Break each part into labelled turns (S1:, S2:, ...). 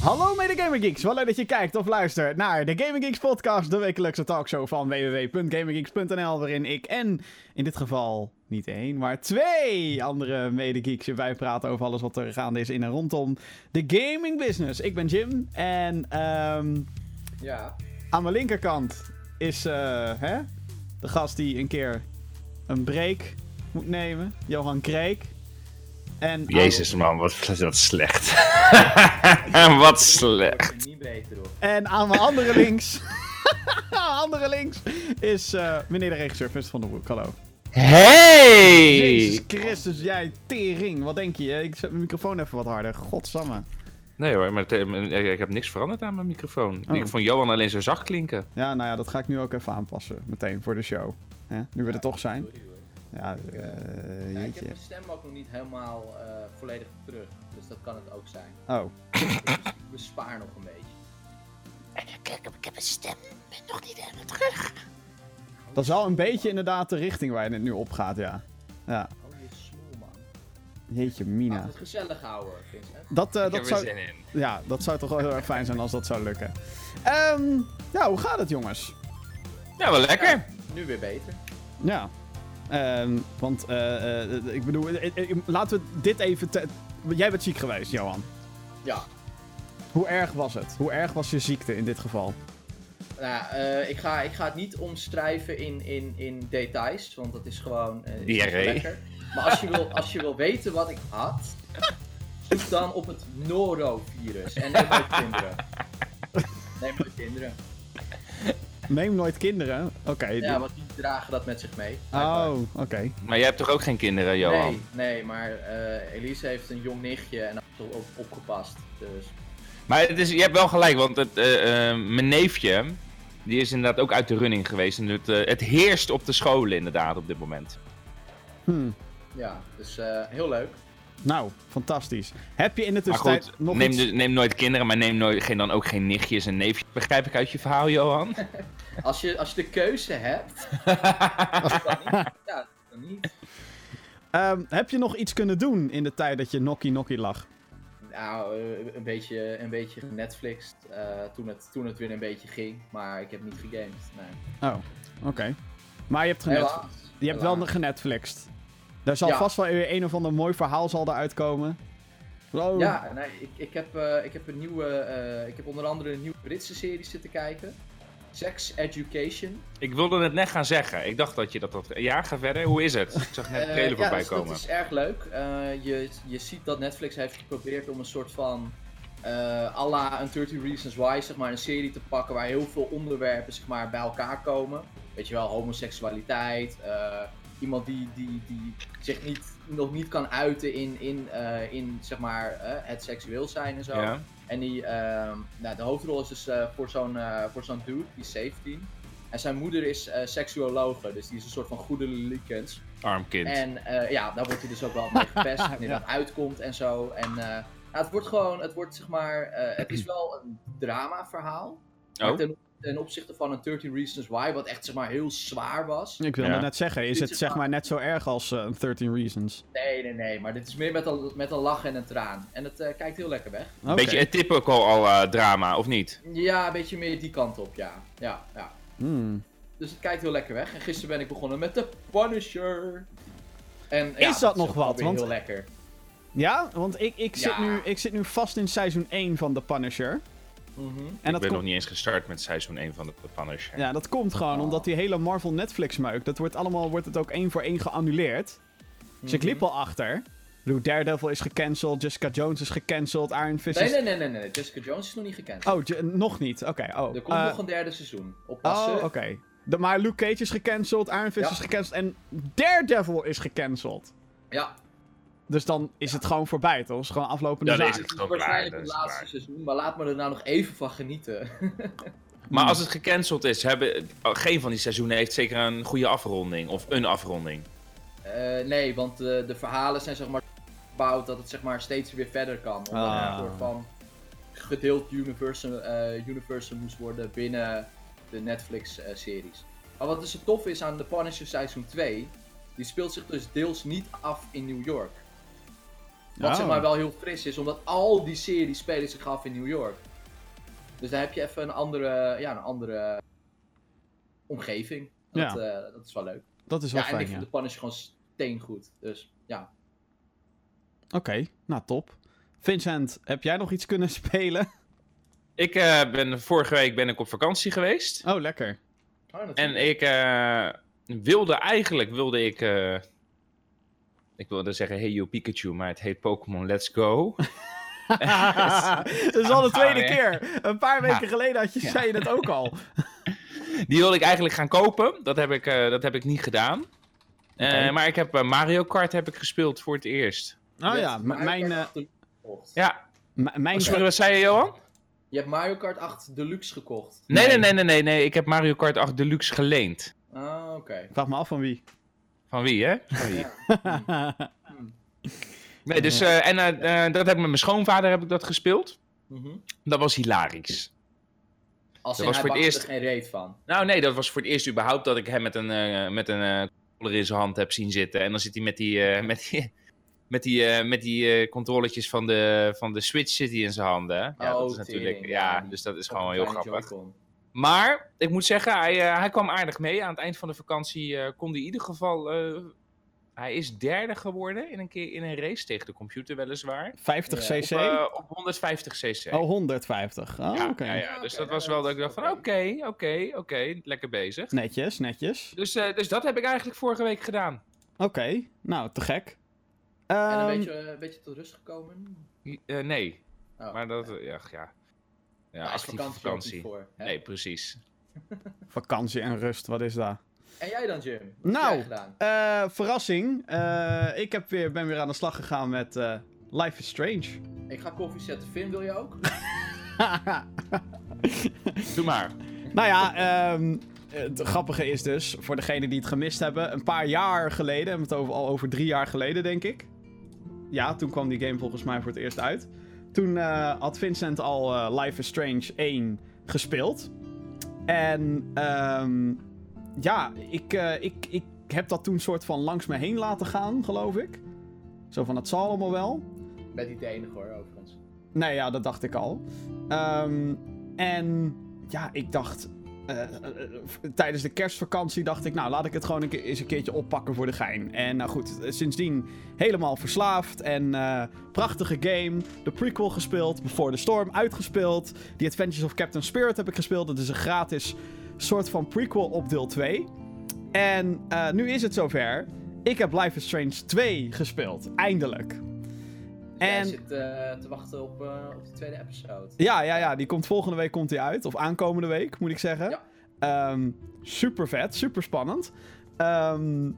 S1: Hallo mede Gamergeeks, wel leuk dat je kijkt of luistert naar de Gaming Geeks podcast, de wekelijkse talkshow van www.gaminggeeks.nl, waarin ik en in dit geval niet één, maar twee andere medegeeks erbij praten over alles wat er gaande is in en rondom de gaming business. Ik ben Jim en ehm,
S2: Ja.
S1: aan mijn linkerkant is eh, hè, de gast die een keer een break moet nemen, Johan Kreek. En aan-
S3: Jezus man, wat is dat slecht. wat slecht.
S2: Wordt er niet beter op.
S1: En aan mijn andere links. andere links is eh, meneer de regisseur, Vincent van der Broek. Hallo. Jezus
S3: Hey!
S1: Christus, jij tering. Wat denk je? Ik zet mijn microfoon even wat harder. Godsamme.
S3: Nee hoor, maar het- eh, ik heb niks veranderd aan mijn microfoon.
S1: Oh.
S3: Ik vond Johan alleen zo zacht klinken.
S1: Ja, nou ja, dat ga ik nu ook even aanpassen. Meteen voor de show. Hè? Nu we er toch zijn.
S2: Sorry hoor.
S1: Ja, eh,
S2: Ja, ik heb
S1: jeetje.
S2: mijn stem ook nog niet helemaal eh, volledig terug. Dus dat kan het ook zijn.
S1: Oh.
S2: Ik bespaar nog een beetje.
S4: Kijk, ik heb een stem. Ik ben nog niet
S1: Eh,
S4: helemaal terug.
S1: Dat is wel een beetje inderdaad de richting waar het nu op gaat, ja. Ja.
S2: Oh, je smoel man.
S1: Jeetje,
S2: Laten we
S1: Mina.
S2: het gezellig houden, Vincent.
S1: Dat, eh,
S3: Ik
S1: dat
S3: heb er
S1: zou...
S3: zin in.
S1: Ja, dat zou toch wel heel erg fijn zijn als dat zou lukken. Ehm, ja, hoe gaat het, jongens?
S3: Ja, wel lekker.
S2: Nu weer beter.
S1: Ja. Ehm, want eh, eh, ik bedoel, eh, eh, laten we dit even. te- Jij bent ziek geweest, Johan.
S2: Ja.
S1: Hoe erg was het? Hoe erg was je ziekte in dit geval?
S2: Nou, ja, eh, ik, ga, ik ga het niet omschrijven in, in, in details, want dat is gewoon... eh, is niet zo
S3: Diarree.
S2: lekker. Maar als je, wil, als je wil weten wat ik had, zoek dan op het norovirus. En neem nooit kinderen. Neem nooit kinderen.
S1: Neem nooit kinderen. Oké. die-
S2: Ja, want die dragen dat met zich mee.
S1: oh, oké.
S3: Maar jij hebt toch ook geen kinderen, Johan?
S2: Nee, nee, maar eh, Elise heeft een jong nichtje en had op, opgepast. Dus
S3: Maar het is, je hebt wel gelijk, want het, eh, eh, mijn neefje, die is inderdaad ook uit de running geweest. En het, eh, het heerst op de scholen inderdaad op dit moment.
S1: Hm.
S2: ja, dus eh, heel leuk.
S1: Nou, fantastisch. Heb je in de
S3: Maar
S1: tussentijd
S3: goed,
S1: nog
S3: neem,
S1: iets...
S3: dus- neem nooit kinderen, maar neem nooit, geen, dan ook geen nichtjes en neefjes. Begrijp ik uit je verhaal, Johan?
S2: Als je, als je de keuze hebt. dan niet. Ja, dan niet.
S1: Ehm, heb je nog iets kunnen doen in de tijd dat je Nokkie Nokkie lag?
S2: Nou, eh, een beetje, een beetje Netflix eh, toen, het, toen het weer een beetje ging. Maar ik heb niet gegamed. Nee.
S1: Oh, oké. Maar je hebt, genet...
S2: Helaas.
S1: je hebt wel genetflixed. Daar zal
S2: Ja.
S1: vast wel weer een of ander mooi verhaal zal eruit komen. Oh,
S2: Ja, nee, ik, ik, heb, eh, ik heb een nieuwe. eh, ik heb onder andere een nieuwe Britse serie zitten kijken. Sex Education.
S3: Ik wilde het net gaan zeggen. Ik dacht dat je dat had. Ja, ga verder. Hoe is het? Ik zag net een
S2: Eh,
S3: trailer
S2: ja,
S3: voorbij
S2: dat is-
S3: komen.
S2: Dat is erg leuk. Eh, je, je ziet dat Netflix heeft geprobeerd om een soort van eh à la een 30 Reasons Why, zeg maar, een serie te pakken waar heel veel onderwerpen zeg maar, bij elkaar komen. Weet je wel, homoseksualiteit, eh, iemand die, die, die zich niet, nog niet kan uiten in, in, eh, in zeg maar, eh, het seksueel zijn en zo.
S3: Ja.
S2: En die, ehm, nou, de hoofdrol is dus eh, voor zo'n eh, voor zo'n dude, die is 17. En zijn moeder is eh seksuologe, dus die is een soort van goede likens.
S3: Arm kind.
S2: En eh, ja, daar wordt hij dus ook wel mee gepest wanneer dat uitkomt en zo. En eh, nou, het wordt gewoon, het wordt zeg maar, eh, het is wel een drama verhaal. maar
S3: Oh.
S2: Ten, ten opzichte van een 30 Reasons Why, wat echt zeg maar heel zwaar was.
S1: Ik wilde
S3: Ja.
S1: net zeggen, is het zeg maar net zo erg als eh, 13 Reasons?
S2: Nee, nee, nee, maar dit is meer met een, met een lach en een traan. En het eh, kijkt heel lekker weg.
S1: Oké.
S3: Beetje een typical al eh, drama, of niet?
S2: Ja, een beetje meer die kant op, ja. Ja, ja.
S1: Hmm.
S2: Dus het kijkt heel lekker weg. En gisteren ben ik begonnen met The Punisher. En, ja,
S1: Is dat nog
S2: ook wel
S1: wat?
S2: weer
S1: Want-
S2: Heel lekker.
S1: Ja, want ik, ik, zit
S2: Ja.
S1: nu, ik zit nu vast in seizoen 1 van The Punisher.
S2: Mhm.
S1: En
S3: ik
S1: dat,
S3: ben
S1: komt-
S3: nog niet eens gestart met seizoen 1 van de de Punisher.
S1: ja, dat komt gewoon
S2: Oh.
S1: omdat die hele Marvel Netflix meuk, dat wordt allemaal, wordt het ook één voor één geannuleerd. Dus
S2: Mhm.
S1: ik liep al achter. Ik bedoel, Daredevil is gecanceld, Jessica Jones is gecanceld, Iron Fist
S2: Nee,
S1: is...
S2: nee, nee, nee, nee. Jessica Jones is nog niet gekend.
S1: Oh, je- nog niet, oké. oh,
S2: Er komt
S1: Eh,
S2: nog een derde seizoen.
S1: oh
S2: Oppassen.
S1: oké. De- Maar Luke Cage is gecanceld, Iron Fist
S2: Ja.
S1: is gecanceld en Daredevil is gecanceld.
S2: Ja,
S1: Dus dan is het gewoon voorbij, toch? Het is gewoon aflopende
S3: Dan
S1: zaak.
S3: is het gewoon klaar.
S2: waarschijnlijk
S3: dan
S2: het
S3: is het
S2: laatste
S3: klaar.
S2: seizoen. Maar laat me er nou nog even van genieten.
S3: Maar als het gecanceld is, hebben, oh, geen van die seizoenen heeft zeker een goede afronding. Of een afronding.
S2: Eh, nee, want eh, de verhalen zijn zeg maar gebouwd dat het zeg maar steeds weer verder kan. Omdat
S1: Ah.
S2: er een soort van gedeeld universum, eh, universum moest worden binnen de Netflix-series. maar wat dus het tof is aan The Punisher Seizoen 2, die speelt zich dus deels niet af in New York. Wat
S1: Oh.
S2: zeg maar wel heel fris is, omdat al die series spelen zich af in New York. Dus daar heb je even een andere, ja, een andere omgeving. Dat,
S1: Ja.
S2: eh, dat is wel leuk.
S1: Dat is wel
S2: Ja, en ik
S1: fijn, ja.
S2: vind de Punisher gewoon steengoed. Dus ja.
S1: Oké, nou top. Vincent, heb jij nog iets kunnen spelen?
S3: Ik eh, ben vorige week ben ik op vakantie geweest.
S1: Oh, lekker.
S3: En ik eh, wilde eigenlijk, wilde ik, eh, ik wilde zeggen, hey yo Pikachu, maar het heet Pokémon Let's Go.
S1: dat is al de
S3: Ah,
S1: tweede
S3: hè.
S1: keer. Een paar weken
S3: Ja.
S1: geleden had je, zei je dat ook al.
S3: Die wilde ik eigenlijk gaan kopen, dat heb ik, eh, dat heb ik niet gedaan. Eh,
S1: Oké.
S3: maar ik heb eh, Mario Kart heb ik gespeeld voor het eerst.
S1: Oh ja, m- mijn... eh,
S2: ja.
S3: Ja,
S1: m- mijn
S3: Oh, sorry, wat zei je Johan?
S2: Je hebt Mario Kart 8 Deluxe gekocht.
S3: Nee, nee, nee, nee, nee, nee, ik heb Mario Kart 8 Deluxe geleend.
S2: Ah, oké.
S1: Vraag me af van wie.
S3: Van wie, hè?
S1: Oh,
S2: Ja. Hmm.
S3: Nee, dus, eh, en eh, eh, dat heb ik met mijn schoonvader heb ik dat gespeeld.
S2: Mhm.
S3: Dat was hilarisch.
S2: Als
S3: Dat
S2: in,
S3: was voor
S2: hij
S3: het
S2: bakte er
S3: eerst.
S2: geen reet van.
S3: Nou, nee, dat was voor het eerst überhaupt dat ik hem met een, eh met een eh, controller in zijn hand heb zien zitten. En dan zit hij met die, eh, met die, met die, eh, met die eh, controletjes van de, van de Switch zit hij in zijn handen. hè. Ja,
S2: Oh,
S3: dat is natuurlijk.
S2: tering,
S3: Ja,
S2: ja, die-
S3: dus dat is gewoon heel
S2: Kleine
S3: grappig.
S2: Joy-Con.
S3: Maar ik moet zeggen, hij, eh, hij kwam aardig mee. Aan het eind van de vakantie eh, kon hij in ieder geval. eh, hij is derde geworden in een, keer in een race tegen de computer, weliswaar.
S1: 50
S2: Ja,
S1: cc?
S3: Op, eh, op 150 cc.
S1: oh, 150. Oh,
S3: ja,
S1: oké.
S3: ja, ja.
S2: Ah,
S3: Dus
S2: oké,
S3: dat was
S2: ja,
S3: wel
S2: dat
S3: dat ik dacht:
S2: is
S3: van oké,
S2: oké.
S3: oké, oké, lekker bezig.
S1: Netjes, netjes.
S3: Dus, eh, dus dat heb ik eigenlijk vorige week gedaan.
S1: Oké, nou, te gek.
S2: En een
S1: Ehm,
S2: beetje, eh, een beetje tot rust gekomen.
S3: I- eh, nee,
S2: Oh.
S3: maar dat... eh, Ja, ja. ja
S2: Daar is
S3: actieve
S2: vakantie, ook niet
S3: vakantie.
S2: voor. hè?
S3: Nee, precies.
S1: Vakantie en rust, wat is dat?
S2: En jij dan, Jim? Wat
S1: Nou.
S2: heb jij gedaan?
S1: Eh, verrassing. Eh, ik heb weer, ben weer aan de slag gegaan met eh, Life is Strange.
S2: Ik ga koffie zetten. Finn, wil je ook?
S3: Doe maar.
S1: nou ja, ehm, het grappige is dus, voor degenen die het gemist hebben, een paar jaar geleden, hebben we het over, al over drie jaar geleden denk ik. Ja, toen kwam die game volgens mij voor het eerst uit. Toen eh, had Vincent al eh, Life is Strange 1 gespeeld. En ehm, ja, ik, eh, ik, ik heb dat toen soort van langs me heen laten gaan, geloof ik. Zo van, het zal allemaal wel.
S2: Met niet de enige hoor, overigens.
S1: Nou ja, dat dacht ik al. Ehm, en ja, ik dacht. eh, eh, eh, tijdens de kerstvakantie dacht ik, nou laat ik het gewoon een keer, eens een keertje oppakken voor de gein. En nou goed, eh, sindsdien helemaal verslaafd en eh, prachtige game. De prequel gespeeld, Before the Storm uitgespeeld. The Adventures of Captain Spirit heb ik gespeeld. Dat is een gratis soort van prequel op deel 2. En eh, nu is het zover. Ik heb Life is Strange 2 gespeeld, eindelijk.
S2: Jij zit eh, te wachten op, eh, op de tweede episode.
S1: Ja, ja, ja. Die komt volgende week komt die uit. Of aankomende week, moet ik zeggen. Ehm, super vet, super spannend. Ehm,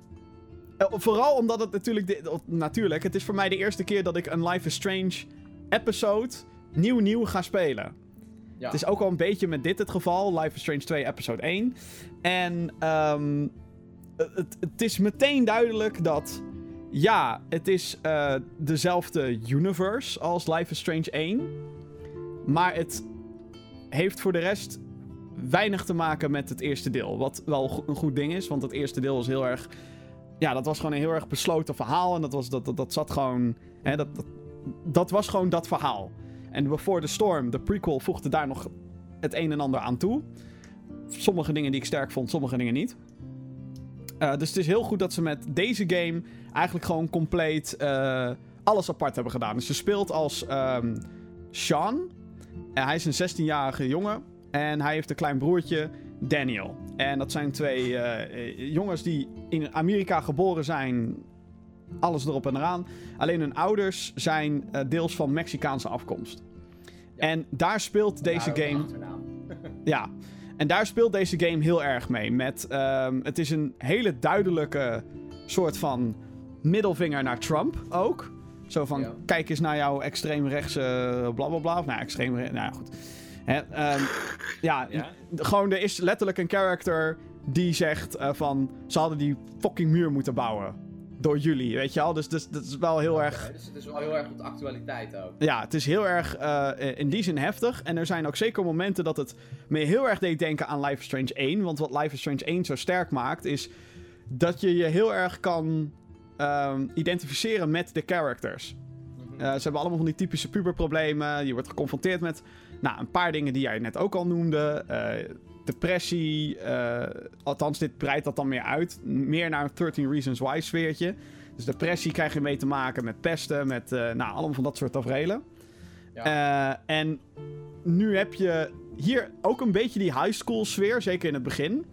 S1: eh, vooral omdat het natuurlijk... de- of- natuurlijk, het is voor mij de eerste keer dat ik een Life is Strange episode nieuw-nieuw ga spelen.
S2: Ja.
S1: Het is ook al een beetje met dit het geval. Life is Strange 2, episode 1. En ehm, het, het is meteen duidelijk dat... Ja, het is eh, dezelfde universe als Life is Strange 1. Maar het heeft voor de rest weinig te maken met het eerste deel. Wat wel go- een goed ding is, want het eerste deel was heel erg... Ja, dat was gewoon een heel erg besloten verhaal. En dat, was, dat, dat, dat zat gewoon... Hè, dat, dat, dat was gewoon dat verhaal. En Before the Storm, de prequel, voegde daar nog het een en ander aan toe. Sommige dingen die ik sterk vond, sommige dingen niet. Eh, dus het is heel goed dat ze met deze game eigenlijk gewoon compleet eh, alles apart hebben gedaan. Dus ze speelt als ehm, Sean. En hij is een 16-jarige jongen. En hij heeft een klein broertje, Daniel. En dat zijn twee eh, eh, jongens die in Amerika geboren zijn. Alles erop en eraan. Alleen hun ouders zijn eh, deels van Mexicaanse afkomst.
S2: Ja.
S1: En daar speelt deze
S2: Daar ook
S1: game.
S2: een achternaam.
S1: Ja, en daar speelt deze game heel erg mee. Met, ehm, het is een hele duidelijke soort van middelvinger naar Trump ook. Zo van,
S2: Ja.
S1: kijk eens naar jouw extreemrechtse blablabla. Bla, of nou, extreemrechts, nou ja, goed. Hè, ehm, ja,
S3: Ja?
S1: gewoon er is letterlijk een character die zegt eh, van... Ze hadden die fucking muur moeten bouwen. Door jullie, weet je al. Dus dat dus, dat is wel heel erg...
S2: Ja, Dus het is wel heel erg op de actualiteit ook.
S1: Ja, het is heel erg eh, in die zin heftig. En er zijn ook zeker momenten dat het me heel erg deed denken aan Life is Strange 1. Want wat Life is Strange 1 zo sterk maakt, is dat je je heel erg kan ehm, identificeren met de characters.
S2: Mhm.
S1: Eh, ze hebben allemaal van die typische puberproblemen. Je wordt geconfronteerd met nou, een paar dingen die jij net ook al noemde. Eh, depressie. eh, althans, dit breidt dat dan meer uit. Meer naar een 13 Reasons Why sfeertje. Dus depressie krijg je mee te maken met pesten, met eh, nou, allemaal van dat soort tafereelen. Eh, en nu heb je hier ook een beetje die high school sfeer, zeker in het begin.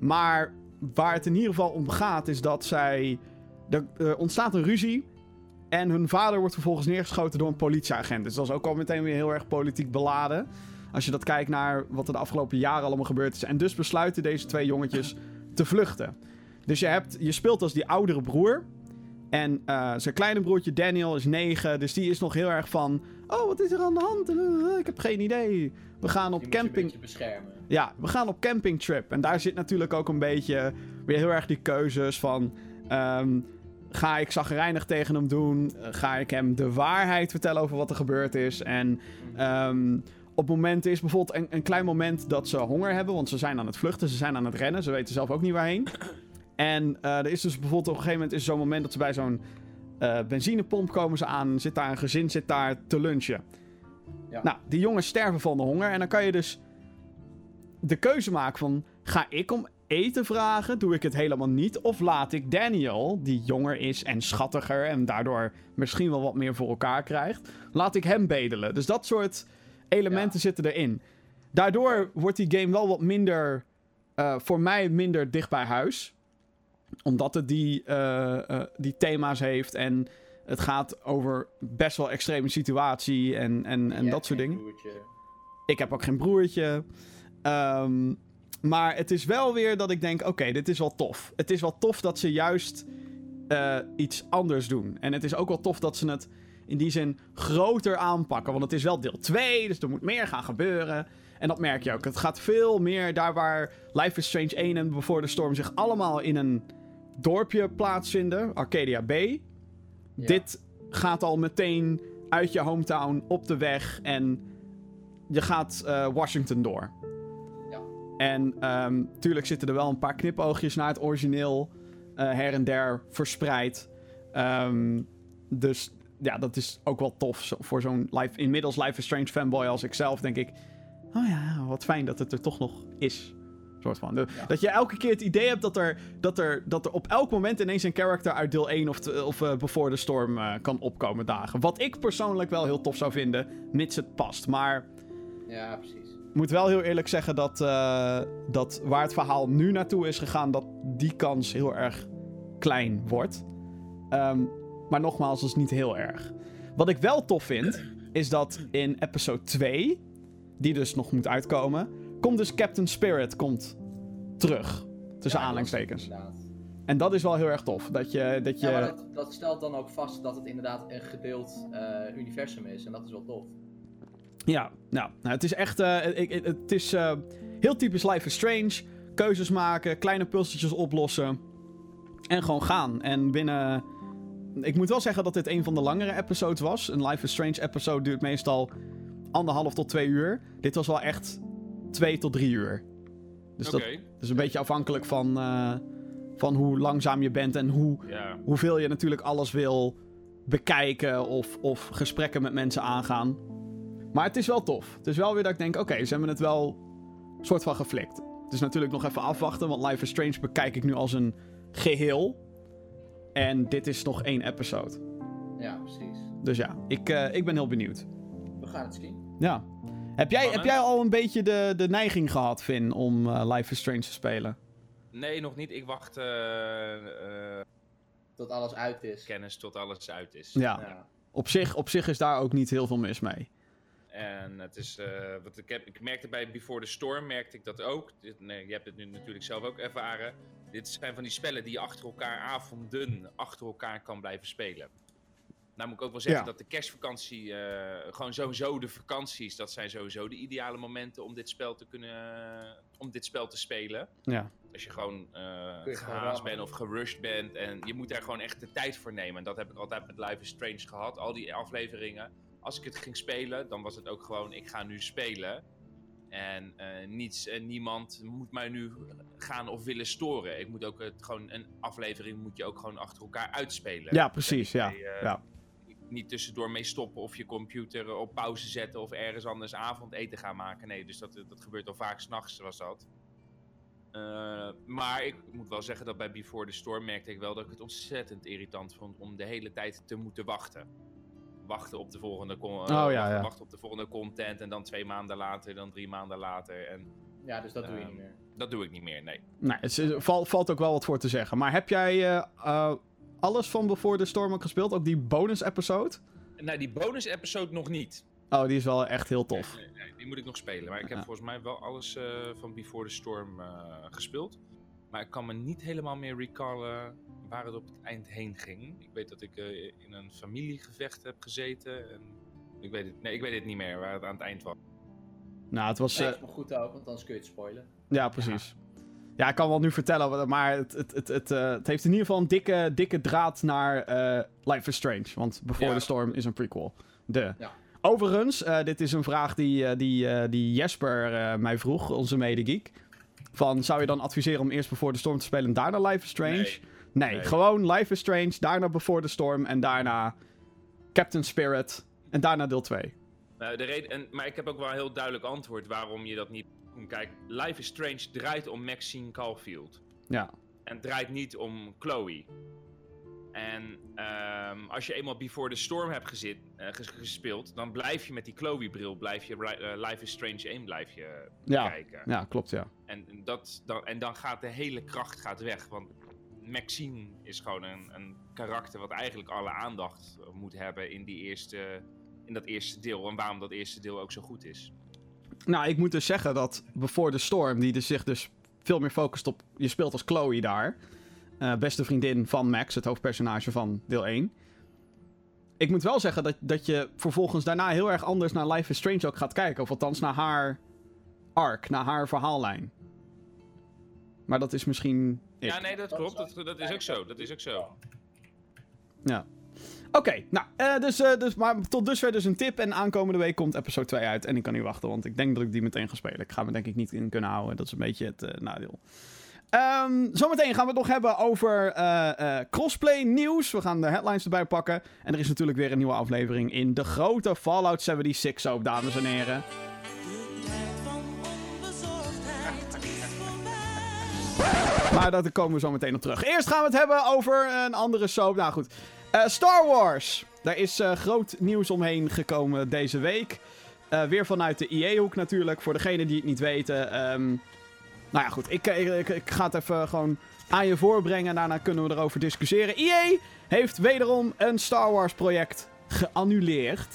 S1: Maar waar het in ieder geval om gaat, is dat zij. Er eh, ontstaat een ruzie. En hun vader wordt vervolgens neergeschoten door een politieagent. Dus dat is ook al meteen weer heel erg politiek beladen. Als je dat kijkt naar wat er de afgelopen jaren allemaal gebeurd is. En dus besluiten deze twee jongetjes te vluchten. Dus je, hebt, je speelt als die oudere broer. En eh, zijn kleine broertje Daniel is negen. Dus die is nog heel erg van. Oh, wat is er aan de hand? Eh, Ik heb geen idee. We gaan op
S2: Die moet je een
S1: camping.
S2: beetje beschermen.
S1: Ja, we gaan op campingtrip. En daar zit natuurlijk ook een beetje weer heel erg die keuzes van... ehm, ga ik zagrijnig tegen hem doen? Eh, Ga ik hem de waarheid vertellen over wat er gebeurd is? En ehm, op momenten is bijvoorbeeld een, een klein moment dat ze honger hebben... want ze zijn aan het vluchten, ze zijn aan het rennen. Ze weten zelf ook niet waarheen. En eh, er is dus bijvoorbeeld op een gegeven moment is zo'n moment dat ze bij zo'n eh, benzinepomp komen ze aan. Zit daar een gezin, zit daar te lunchen.
S2: Ja.
S1: Nou, die jongens sterven van de honger. En dan kan je dus de keuze maken van... Ga ik om eten vragen? Doe ik het helemaal niet? Of laat ik Daniel, die jonger is en schattiger... en daardoor misschien wel wat meer voor elkaar krijgt... laat ik hem bedelen. Dus dat soort elementen
S2: Ja.
S1: zitten erin. Daardoor wordt die game wel wat minder... eh, voor mij minder dicht bij huis omdat het die, eh, eh, die thema's heeft en het gaat over best wel extreme situatie en, en, en
S2: Ja,
S1: dat soort
S2: geen
S1: dingen.
S2: broertje.
S1: Ik heb ook geen broertje. Ehm, maar het is wel weer dat ik denk, oké, dit is wel tof. Het is wel tof dat ze juist eh, iets anders doen. En het is ook wel tof dat ze het in die zin groter aanpakken. Want het is wel deel 2, dus er moet meer gaan gebeuren. En dat merk je ook. Het gaat veel meer daar waar Life is Strange 1 en Before the Storm zich allemaal in een dorpje plaatsvinden. Arcadia Bay.
S2: Ja.
S1: Dit gaat al meteen uit je hometown op de weg en je gaat eh, Washington door.
S2: Ja.
S1: En ehm, tuurlijk zitten er wel een paar knipoogjes naar het origineel eh, her en der verspreid. Ehm, dus ja, dat is ook wel tof zo- voor zo'n live, inmiddels Life is Strange fanboy als ik zelf, denk ik. Oh ja, wat fijn dat het er toch nog is. Soort van. De-
S2: Ja.
S1: Dat je elke keer het idee hebt dat er, dat, er, dat er op elk moment ineens een character uit deel 1 of, t- of eh, Before the Storm eh, kan opkomen dagen. Wat ik persoonlijk wel heel tof zou vinden, mits het past. Maar
S2: Ja, precies.
S1: ik moet wel heel eerlijk zeggen dat, eh, dat waar het verhaal nu naartoe is gegaan, dat die kans heel erg klein wordt. Ehm, maar nogmaals, dat is niet heel erg. Wat ik wel tof vind, is dat in episode 2, die dus nog moet uitkomen, komt dus Captain Spirit komt terug. Tussen
S2: Ja,
S1: aanhalingstekens.
S2: inderdaad.
S1: En dat is wel heel erg tof. Dat je. Dat je
S2: Ja, maar dat, dat stelt dan ook vast dat het inderdaad een gedeeld eh, universum is. En dat is wel tof.
S1: Ja, nou, nou, het is echt. eh, ik- ik- het is eh, heel typisch Life is Strange. Keuzes maken, kleine puzzeltjes oplossen. En gewoon gaan. En binnen. Ik moet wel zeggen dat dit een van de langere episodes was. Een Life is Strange episode duurt meestal anderhalf tot twee uur. Dit was wel echt twee tot drie uur. Dus
S3: Oké,
S1: dat is een beetje afhankelijk van, eh, van hoe langzaam je bent en hoe
S3: ja.
S1: hoeveel je natuurlijk alles wil bekijken of, of gesprekken met mensen aangaan. Maar het is wel tof. Het is wel weer dat ik denk, oké, ze hebben het wel soort van geflikt. Het is natuurlijk nog even afwachten, want Life is Strange bekijk ik nu als een geheel. En dit is nog één episode.
S2: Ja, precies.
S1: Dus ja, ik, eh, ik ben heel benieuwd.
S2: We gaan het zien.
S1: Ja. Heb jij, heb
S3: Spannend.
S1: jij al een beetje de, de neiging gehad, Finn, om eh, Life is Strange te spelen?
S3: Nee, nog niet. Ik wacht eh, eh,
S2: Tot alles uit is.
S3: kennis tot alles uit is.
S1: Ja.
S2: Ja.
S1: Op zich, op zich is daar ook niet heel veel mis mee.
S3: En het is, eh, wat ik, heb, ik merkte bij Before the Storm, merkte ik dat ook. Dit, nee, je hebt het nu natuurlijk zelf ook ervaren. Dit zijn van die spellen die je achter elkaar avonden, achter elkaar kan blijven spelen. Nou moet ik ook wel zeggen
S1: Ja.
S3: dat de kerstvakantie, eh, gewoon sowieso de vakanties, dat zijn sowieso de ideale momenten om dit spel te kunnen, om dit spel te spelen.
S1: Ja.
S3: Als je gewoon eh
S2: Kun je gewoon
S3: gehaast
S2: rammen.
S3: bent of gerushed bent. En je moet daar gewoon echt de tijd voor nemen. En dat heb ik altijd met Life is Strange gehad. Al die afleveringen. Als ik het ging spelen, dan was het ook gewoon: ik ga nu spelen. En eh, niets en niemand moet mij nu gaan of willen storen. Ik moet ook het, gewoon een aflevering moet je ook gewoon achter elkaar uitspelen.
S1: Ja, precies. Ja.
S3: Ik, eh,
S1: ja.
S3: Ik niet tussendoor mee stoppen of je computer op pauze zetten of ergens anders avondeten gaan maken. Nee, dus dat, dat gebeurt al vaak s'nachts was dat. Eh, maar ik moet wel zeggen dat bij Before the Storm merkte ik wel dat ik het ontzettend irritant vond om de hele tijd te moeten wachten. Wachten op de volgende, con- eh,
S1: Oh, ja,
S3: wachten-
S1: ja.
S3: wachten op de volgende content en dan twee maanden later, dan drie maanden later. En
S2: Ja, dus dat doe je
S3: Ehm,
S2: niet meer.
S3: dat doe ik niet meer, nee.
S1: Nou, het is- val- valt ook wel wat voor te zeggen. Maar heb jij eh, eh, alles van Before the Storm ook gespeeld? Ook die bonus-episode?
S3: Nou, die bonus-episode nog niet.
S1: Oh, die is wel echt heel tof.
S3: Nee, nee, die moet ik nog spelen. Maar ik heb
S1: Ja.
S3: volgens mij wel alles eh, van Before the Storm eh, gespeeld. Maar ik kan me niet helemaal meer recallen waar het op het eind heen ging. Ik weet dat ik eh, in een familiegevecht heb gezeten. En ik, weet het, nee, ik weet het niet meer waar het aan het eind was.
S1: Nou, het was...
S2: Nee,
S1: eh,
S2: dat is maar goed ook, want anders kun je het spoilen.
S1: ja, precies. Ja, ik kan wel nu vertellen, wa- maar het, het, het, het, eh, het heeft in ieder geval een dikke, dikke draad naar eh, Life is Strange. Want Before
S3: Ja.
S1: the Storm is een prequel. De.
S2: Ja.
S1: Overigens, eh, dit is een vraag die, eh, die, eh, die Jesper eh, mij vroeg, onze medegeek. Van, zou je dan adviseren om eerst Before the Storm te spelen en daarna Life is Strange?
S3: Nee.
S1: Nee,
S3: Nee.
S1: gewoon Life is Strange, daarna Before the Storm en daarna Captain Spirit en daarna deel 2.
S3: Nou, de reden, en, maar ik heb ook wel een heel duidelijk antwoord waarom je dat niet doet. Kijk, Life is Strange draait om Maxine Caulfield.
S1: Ja.
S3: En draait niet om Chloe. En ehm, als je eenmaal Before the Storm hebt gezit, eh, ges- gespeeld, dan blijf je met die Chloe-bril, blijf je Ri- eh, Life is Strange 1 blijf je
S1: Ja.
S3: kijken.
S1: ja, klopt ja.
S3: En, dat, dan, en dan gaat de hele kracht gaat weg. Want Maxine is gewoon een, een karakter wat eigenlijk alle aandacht eh, moet hebben in, die eerste, in dat eerste deel. En waarom dat eerste deel ook zo goed is.
S1: Nou, ik moet dus zeggen dat Before the Storm, die dus zich dus veel meer focust op... Je speelt als Chloe daar. eh, beste vriendin van Max, het hoofdpersonage van deel 1. Ik moet wel zeggen dat, dat je vervolgens daarna heel erg anders naar Life is Strange ook gaat kijken. Of althans naar haar arc, naar haar verhaallijn. Maar dat is misschien... ik.
S3: Ja, nee, dat klopt. Dat, dat is ook zo. Dat is ook zo.
S1: Oké, nou, eh, dus, eh, dus, maar tot dusver dus een tip. En aankomende week komt episode 2 uit. En ik kan niet wachten, want ik denk dat ik die meteen ga spelen. Ik ga me denk ik niet in kunnen houden. Dat is een beetje het eh, nadeel. Ehm, zometeen gaan we het nog hebben over eh, eh, crossplay nieuws. We gaan de headlines erbij pakken. En er is natuurlijk weer een nieuwe aflevering in de grote Fallout 76 soap, dames en heren.
S5: De tijd van onbezorgdheid is voorbij.
S1: Maar daar komen we zo meteen op terug. Eerst gaan we het hebben over een andere soap. Nou goed. Eh, Star Wars. Daar is eh, groot nieuws omheen gekomen deze week. Eh, weer vanuit de IE-hoek natuurlijk. Voor degenen die het niet weten. ehm, nou ja, goed. Ik, ik, ik, ik ga het even gewoon aan je voorbrengen. En daarna kunnen we erover discussiëren. IE heeft wederom een Star Wars-project geannuleerd.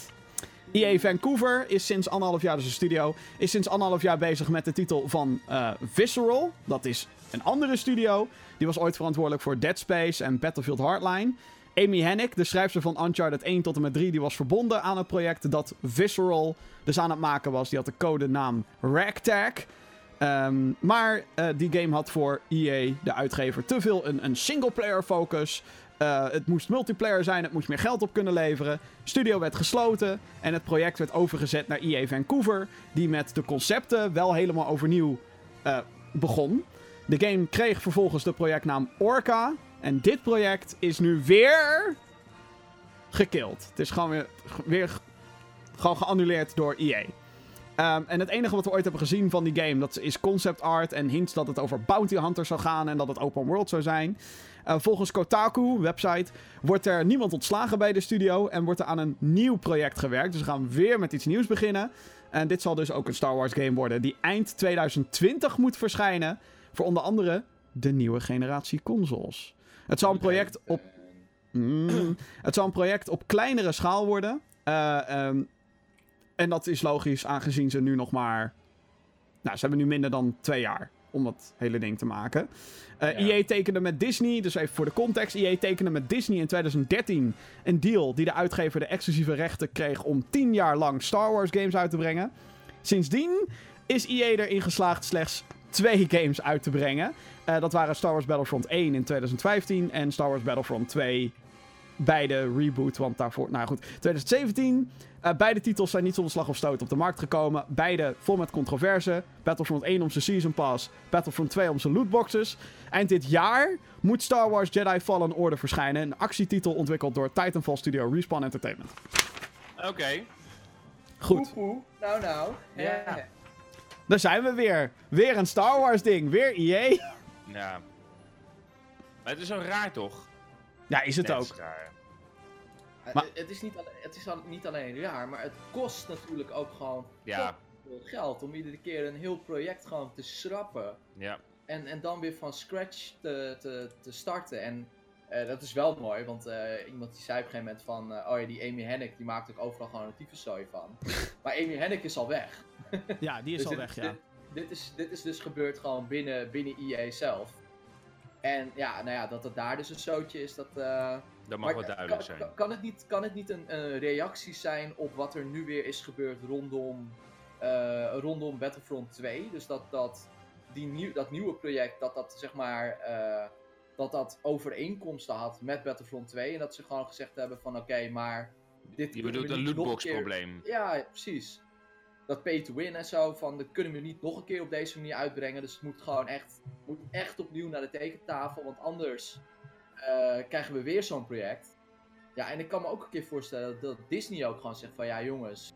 S1: EA Vancouver is sinds anderhalf jaar dus een studio. Is sinds anderhalf jaar bezig met de titel van eh, Visceral. Dat is een andere studio. Die was ooit verantwoordelijk voor Dead Space en Battlefield Hardline. Amy Hennig, de schrijfster van Uncharted 1 tot en met 3, die was verbonden aan het project dat Visceral dus aan het maken was. Die had de codenaam Ragtag. Ehm, maar eh, die game had voor EA, de uitgever, te veel een, een singleplayer focus. Eh, het moest multiplayer zijn, het moest meer geld op kunnen leveren. Studio werd gesloten en het project werd overgezet naar EA Vancouver, die met de concepten wel helemaal overnieuw eh, begon. De game kreeg vervolgens de projectnaam Orca en dit project is nu weer gekild. Het is gewoon weer, weer gewoon geannuleerd door E EA. Ehm, en het enige wat we ooit hebben gezien van die game, dat is concept art en hints dat het over bounty hunters zou gaan en dat het open world zou zijn. Eh, volgens Kotaku, website, wordt er niemand ontslagen bij de studio en wordt er aan een nieuw project gewerkt. Dus we gaan weer met iets nieuws beginnen. En dit zal dus ook een Star Wars game worden die eind 2020 moet verschijnen voor onder andere de nieuwe generatie consoles. Het zal een project op
S2: En-
S1: Mm. Het zal een project op kleinere schaal worden. Eh, ehm, en dat is logisch, aangezien ze nu nog maar. Nou, ze hebben nu minder dan twee jaar om dat hele ding te maken. Eh
S3: Ja.
S1: EA tekende met Disney, dus even voor de context. EA tekende met Disney in 2013 een deal die de uitgever de exclusieve rechten kreeg om 10 jaar lang Star Wars games uit te brengen. Sindsdien is EA erin geslaagd slechts twee games uit te brengen. Eh, dat waren Star Wars Battlefront 1 in 2015 en Star Wars Battlefront 2 bij de reboot. Want daarvoor, nou ja, goed, 2017. eh, beide titels zijn niet zonder slag of stoot op de markt gekomen. Beide vol met controverse. Battlefront 1 om zijn Season Pass. Battlefront 2 om zijn lootboxes. Eind dit jaar moet Star Wars Jedi Fallen Order verschijnen. Een actietitel ontwikkeld door Titanfall Studio Respawn Entertainment.
S3: Oké.
S1: Goed.
S2: Poepoe. Nou, nou.
S3: Ja.
S1: Daar zijn we weer. Weer een Star Wars ding. Weer E EA.
S3: Nou. Maar het is zo raar toch?
S1: Ja, is het
S3: Nee,
S1: ook.
S3: is raar.
S2: Eh,
S1: Maar-
S2: Het is, niet alleen, het is al- niet alleen raar, maar het kost natuurlijk ook gewoon
S3: Ja.
S2: veel geld om iedere keer een heel project gewoon te schrappen.
S3: Ja.
S2: En, en dan weer van scratch te, te, te starten. En eh, dat is wel mooi, want eh, iemand die zei op een gegeven moment van... eh, oh ja, die Amy Hennig, die maakt ook overal gewoon een tyfuszooi van. maar Amy Hennig is al weg.
S1: Ja, die is
S2: Dus
S1: al
S2: dit-
S1: weg, ja.
S2: Dit, dit is, dit is dus gebeurd gewoon binnen, binnen EA zelf. En ja, nou ja, dat het daar dus een zootje is, dat... eh,
S3: Dat mag wel
S2: maar
S3: duidelijk
S2: kan,
S3: zijn.
S2: Kan, kan het niet, kan het niet een, eh, reactie zijn op wat er nu weer is gebeurd rondom, eh, rondom Battlefront 2? Dus dat, dat, die nieuw, dat nieuwe project, dat dat zeg maar. eh, dat dat overeenkomsten had met Battlefront 2. En dat ze gewoon gezegd hebben van oké, maar dit
S3: Je
S2: kunnen
S3: bedoelt
S2: we
S3: een
S2: niet nog
S3: lootbox
S2: keer-
S3: probleem.
S2: Ja, precies. Dat pay to win en zo, van dat kunnen we niet nog een keer op deze manier uitbrengen. Dus het moet gewoon echt, moet echt opnieuw naar de tekentafel, want anders eh, krijgen we weer zo'n project. Ja, en ik kan me ook een keer voorstellen dat Disney ook gewoon zegt van ja jongens,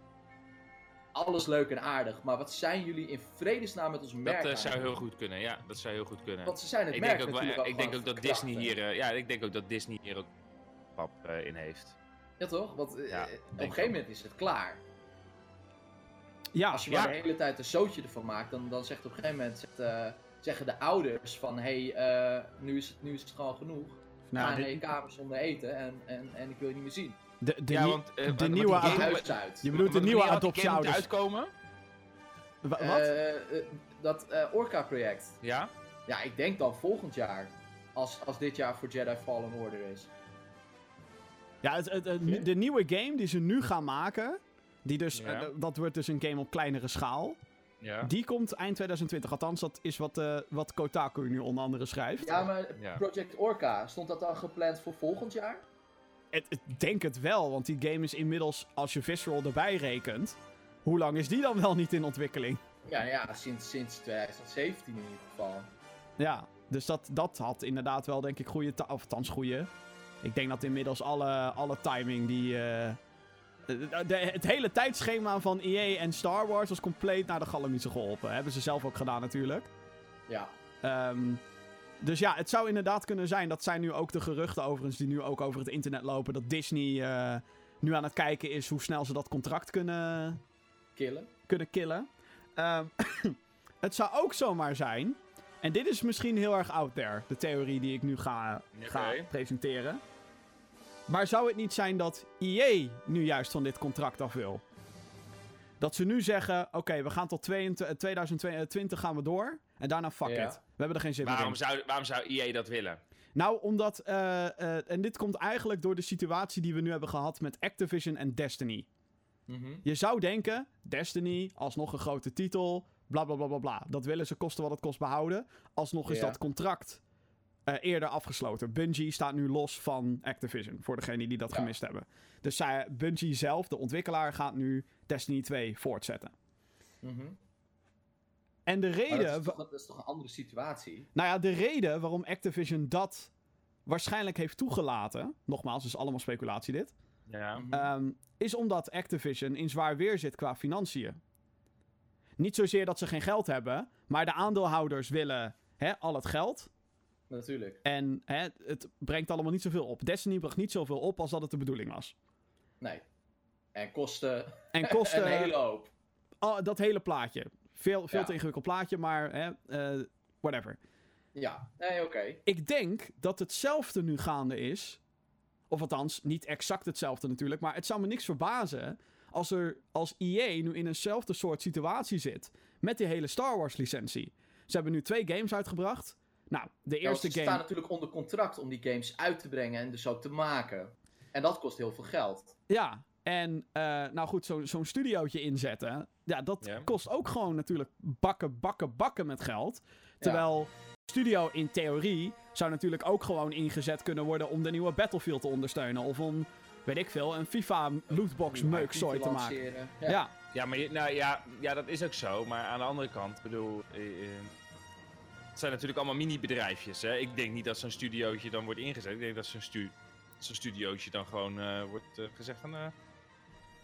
S2: alles leuk en aardig, maar wat zijn jullie in vredesnaam met ons merk?
S3: Dat eh,
S2: aan
S3: zou
S2: het
S3: heel goed kunnen. Ja, dat zou heel goed kunnen.
S2: want ze zijn het
S3: Ik
S2: merk
S3: denk ook, wel,
S2: natuurlijk
S3: eh, ik denk
S2: gewoon
S3: ook dat
S2: verkrachten.
S3: Disney hier, eh, ja, ik denk ook dat Disney hier ook pap eh, in heeft.
S2: Ja toch? Want eh,
S3: Ja,
S2: eh,
S3: denk
S2: op een
S3: ik
S2: gegeven
S3: ook.
S2: moment is het klaar.
S1: Ja, Ah,
S2: Als je maar
S3: Ja.
S2: de hele tijd een zootje ervan maakt, dan, dan zegt op een gegeven moment zegt, eh, zeggen de ouders van... Hé, hey, eh, nu, is het- nu is het gewoon genoeg. Ga
S1: nou,
S2: naar
S1: de,
S2: je kamer zonder eten en, en, en ik wil je niet meer zien.
S1: de, de
S3: ja,
S1: nie-
S3: want, eh,
S1: de
S3: want- want
S1: nieuwe
S3: die
S2: Je
S1: Ah,
S3: game-
S1: adop-
S2: huis uit.
S1: je bedoelt de
S3: want
S1: nieuwe
S3: wanneer had die game moeten
S1: adoptieouders.
S3: uitkomen?
S1: Wa- Wat?
S2: Eh, eh, dat eh, Orca-project.
S3: Ja?
S2: Ja, ik denk dan volgend jaar. Als, als dit jaar voor Jedi Fallen Order is.
S1: Ja, het, het- het- de nieuwe game die ze nu gaan maken, die dus,
S3: Ja.
S1: eh, dat wordt dus een game op kleinere schaal.
S3: Ja.
S1: Die komt eind 2020. Althans, dat is wat, eh, wat Kotaku nu onder andere schrijft.
S2: Ja, maar
S3: Ja.
S2: Project Orca, stond dat dan gepland voor volgend jaar?
S1: Het- het- denk het wel, want die game is inmiddels, als je Visceral erbij rekent, hoe lang is die dan wel niet in ontwikkeling?
S2: Ja, ja sinds, sinds 2017 in ieder geval.
S1: Ja, dus dat, dat had inderdaad wel, denk ik, goede... ta- Of althans, goede... Ik denk dat inmiddels alle, alle timing die... eh, de- de- het hele tijdschema van EA en Star Wars was compleet naar de galamieten geholpen. Hebben ze zelf ook gedaan natuurlijk.
S2: Ja.
S1: Ehm, dus ja, het zou inderdaad kunnen zijn. Dat zijn nu ook de geruchten overigens die nu ook over het internet lopen. Dat Disney eh, nu aan het kijken is hoe snel ze dat contract kunnen,
S2: Killen.
S1: kunnen killen. Ehm, het zou ook zomaar zijn. En dit is misschien heel erg out there, de theorie die ik nu ga, ga
S3: Oké.
S1: presenteren. Maar zou het niet zijn dat EA nu juist van dit contract af wil? Dat ze nu zeggen: oké, we gaan tot eh, 22 2022 gaan we door. En daarna fuck
S2: Ja.
S1: it. We hebben er geen zin meer in.
S3: Waarom zou, waarom zou EA dat willen?
S1: Nou, omdat. eh, eh, en dit komt eigenlijk door de situatie die we nu hebben gehad met Activision en Destiny.
S2: Mhm.
S1: Je zou denken: Destiny, alsnog een grote titel. Bla bla bla bla bla. Dat willen ze kosten wat het kost behouden. Alsnog is
S2: Ja.
S1: dat contract eh, eerder afgesloten. Bungie staat nu los van Activision. Voor degenen die dat
S2: Ja.
S1: gemist hebben. Dus zij, Bungie zelf, de ontwikkelaar, gaat nu Destiny 2 voortzetten.
S2: mhm.
S1: En de
S2: Maar
S1: reden.
S2: dat, is
S1: wa-
S2: toch, dat is toch een andere situatie?
S1: Nou ja, de reden waarom Activision dat waarschijnlijk heeft toegelaten. Nogmaals, het is allemaal speculatie dit.
S3: Ja.
S2: Mhm.
S1: ehm, is omdat Activision in zwaar weer zit qua financiën. Niet zozeer dat ze geen geld hebben, maar de aandeelhouders willen hè, al het geld.
S2: Natuurlijk.
S1: En hè, het brengt allemaal niet zoveel op. Destiny bracht niet zoveel op als dat het de bedoeling was.
S2: Nee. En kosten.
S1: En kosten.
S2: Een hele hoop.
S1: oh, dat hele plaatje. Veel, veel
S2: Ja.
S1: te ingewikkeld plaatje, maar hè, eh, whatever.
S2: Ja. Nee, oké.
S1: Ik denk dat hetzelfde nu gaande is. Of althans, niet exact hetzelfde natuurlijk. Maar het zou me niks verbazen als er als EA nu in eenzelfde soort situatie zit. Met die hele Star Wars licentie. Ze hebben nu twee games uitgebracht. Nou, de
S2: Ja, want
S1: eerste
S2: ze
S1: game.
S2: staan natuurlijk onder contract om die games uit te brengen en dus ook te maken. En dat kost heel veel geld.
S1: Ja. En eh, nou goed, zo- zo'n studiootje inzetten. Ja, dat
S3: Ja.
S1: kost ook gewoon natuurlijk bakken, bakken, bakken met geld. Terwijl studio in theorie zou natuurlijk ook gewoon ingezet kunnen worden om de nieuwe Battlefield te ondersteunen. Of om, weet ik veel, een FIFA lootbox meukzooi te maken.
S2: lanceren.
S1: Ja.
S2: Ja.
S3: Ja, maar je- nou, ja, ja, dat is ook zo. Maar aan de andere kant, ik bedoel... eh, eh, het zijn natuurlijk allemaal mini-bedrijfjes, hè. Ik denk niet dat zo'n studiootje dan wordt ingezet. Ik denk dat zo'n stu zo'n studiootje dan gewoon eh, wordt eh, gezegd van... eh,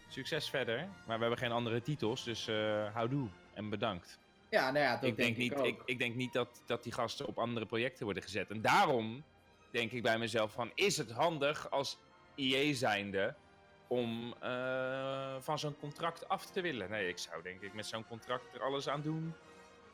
S3: succes verder. Maar we hebben geen andere titels, dus eh houdoe. En bedankt.
S2: Ja, nou ja, dat
S3: ik denk, niet,
S2: ook.
S3: ik, ik denk niet dat, dat die gasten op andere projecten worden gezet. En daarom denk ik bij mezelf van, is het handig als IE zijnde om eh, van zo'n contract af te willen? Nee, ik zou denk ik met zo'n contract er alles aan doen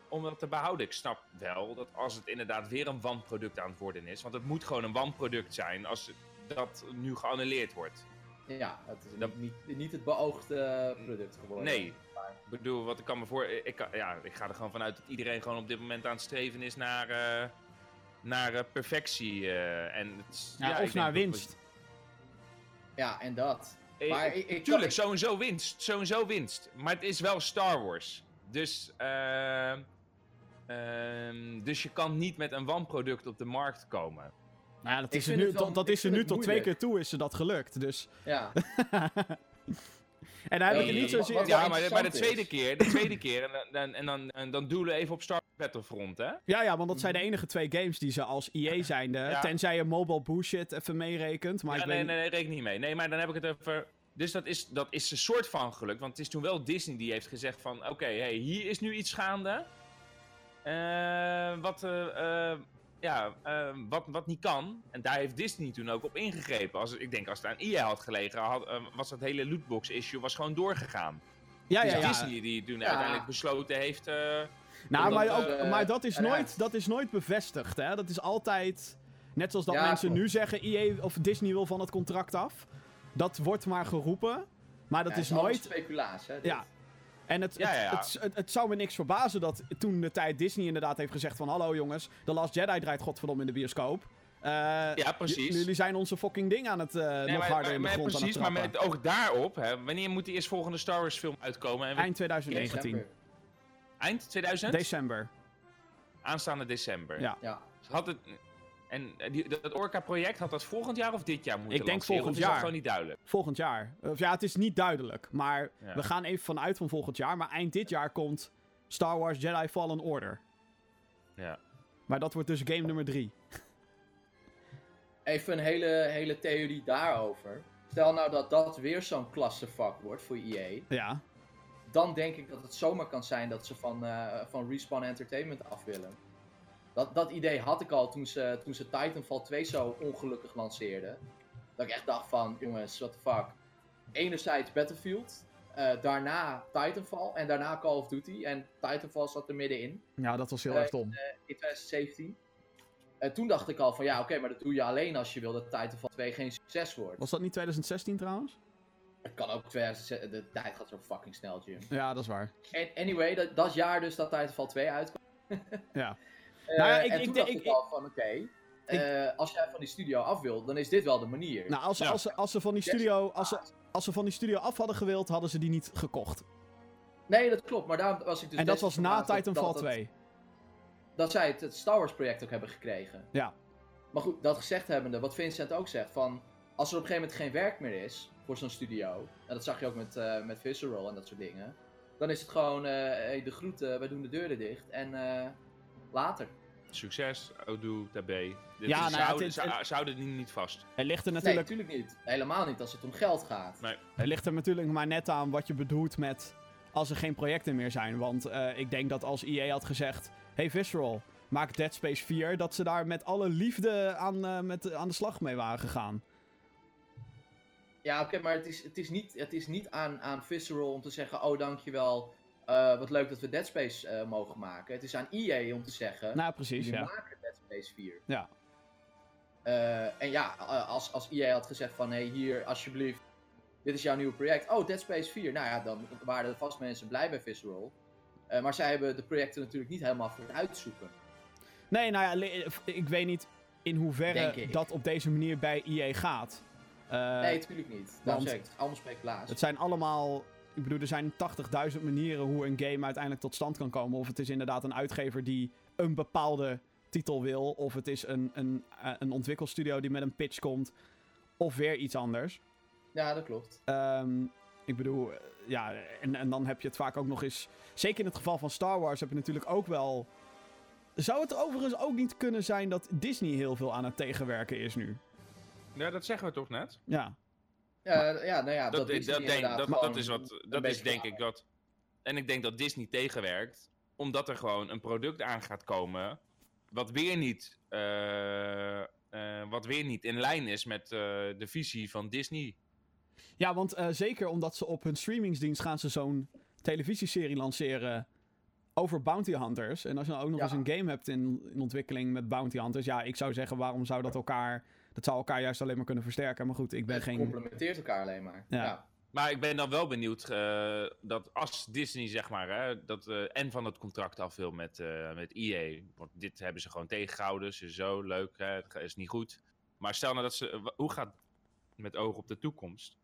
S3: om dat te behouden. Ik snap wel dat als het inderdaad weer een wanproduct aan het worden is, want het moet gewoon een wanproduct zijn als dat nu geannuleerd wordt.
S2: Ja, het is
S3: Dat-
S2: niet, niet, niet het beoogde product geworden.
S3: Nee. Ik bedoel, wat ik kan me voor. Ik, kan- ja, ik ga er gewoon vanuit dat iedereen gewoon op dit moment aan het streven is naar, eh, naar eh, perfectie. eh, en het is-
S1: Ja,
S3: ja, ik
S1: of
S3: denk
S1: naar
S3: dat we-
S1: winst.
S2: Ja, en dat.
S3: Eh,
S2: Maar
S3: eh,
S2: ik- ik-
S3: tuurlijk,
S2: ik-
S3: sowieso winst. Sowieso winst. Maar het is wel Star Wars. Dus, eh, ehm, dus je kan niet met een wanproduct op de markt komen.
S1: Nou ja, dat
S2: Ik
S1: is er
S2: vind
S1: nu,
S2: het wel-
S1: dat, dat
S2: ik
S1: is er nu
S2: vind
S1: tot
S2: het
S1: twee keer
S2: moeilijk.
S1: toe is ze dat gelukt. Dus.
S2: Ja,
S1: En daar heb ik
S2: Nee,
S1: het niet
S2: dat-
S1: zozeer.
S2: wat-
S3: Ja,
S2: wel
S3: maar, maar de
S2: interessant
S3: tweede
S2: is.
S3: keer, de tweede keer, en, dan, en dan, en dan doelen we even op Star Wars Battlefront, hè?
S1: Ja, ja, want dat zijn de enige twee games die ze als EA zijnde.
S3: Ja.
S1: Tenzij je mobile bullshit even meerekent. Maar
S3: Ja,
S1: ik
S3: nee,
S1: weet
S3: nee, nee, reken niet mee. Nee, maar dan heb ik het over. Dus dat is, dat is een soort van geluk. Want het is toen wel Disney die heeft gezegd: van oké, hey, hier is nu iets gaande. eh, wat, eh, eh, ja, eh, wat, wat niet kan. En daar heeft Disney toen ook op ingegrepen. Als, ik denk als het aan EA had gelegen, had, eh, was dat hele lootbox-issue was gewoon doorgegaan.
S1: Ja,
S3: dus
S1: ja, ja.
S3: Disney die toen uiteindelijk besloten heeft. eh,
S1: Nou,
S2: Omdat,
S1: maar, ook,
S2: eh,
S1: maar dat, is nooit,
S2: eruit.
S1: dat is nooit bevestigd, hè? Dat is altijd... Net zoals dat
S2: Ja,
S1: mensen
S2: klopt.
S1: nu zeggen... EA of Disney wil van het contract af. Dat wordt maar geroepen. Maar dat
S2: Ja,
S1: is
S2: het allemaal
S1: nooit...
S2: speculaas, hè? dit.
S1: Ja. En het,
S3: Ja,
S1: het,
S3: ja, ja.
S1: Het, het, het zou me niks verbazen dat toen de tijd Disney inderdaad heeft gezegd van... Hallo jongens, The Last Jedi draait godverdomme in de bioscoop. Eh,
S3: ja,
S1: j-
S3: precies.
S1: Jullie zijn onze fucking ding aan het eh, nog
S3: Nee, maar-
S1: harder in de
S3: maar-
S1: grond
S3: precies,
S1: aan het
S3: maar
S1: trappen.
S3: met het oog daarop, hè, wanneer moet die eerst volgende Star Wars film uitkomen? En
S1: Eind
S2: Geen
S1: 2019.
S2: september.
S3: eind 2000?
S1: December.
S3: Aanstaande december.
S1: Ja.
S2: Ja.
S3: Had het, en eh, die, dat Orca-project had dat volgend jaar of dit jaar moeten
S1: Ik denk
S3: lanceren?
S1: volgend
S3: Of is dat
S1: jaar.
S3: gewoon niet duidelijk.
S1: Volgend jaar. Of ja, het is niet duidelijk. Maar
S3: Ja.
S1: we gaan even vanuit van volgend jaar. Maar eind dit jaar komt Star Wars Jedi Fallen Order.
S3: Ja.
S1: Maar dat wordt dus game nummer drie.
S2: Even een hele, hele theorie daarover. Stel nou dat dat weer zo'n klassevak wordt voor E EA.
S1: Ja.
S2: Dan denk ik dat het zomaar kan zijn dat ze van, eh, van Respawn Entertainment af willen. Dat, dat idee had ik al toen ze, toen ze Titanfall 2 zo ongelukkig lanceerden. Dat ik echt dacht van, jongens, what the fuck. Enerzijds Battlefield, eh, daarna Titanfall en daarna Call of Duty. En Titanfall zat er middenin.
S1: Ja, dat was heel
S2: Eh,
S1: erg dom.
S2: in 2017. En toen dacht ik al van ja, oké, maar dat doe je alleen als je wil dat Titanfall 2 geen succes wordt.
S1: Was dat niet 2016 trouwens?
S2: Het kan ook 2016, de tijd gaat zo fucking snel, Jim.
S1: Ja, dat is waar.
S2: En anyway, dat, dat jaar dus dat Titanfall 2 uitkwam.
S1: Ja.
S2: Eh,
S1: Nou ja, ik-
S2: en
S1: ik-
S2: toen
S1: ik-
S2: dacht ik,
S1: ik-
S2: al van oké, eh, als jij van die studio af wilt, dan is dit wel de manier.
S1: Nou, als,
S3: Ja.
S1: als, ze- als, ze van die studio, als, ze, als ze van die studio af hadden gewild, hadden ze die niet gekocht.
S2: Dus nee, dat klopt, maar daarom was ik dus...
S1: en dat
S2: best
S1: was na
S2: verbaasd dat-
S1: Titanfall
S2: dat- dat-
S1: 2.
S2: dat zij het, het Star Wars project ook hebben gekregen.
S1: Ja.
S2: Maar goed, dat gezegd hebbende, wat Vincent ook zegt, van als er op een gegeven moment geen werk meer is voor zo'n studio, en dat zag je ook met, eh met Visceral en dat soort dingen, dan is het gewoon, eh, hey, de groeten, wij doen de deuren dicht en eh, later.
S3: Succes, Odu, Tabé. Dit
S1: Ja, nou ja,
S3: is- ze,
S1: het
S3: houden,
S1: is-
S3: ze-
S1: het-
S3: ze houden het niet, niet vast.
S1: Het ligt, er
S2: Nee,
S1: natuurlijk,
S2: natuurlijk niet. Helemaal niet als het om geld gaat.
S3: Nee.
S1: het ligt er natuurlijk maar net aan wat je bedoelt met als er geen projecten meer zijn. Want eh, ik denk dat als EA had gezegd, hey Visceral, maak Dead Space 4, dat ze daar met alle liefde aan, eh, met, aan de slag mee waren gegaan.
S2: Ja, oké, maar het is, het is niet, het is niet aan, aan Visceral om te zeggen, oh dankjewel, eh wat leuk dat we Dead Space eh, mogen maken. Het is aan EA om te zeggen,
S1: Nou, precies,
S2: Die
S1: ja.
S2: maken Dead Space 4.
S1: Ja.
S2: Eh, en ja, eh, als, als EA had gezegd van, hé, hey, hier, alsjeblieft, dit is jouw nieuwe project. Oh, Dead Space 4. Nou ja, dan waren er vast mensen blij bij Visceral. Eh, maar zij hebben de projecten natuurlijk niet helemaal voor het uitzoeken.
S1: Nee, nou ja, li- ik weet niet in
S2: Denk
S1: hoeverre
S2: ik.
S1: dat op deze manier bij EA gaat. Eh,
S2: nee, natuurlijk niet.
S1: want-
S2: Daarom zeg ik, het is allemaal speculaas.
S1: Het zijn allemaal. Ik bedoel, er zijn 80.000 manieren hoe een game uiteindelijk tot stand kan komen. Of het is inderdaad een uitgever die een bepaalde titel wil. Of het is een, een, eh, een ontwikkelstudio die met een pitch komt. Of weer iets anders.
S2: Ja, dat klopt.
S1: Ehm, ik bedoel, eh, ja, en, en dan heb je het vaak ook nog eens. Zeker in het geval van Star Wars heb je natuurlijk ook wel. Zou het overigens ook niet kunnen zijn dat Disney heel veel aan het tegenwerken is nu?
S3: Ja, dat zeggen we toch net?
S1: Ja.
S2: Ja, ja nou ja,
S3: Dat,
S2: dat,
S3: dat,
S2: is
S3: dat, denk-
S2: inderdaad
S3: dat,
S2: gewoon
S3: dat is, wat,
S2: een
S3: dat is
S2: beetje
S3: denk
S2: raar.
S3: ik dat. En ik denk dat Disney tegenwerkt, omdat er gewoon een product aan gaat komen. Wat weer niet, eh, eh, wat weer niet in lijn is met eh, de visie van Disney.
S1: Ja, want eh, zeker omdat ze op hun streamingsdienst gaan ze zo'n televisieserie lanceren over bounty hunters. En als je dan ook nog
S2: Ja.
S1: eens een game hebt in, in ontwikkeling met bounty hunters, ja, ik zou zeggen, waarom zou dat elkaar... Dat zou elkaar juist alleen maar kunnen versterken. Maar goed, ik ben
S2: Het
S1: geen...
S2: complementeert elkaar alleen maar.
S1: Ja.
S2: Ja.
S3: Maar ik ben dan wel benieuwd eh, dat als Disney, zeg maar, hè, dat, eh, en van het contract af wil met, eh met EA. Want dit hebben ze gewoon tegengehouden. Ze zo leuk, hè, het ga- is niet goed. Maar stel nou dat ze. wa- Hoe gaat. Met oog op de toekomst.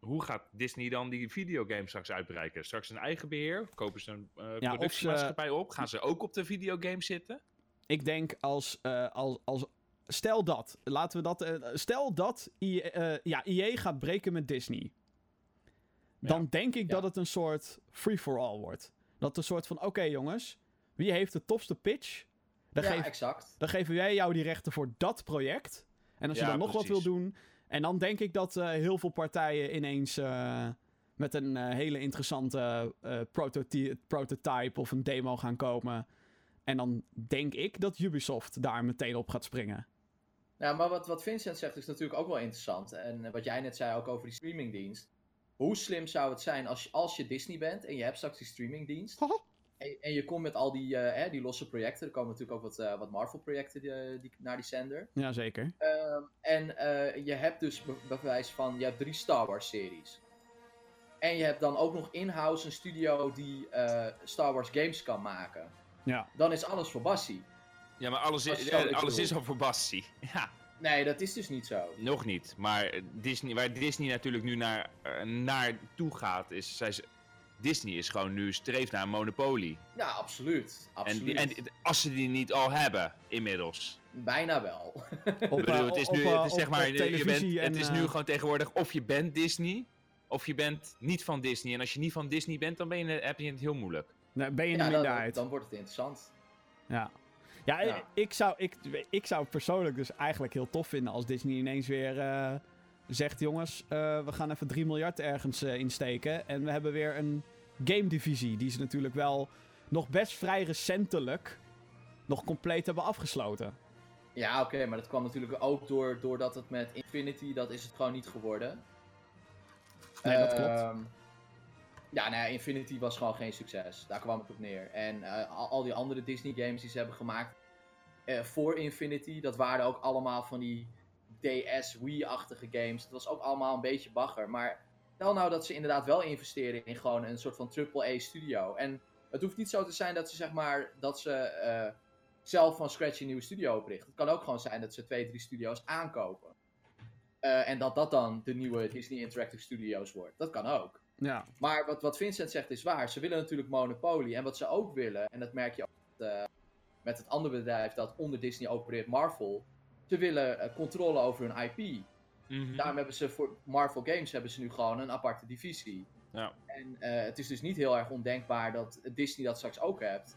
S3: Hoe gaat Disney dan die videogame straks uitbreiken? Straks een eigen beheer? Kopen ze een eh,
S1: ze-
S3: productiemaatschappij op? Gaan ze ook op de videogame zitten?
S1: Ik denk als... eh, als, als stel dat, laten we dat... eh, stel dat EA, eh, ja, EA gaat breken met Disney. Dan denk ik
S2: Ja.
S1: dat het een soort free-for-all wordt. Dat het een soort van, oké jongens, wie heeft de topste pitch? Dan
S2: Ja,
S1: geef
S2: exact.
S1: Dan geven wij jou die rechten voor dat project. En als je
S3: Ja,
S1: dan nog wat
S3: precies.
S1: wil doen. En dan denk ik dat eh, heel veel partijen ineens eh, met een eh, hele interessante eh, prototy- prototype of een demo gaan komen. En dan denk ik dat Ubisoft daar meteen op gaat springen.
S2: Ja, maar wat, wat Vincent zegt is natuurlijk ook wel interessant. En eh, wat jij net zei ook over die streamingdienst. Hoe slim zou het zijn als, je- als je Disney bent en je hebt straks die streamingdienst. En, en je komt met al die, eh, hè, die losse projecten. Er komen natuurlijk ook wat, eh, wat Marvel-projecten die, die- naar die zender.
S1: Jazeker.
S2: Ehm, en eh, je hebt dus be- bewijs van, je hebt drie Star Wars series. En je hebt dan ook nog in-house een studio die eh, Star Wars games kan maken.
S1: Ja.
S2: Dan is alles voor Bassie.
S3: Ja, maar alles
S2: Dat
S3: is,
S2: is zo,
S3: eh,
S2: ik
S3: alles
S2: bedoel.
S3: is al voor Bassie. Ja.
S2: Nee, dat is dus niet zo.
S3: Nog niet, maar Disney, waar Disney natuurlijk nu naar, eh, naartoe gaat, is, zij, ze- Disney is gewoon nu streeft naar een monopolie.
S2: Ja, absoluut.
S3: En,
S2: absoluut.
S3: die- en die- als ze die niet al hebben, inmiddels.
S2: Bijna wel.
S1: Op,
S3: Ik bedoel,
S1: eh,
S3: het is
S1: op,
S3: nu,
S1: eh,
S3: het is
S1: op,
S3: zeg
S1: eh,
S3: maar, je- je
S1: televisie
S3: bent, het
S1: en,
S3: is nu
S1: eh,
S3: gewoon tegenwoordig of je bent Disney, of je bent niet van Disney. En als je niet van Disney bent, dan ben je, heb je het heel moeilijk.
S1: nee, nou, ben je in de
S2: Ja, dan,
S1: minderheid.
S2: dan wordt het interessant.
S1: Ja. Ja,
S2: Ja.
S1: ik- Ik, zou, ik, ik zou het persoonlijk dus eigenlijk heel tof vinden als Disney ineens weer eh, zegt: jongens, eh, we gaan even 3 miljard ergens eh, insteken. En we hebben weer een game-divisie, die ze natuurlijk wel nog best vrij recentelijk nog compleet hebben afgesloten.
S2: Ja, oké, maar dat kwam natuurlijk ook door, doordat het met Infinity, dat is het gewoon niet geworden.
S1: Nee, dat
S2: Ehm, ja, nou ja, Infinity was gewoon geen succes. Daar kwam het op neer. En eh, al, al die andere Disney games die ze hebben gemaakt eh, voor Infinity, dat waren ook allemaal van die DS Wii-achtige games. Dat was ook allemaal een beetje bagger. Maar stel nou dat ze inderdaad wel investeren in gewoon een soort van AAA studio. En het hoeft niet zo te zijn dat ze zeg maar dat ze eh, zelf van scratch een nieuwe studio oprichten. Het kan ook gewoon zijn dat ze twee, drie studio's aankopen. Eh, en dat dat dan de nieuwe Disney Interactive Studios wordt. Dat kan ook.
S1: Ja.
S2: Maar wat, wat Vincent zegt is waar. Ze willen natuurlijk monopolie. En wat ze ook willen, en dat merk je ook met, eh, met het andere bedrijf dat onder Disney opereert, Marvel. Ze willen eh, controle over hun IP.
S3: Mhm.
S2: Daarom hebben ze voor Marvel Games hebben ze nu gewoon een aparte divisie.
S3: Ja.
S2: En eh, het is dus niet heel erg ondenkbaar dat Disney dat straks ook hebt.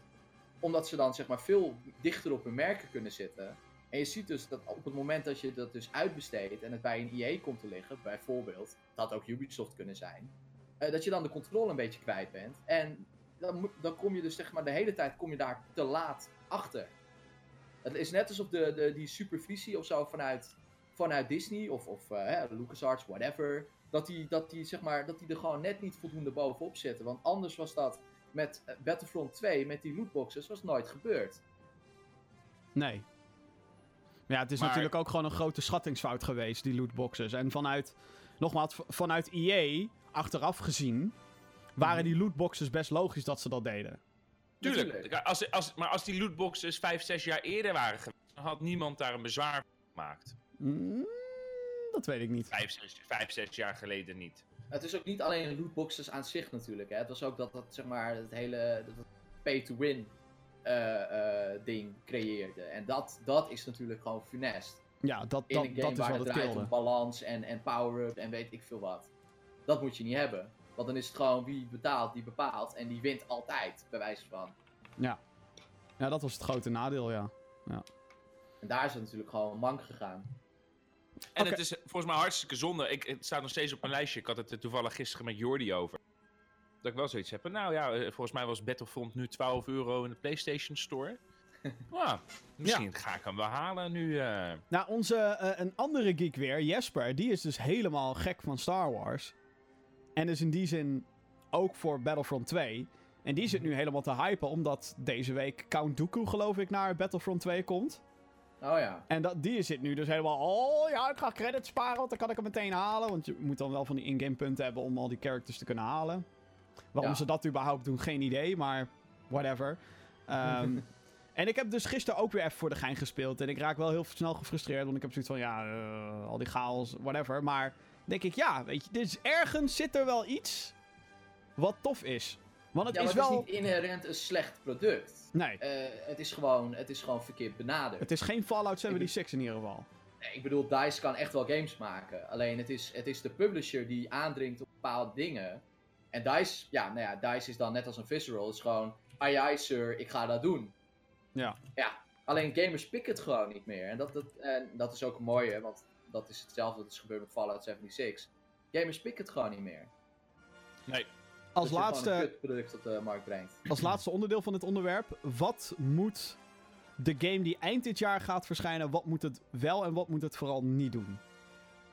S2: Omdat ze dan zeg maar veel dichter op hun merken kunnen zitten. En je ziet dus dat op het moment dat je dat dus uitbesteedt en het bij een EA komt te liggen, bijvoorbeeld, dat had ook Ubisoft kunnen zijn, eh, dat je dan de controle een beetje kwijt bent. En dan, moet- dan kom je dus zeg maar de hele tijd kom je daar te laat achter. Het is net alsof de, de, die supervisie of zo vanuit vanuit Disney of, of eh, hè, LucasArts, whatever. Dat die, dat, die, zeg maar, dat die er gewoon net niet voldoende bovenop zitten. Want anders was dat met eh, Battlefront 2, met die lootboxes, was nooit gebeurd.
S1: Nee. Ja, het is
S3: Maar-
S1: natuurlijk ook gewoon een grote schattingsfout geweest, die lootboxes. En vanuit, nogmaals, v- vanuit EA, achteraf gezien, waren die lootboxes best logisch dat ze dat deden.
S3: Tuurlijk,
S2: Natuurlijk.
S3: als, als, maar als die lootboxes vijf, zes jaar eerder waren geweest, dan had niemand daar een bezwaar van gemaakt.
S1: Mm, dat weet ik niet.
S3: Vijf, zes, vijf, zes jaar geleden niet.
S2: Het is ook niet alleen lootboxes aan zich natuurlijk. Hè. Het was ook dat, dat zeg maar, het hele dat het pay to win eh, eh, ding creëerde. En dat, dat is natuurlijk gewoon funest.
S1: Ja, dat,
S2: In
S1: dat,
S2: een game
S1: dat is
S2: waar
S1: wat
S2: het
S1: het
S2: draait
S1: kilde.
S2: om balans en, en power-up en weet ik veel wat. Dat moet je niet hebben. Want dan is het gewoon wie betaalt, die bepaalt. En die wint altijd, bij wijze van.
S1: Ja, dat was het grote nadeel, ja.
S2: En daar is het natuurlijk gewoon mank gegaan.
S3: En
S1: Oké.
S3: het is eh, volgens mij hartstikke zonde. Ik, het staat nog steeds op mijn lijstje. Ik had het er toevallig gisteren met Jordi over. Dat ik wel zoiets heb. van, Nou ja, eh, volgens mij was Battlefront nu 12 euro in de PlayStation Store. Nou, misschien ga ik hem wel halen nu. eh.
S1: Nou, onze, eh, een andere geek weer, Jesper, die is dus helemaal gek van Star Wars. En is in die zin ook voor Battlefront 2. En die zit nu helemaal te hypen, omdat deze week Count Dooku, geloof ik, naar Battlefront 2 komt.
S2: Oh ja.
S1: En dat, die zit nu dus helemaal, oh ja, ik ga credits sparen, want dan kan ik hem meteen halen. Want je moet dan wel van die in-game punten hebben om al die characters te kunnen halen. Waarom
S2: Ja.
S1: ze dat überhaupt doen, geen idee, maar whatever. Ehm, en ik heb dus gisteren ook weer even voor de gein gespeeld. En ik raak wel heel snel gefrustreerd, want ik heb zoiets van, ja, eh, al die chaos, whatever. Maar denk ik, ja, weet je, dus ergens zit er wel iets wat tof is. Want het
S2: ja,
S1: is
S2: maar
S1: wel...
S2: het is niet inherent een slecht product.
S1: Nee,
S2: Eh, het, is gewoon, het is gewoon verkeerd benaderd.
S1: het is geen Fallout 76 in ieder geval.
S2: Nee, Ik bedoel, DICE kan echt wel games maken. Alleen het is, het is de publisher die aandringt op bepaalde dingen. En DICE, ja, nou ja, DICE is dan net als een visceral. Het is gewoon, ai ai sir, ik ga dat doen.
S1: Ja.
S2: Ja, alleen gamers pikken het gewoon niet meer. En dat, dat, en dat is ook een mooie, want dat is hetzelfde dat is gebeurd met Fallout 76. Gamers pikken het gewoon niet meer.
S3: nee.
S1: Als
S2: Dat je
S1: laatste...
S2: gewoon een product op de markt brengt.
S1: Als laatste onderdeel van dit onderwerp. Wat moet de game die eind dit jaar gaat verschijnen, wat moet het wel en wat moet het vooral niet doen?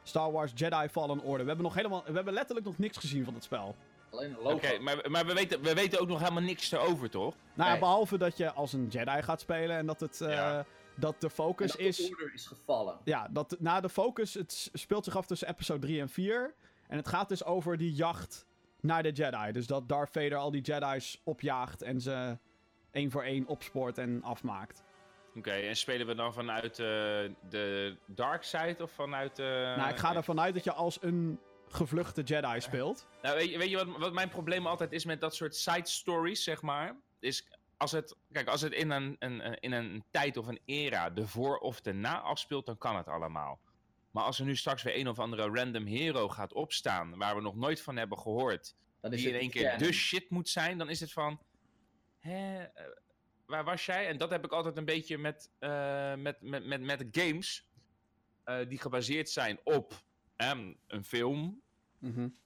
S1: Star Wars Jedi Fallen Order. We hebben, nog helemaal, we hebben letterlijk nog niks gezien van het spel.
S2: Alleen een
S3: Oké,
S2: logo.
S3: maar, maar we, weten, we weten ook nog helemaal niks erover, toch?
S1: Nou ja,
S2: Nee.
S1: behalve dat je als een Jedi gaat spelen en dat, het, eh,
S3: Ja.
S1: dat de
S2: En
S1: focus
S2: dat de
S1: is...
S2: order is gevallen.
S1: Ja, dat, na de focus, het s- speelt zich af tussen episode 3 en 4. En het gaat dus over die jacht naar de Jedi. Dus dat Darth Vader al die Jedi's opjaagt en ze één voor één opspoort en afmaakt.
S3: Oké, en spelen we dan vanuit eh, de dark side of vanuit... eh,
S1: Nou, ik ga ervan uit dat je als een gevluchte Jedi speelt.
S3: Nou, weet je, weet je wat, wat mijn probleem altijd is met dat soort side stories, zeg maar? Is als het, kijk, als het in een, een, een- in een tijd of een era de voor of de na afspeelt, dan kan het allemaal. Maar als er nu straks weer een of andere random hero gaat opstaan, waar we nog nooit van hebben gehoord,
S2: Dan is
S3: die
S2: het
S3: in één keer
S2: niet
S3: dus-
S2: canon.
S3: de shit moet zijn, dan is het van, hè, eh, waar was jij? En dat heb ik altijd een beetje met, eh, met, met, met, met games eh, die gebaseerd zijn op ehm, een film,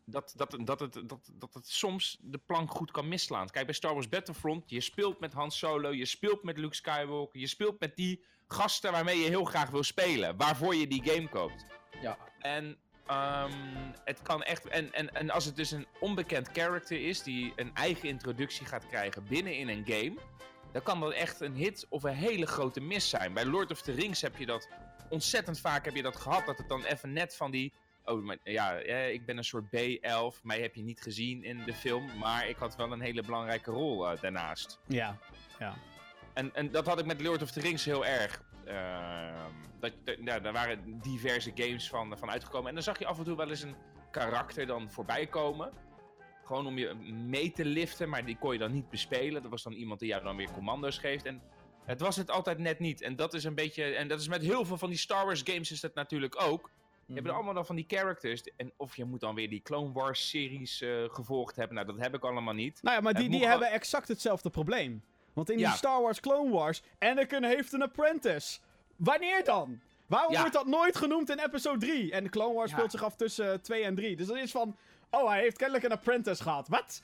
S3: dat, dat, dat, het, dat, dat het soms de plank goed kan misslaan. Kijk, bij Star Wars Battlefront, je speelt met Han Solo, je speelt met Luke Skywalker, je speelt met die gasten waarmee je heel graag wil spelen, waarvoor je die game koopt.
S2: Ja.
S3: En ehm, het kan echt. En, en, en als het dus een onbekend character is die een eigen introductie gaat krijgen binnen in een game, dan kan dat echt een hit of een hele grote mis zijn. Bij Lord of the Rings heb je dat ontzettend vaak heb je dat gehad, dat het dan even net van die. Oh, maar, ja, eh, ik ben een soort B-elf. Mij heb je niet gezien in de film. Maar ik had wel een hele belangrijke rol eh, daarnaast.
S1: Ja.
S3: En, en dat had ik met Lord of the Rings heel erg. Ehm, dat, dat- ja, daar waren diverse games van, van uitgekomen. En dan zag je af en toe wel eens een karakter dan voorbij komen. Gewoon om je mee te liften, maar die kon je dan niet bespelen. Dat was dan iemand die jou dan weer commando's geeft. En het was het altijd net niet. En dat is een beetje. En dat is met heel veel van die Star Wars games is dat natuurlijk ook. Je
S1: Mhm.
S2: Mhm.
S3: hebt er allemaal dan van die characters. En of je moet dan weer die Clone Wars series eh, gevolgd hebben. Nou, dat heb ik allemaal niet.
S1: Nou ja, maar
S3: Het
S1: die, die
S3: moet
S1: hebben exact hetzelfde probleem. Want in
S3: Ja.
S1: die Star Wars Clone Wars, Anakin heeft een apprentice. Wanneer dan? Waarom
S3: Ja.
S1: wordt dat nooit genoemd in episode 3? En de Clone Wars
S3: Ja.
S1: speelt zich af tussen eh, 2 en 3. Dus dat is van, oh, hij heeft kennelijk een apprentice gehad. Wat?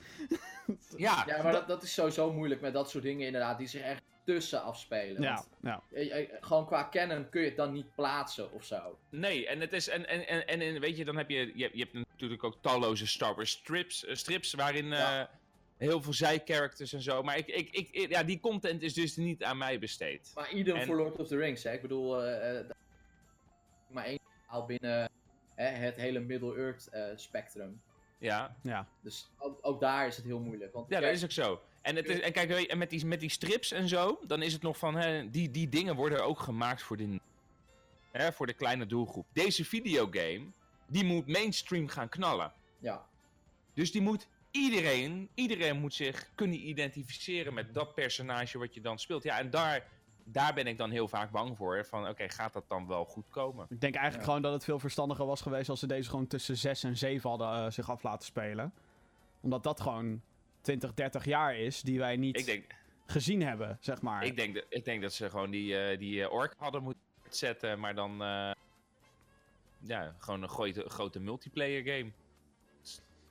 S3: Ja,
S2: Ja, maar dat, dat is sowieso moeilijk met dat soort dingen inderdaad, die zich echt tussen afspelen.
S1: Ja,
S2: Want,
S1: ja.
S2: eh, eh, gewoon qua canon kun je het dan niet plaatsen of zo.
S3: Nee, en het is. En, en, en, en, en weet je, dan heb je, je. Je hebt natuurlijk ook talloze Star Wars strips, eh, strips waarin.
S2: Ja.
S3: eh, Heel veel zijcharacters en zo. Maar ik, ik, ik, ik- ja, die content is dus niet aan mij besteed.
S2: Maar ieder
S3: En-
S2: voor Lord of the Rings, hè. Ik bedoel, eh, eh, daar- maar één verhaal binnen hè, het hele Middle-earth eh, spectrum.
S3: Ja,
S2: Dus ook, ook daar is het heel moeilijk. Want
S3: ja dat is ook zo. En, het is, en kijk, weet je, en met die, met die strips en zo, dan is het nog van. Hè, die, die dingen worden ook gemaakt voor de, hè, voor de kleine doelgroep. Deze videogame, die moet mainstream gaan knallen.
S2: ja.
S3: Dus die moet iedereen, iedereen moet zich kunnen identificeren met dat personage wat je dan speelt. Ja, en daar, daar ben ik dan heel vaak bang voor. Van oké, gaat dat dan wel goed komen?
S1: Ik denk eigenlijk
S2: Ja.
S1: gewoon dat het veel verstandiger was geweest als ze deze gewoon tussen 6 en 7 hadden eh, zich af laten spelen. Omdat dat gewoon 20, 30 jaar is die wij niet
S3: Ik denk,
S1: gezien hebben, zeg maar.
S3: ik denk, dat- ik denk dat ze gewoon die, eh, die eh, ork hadden moeten zetten, maar dan eh, ja, gewoon een grote, grote multiplayer game.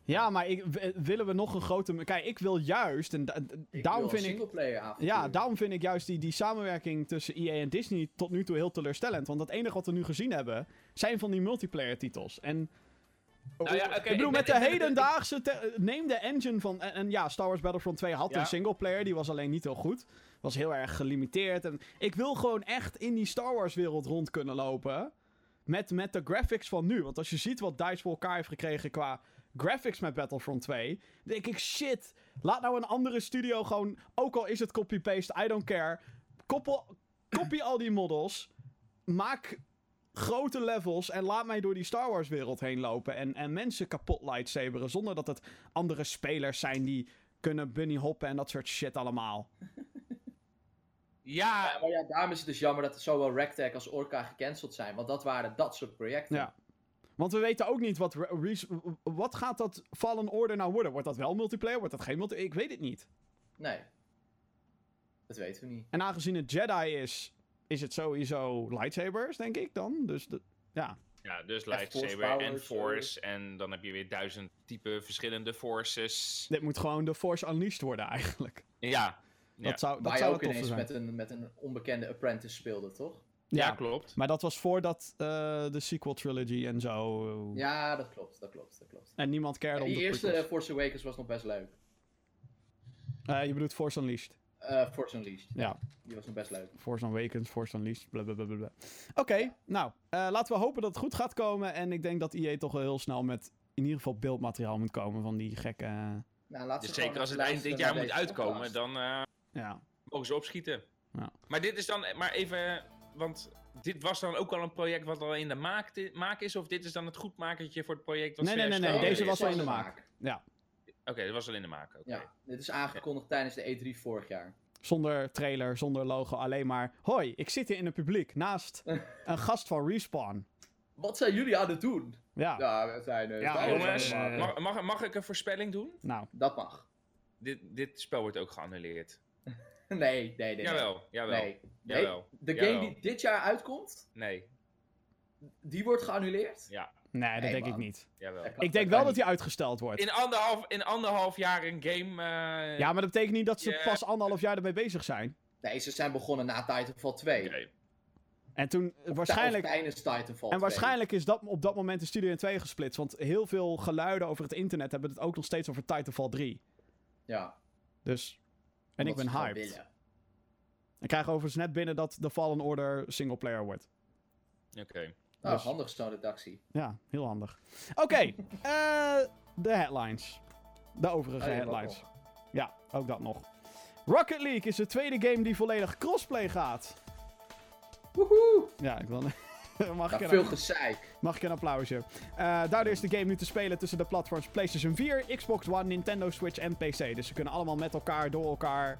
S1: Ja, maar ik, w- willen we nog een grote... Kijk, ik wil juist, en da-
S2: Ik
S1: daarom
S2: wil
S1: vind
S2: een
S1: ik...
S2: singleplayer avontuur.
S1: Ja, daarom vind ik juist die, die samenwerking tussen EA en Disney tot nu toe heel teleurstellend. Want het enige wat we nu gezien hebben, zijn van die multiplayer titels. En
S3: Nou ja, oké,
S1: ik bedoel,
S3: ik ben-
S1: met
S3: ik
S1: de
S3: ben-
S1: hedendaagse... te- neem de engine van... En, en ja, Star Wars Battlefront 2 had
S3: Ja.
S1: een singleplayer. Die was alleen niet heel goed. Was heel erg gelimiteerd. En ik wil gewoon echt in die Star Wars wereld rond kunnen lopen. Met, met de graphics van nu. Want als je ziet wat DICE voor elkaar heeft gekregen qua graphics met Battlefront 2. denk ik, shit. Laat nou een andere studio gewoon... Ook al is het copy-paste, I don't care. Koppel, copy al die models. Maak grote levels en laat mij door die Star Wars wereld heen lopen en, en mensen kapot lightsaberen zonder dat het andere spelers zijn die kunnen bunny hoppen en dat soort shit allemaal.
S3: Ja,
S2: Ja, maar ja, daarom is het dus jammer dat zowel Ragtag als Orca gecanceld zijn. Want dat waren dat soort projecten.
S1: Ja. Want we weten ook niet wat, Re- Re- wat gaat dat Fallen Order nou worden. Wordt dat wel multiplayer? Wordt dat geen multiplayer? Ik weet het niet.
S2: Nee. Dat weten we niet.
S1: En aangezien het Jedi is, is het sowieso lightsabers, denk ik dan. Dus de- ja.
S3: ja, dus
S2: Force
S3: lightsaber en
S2: powers, eh.
S3: force. En dan heb je weer duizend type verschillende forces.
S1: Dit moet gewoon de Force Unleashed worden eigenlijk.
S3: Ja, Ja.
S1: Dat zou, dat
S2: Waar je
S1: zou
S2: ook
S1: het tofste
S2: ineens
S1: zijn.
S2: met een, met een onbekende apprentice speelde, toch?
S3: ja,
S1: Ja.
S3: klopt.
S1: Maar dat was voordat eh, de sequel trilogy en zo. eh,
S2: Ja, dat klopt, dat klopt, dat klopt.
S1: En niemand cared om
S2: die
S1: de
S2: eerste
S1: prequels.
S2: Force Awakens was nog best leuk.
S1: Eh, je bedoelt Force Unleashed.
S2: Eh, Force Unleashed.
S1: Ja.
S2: Die was nog best leuk.
S1: Force Awakens, Force Unleashed, blablabla. Oké, nou, eh, laten we hopen dat het goed gaat komen. En ik denk dat EA toch wel heel snel met in ieder geval beeldmateriaal moet komen van die gekke... eh,
S2: Nou, laat ze
S3: Dus
S2: gewoon
S3: zeker als het
S2: eens
S3: eind dit jaar
S2: luisteren
S3: moet
S2: naar deze
S3: uitkomen,
S2: podcast.
S3: dan eh,
S1: ja.
S3: mogen ze opschieten.
S1: Ja.
S3: Maar dit is dan, maar even, want dit was dan ook al een project wat al in de maak, ti- maak is, of dit is dan het goedmakertje voor het project? Wat
S1: Nee, nee,
S3: zojuist
S1: nee,
S3: gelanceerd
S1: deze was
S2: dit
S3: is?
S1: al in de
S2: was
S1: maak. Ja,
S3: Oké, dit was al in de maak. oké.
S2: Ja, dit is aangekondigd tijdens de E3 vorig jaar.
S1: zonder trailer, zonder logo, alleen maar... Hoi, ik zit hier in het publiek, naast een gast van Respawn.
S2: Wat zijn jullie aan het doen?
S1: Ja,
S2: Ja, we zijn... eh,
S1: Ja,
S2: Star Wars
S3: Jongens,
S2: aan het maken.
S3: mag, mag, mag ik een voorspelling doen?
S1: nou,
S2: Dat mag.
S3: Dit, dit spel wordt ook geannuleerd.
S2: Nee, nee, nee. nee.
S3: Jawel, jawel.
S2: Nee. Nee,
S3: Jawel.
S2: De game
S3: Jawel.
S2: die dit jaar uitkomt,
S3: Nee,
S2: die wordt geannuleerd?
S1: nee, dat
S2: Nee,
S1: denk ik
S2: man.
S1: niet.
S3: jawel.
S2: Dat kan-
S1: Ik denk
S2: kan
S1: wel dat
S2: niet.
S1: die uitgesteld wordt.
S3: In anderhalf, in anderhalf jaar een game. eh,
S1: Ja, maar dat betekent niet dat ze
S3: Ja.
S1: pas anderhalf jaar ermee bezig zijn.
S2: Nee, ze zijn begonnen na Titanfall 2.
S3: oké.
S1: En toen, eh, waarschijnlijk...
S2: Of tijdens Titanfall
S1: En
S2: 2.
S1: waarschijnlijk is dat op dat moment de studio in twee gesplitst. Want heel veel geluiden over het internet hebben het ook nog steeds over Titanfall 3.
S2: Ja.
S1: Dus. En ik
S2: omdat
S1: ben
S2: ze het
S1: hyped.
S2: gewoon willen.
S1: Ik krijg overigens net binnen dat de Fallen Order singleplayer wordt.
S3: Oké.
S2: Nou,
S1: Dus-
S2: handig zo'n redactie.
S1: Ja, heel handig. Oké, eh, de headlines. De overige
S2: Oh ja, dat
S1: headlines. Ja, ook dat nog. Rocket League is de tweede game die volledig crossplay gaat.
S2: Woehoe!
S1: Ja, ik wil. Mag
S2: Nou,
S1: ik er
S2: veel gezeik.
S1: Mag ik een applausje? Eh, daardoor is de game nu te spelen tussen de platforms PlayStation 4, Xbox One, Nintendo Switch en PC. Dus ze kunnen allemaal met elkaar, door elkaar.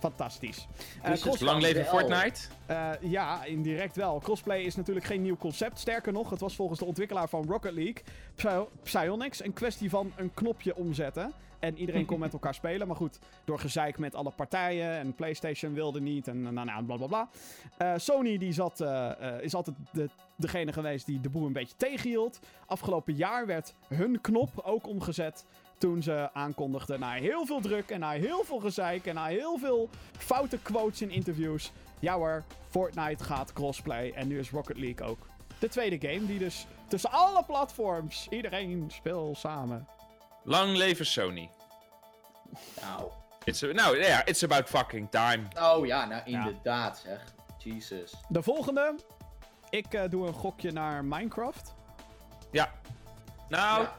S1: Fantastisch. Eh,
S2: Dus het
S1: cross-
S2: is
S3: Lang leven
S2: Wel.
S3: Fortnite.
S1: eh, ja, indirect wel. Crossplay is natuurlijk geen nieuw concept. Sterker nog, het was volgens de ontwikkelaar van Rocket League, Psy- Psyonix, een kwestie van een knopje omzetten. En iedereen kon met elkaar spelen. Maar goed, door gezeik met alle partijen en PlayStation wilde niet en nou, nou, bla bla bla. Eh, Sony die zat, eh, eh, is altijd de, degene geweest die de boel een beetje tegenhield. Afgelopen jaar werd hun knop ook omgezet. Toen ze aankondigden na heel veel druk en na heel veel gezeik en na heel veel foute quotes in interviews. Ja hoor, Fortnite gaat crossplay en nu is Rocket League ook. De tweede game die dus tussen alle platforms, iedereen speelt samen.
S3: Lang leven Sony.
S2: Nou.
S3: It's a- nou ja, it's about fucking time.
S2: Oh ja, nou inderdaad zeg. Jesus.
S3: Oh,
S1: De volgende, ik eh, doe een gokje naar Minecraft.
S3: Ja. Nou,
S2: Ja.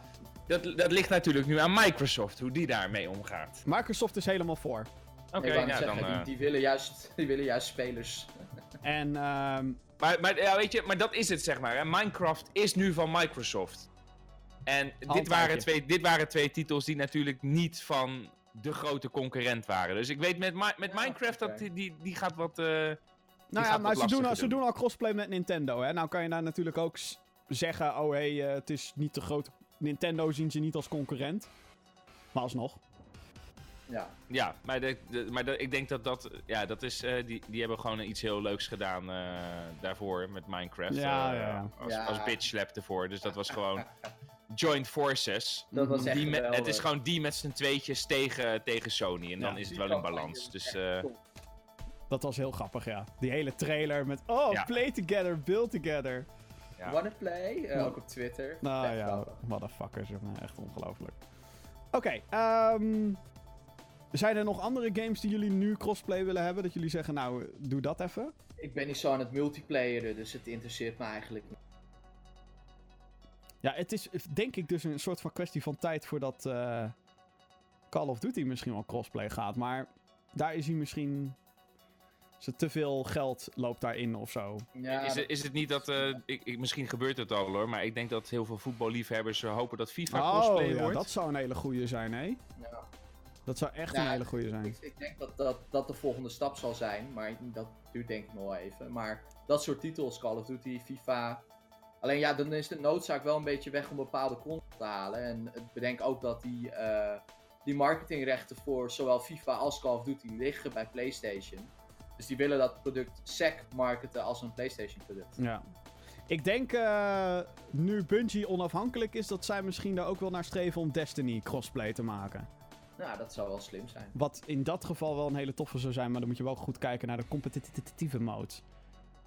S3: dat, dat ligt natuurlijk nu aan Microsoft, hoe die daarmee omgaat.
S1: Microsoft is helemaal voor.
S3: Oké,
S2: ik wou net
S3: ja, dan.
S2: zeggen, die,
S3: eh,
S2: die, willen juist, die willen juist spelers.
S1: En ehm,
S3: eh, Maar, maar, ja, weet je, maar dat is het, zeg maar. Hè. Minecraft is nu van Microsoft. En dit
S1: Altijd,
S3: waren,
S1: ja.
S3: twee, dit waren twee titels die natuurlijk niet van de grote concurrent waren. Dus ik weet met, Mi- met
S2: Ja,
S3: Minecraft dat
S2: oké.
S3: die, die, die gaat wat. eh,
S1: Nou ja,
S3: gaat
S1: maar
S3: wat
S1: ze doen, al-
S3: lastiger
S1: ze
S3: doen.
S1: doen al crossplay met Nintendo. Hè? Nou kan je daar natuurlijk ook s- zeggen: oh hé, hey, eh, het is niet te groot. Nintendo zien ze niet als concurrent. Maar alsnog.
S2: Ja.
S3: Ja, maar, de, de- maar de- ik denk dat dat. Ja, dat is. eh, die, die hebben gewoon iets heel leuks gedaan eh, daarvoor met Minecraft.
S1: Ja,
S3: eh,
S1: ja, ja.
S3: Als,
S2: Ja.
S3: als bitch slap ervoor. Dus dat was gewoon. Joint forces.
S2: Dat was echt eh,
S3: Die met- het is
S2: geweldig.
S3: gewoon die met z'n tweetjes tegen, tegen Sony. En
S1: Ja.
S3: dan is het wel in balans. Dus eh,
S1: Dat was heel grappig, ja. Die hele trailer met: oh,
S3: Ja.
S1: play together, build together.
S3: Ja.
S2: Wanna play? Eh, Ook op Twitter.
S1: Nou
S2: Echt
S1: ja,
S2: grappig.
S1: motherfuckers, jongen. Echt ongelooflijk. Oké, ehm, zijn er nog andere games die jullie nu crossplay willen hebben? Dat jullie zeggen, nou, doe dat even.
S2: Ik ben niet zo aan het multiplayeren, dus het interesseert me eigenlijk niet.
S1: Ja, het is denk ik dus een soort van kwestie van tijd voordat eh, Call of Duty misschien wel crossplay gaat. Maar daar is hij misschien... ze Te veel geld loopt daarin of zo.
S2: Ja,
S3: is, het, is het niet dat. eh, ik, ik- misschien gebeurt het al hoor. Maar ik denk dat heel veel voetballiefhebbers eh, hopen dat FIFA
S1: Oh,
S3: crossplay
S1: ja,
S3: wordt.
S1: dat zou een hele goeie zijn, hè?
S2: ja.
S1: Dat zou echt
S2: Ja,
S1: een hele goeie zijn.
S2: Ik, ik denk dat, dat dat de volgende stap zal zijn, maar dat duurt denk ik nog wel even. Maar dat soort titels, Call of Duty, FIFA. Alleen ja, dan is de noodzaak wel een beetje weg om bepaalde content te halen. En ik bedenk ook dat die, eh, die marketingrechten voor zowel FIFA als Call of Duty liggen bij PlayStation. Dus die willen dat product sec marketen als een PlayStation product.
S1: Ja. Ik denk, eh, nu Bungie onafhankelijk is, dat zij misschien daar ook wel naar streven om Destiny crossplay te maken.
S2: Nou, dat zou wel slim zijn.
S1: Wat in dat geval wel een hele toffe zou zijn, maar dan moet je wel goed kijken naar de competitieve mode.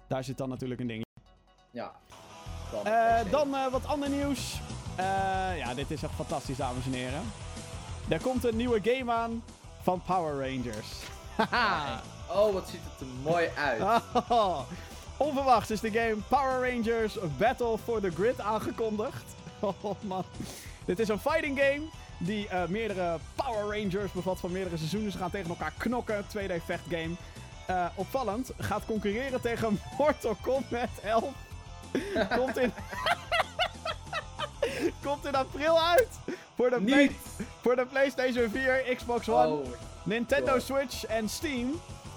S1: Daar zit dan natuurlijk een ding in.
S2: Ja. Dan,
S1: Eh, dan eh, wat ander nieuws. Eh, ja, dit is echt fantastisch, dames en heren. Er komt een nieuwe game aan van Power Rangers. Haha.
S2: Oh, wat ziet het er mooi uit.
S1: Oh, onverwachts is de game Power Rangers Battle for the Grid aangekondigd. Oh man. Dit is een fighting game die eh, meerdere Power Rangers bevat van meerdere seizoenen. Ze gaan tegen elkaar knokken. 2D vecht game. Eh, opvallend gaat concurreren tegen Mortal Kombat 11. Komt in... Komt in april uit voor de, play-
S2: Niet!
S1: voor de PlayStation 4, Xbox One,
S2: Oh,
S1: Nintendo
S2: God.
S1: Switch en Steam.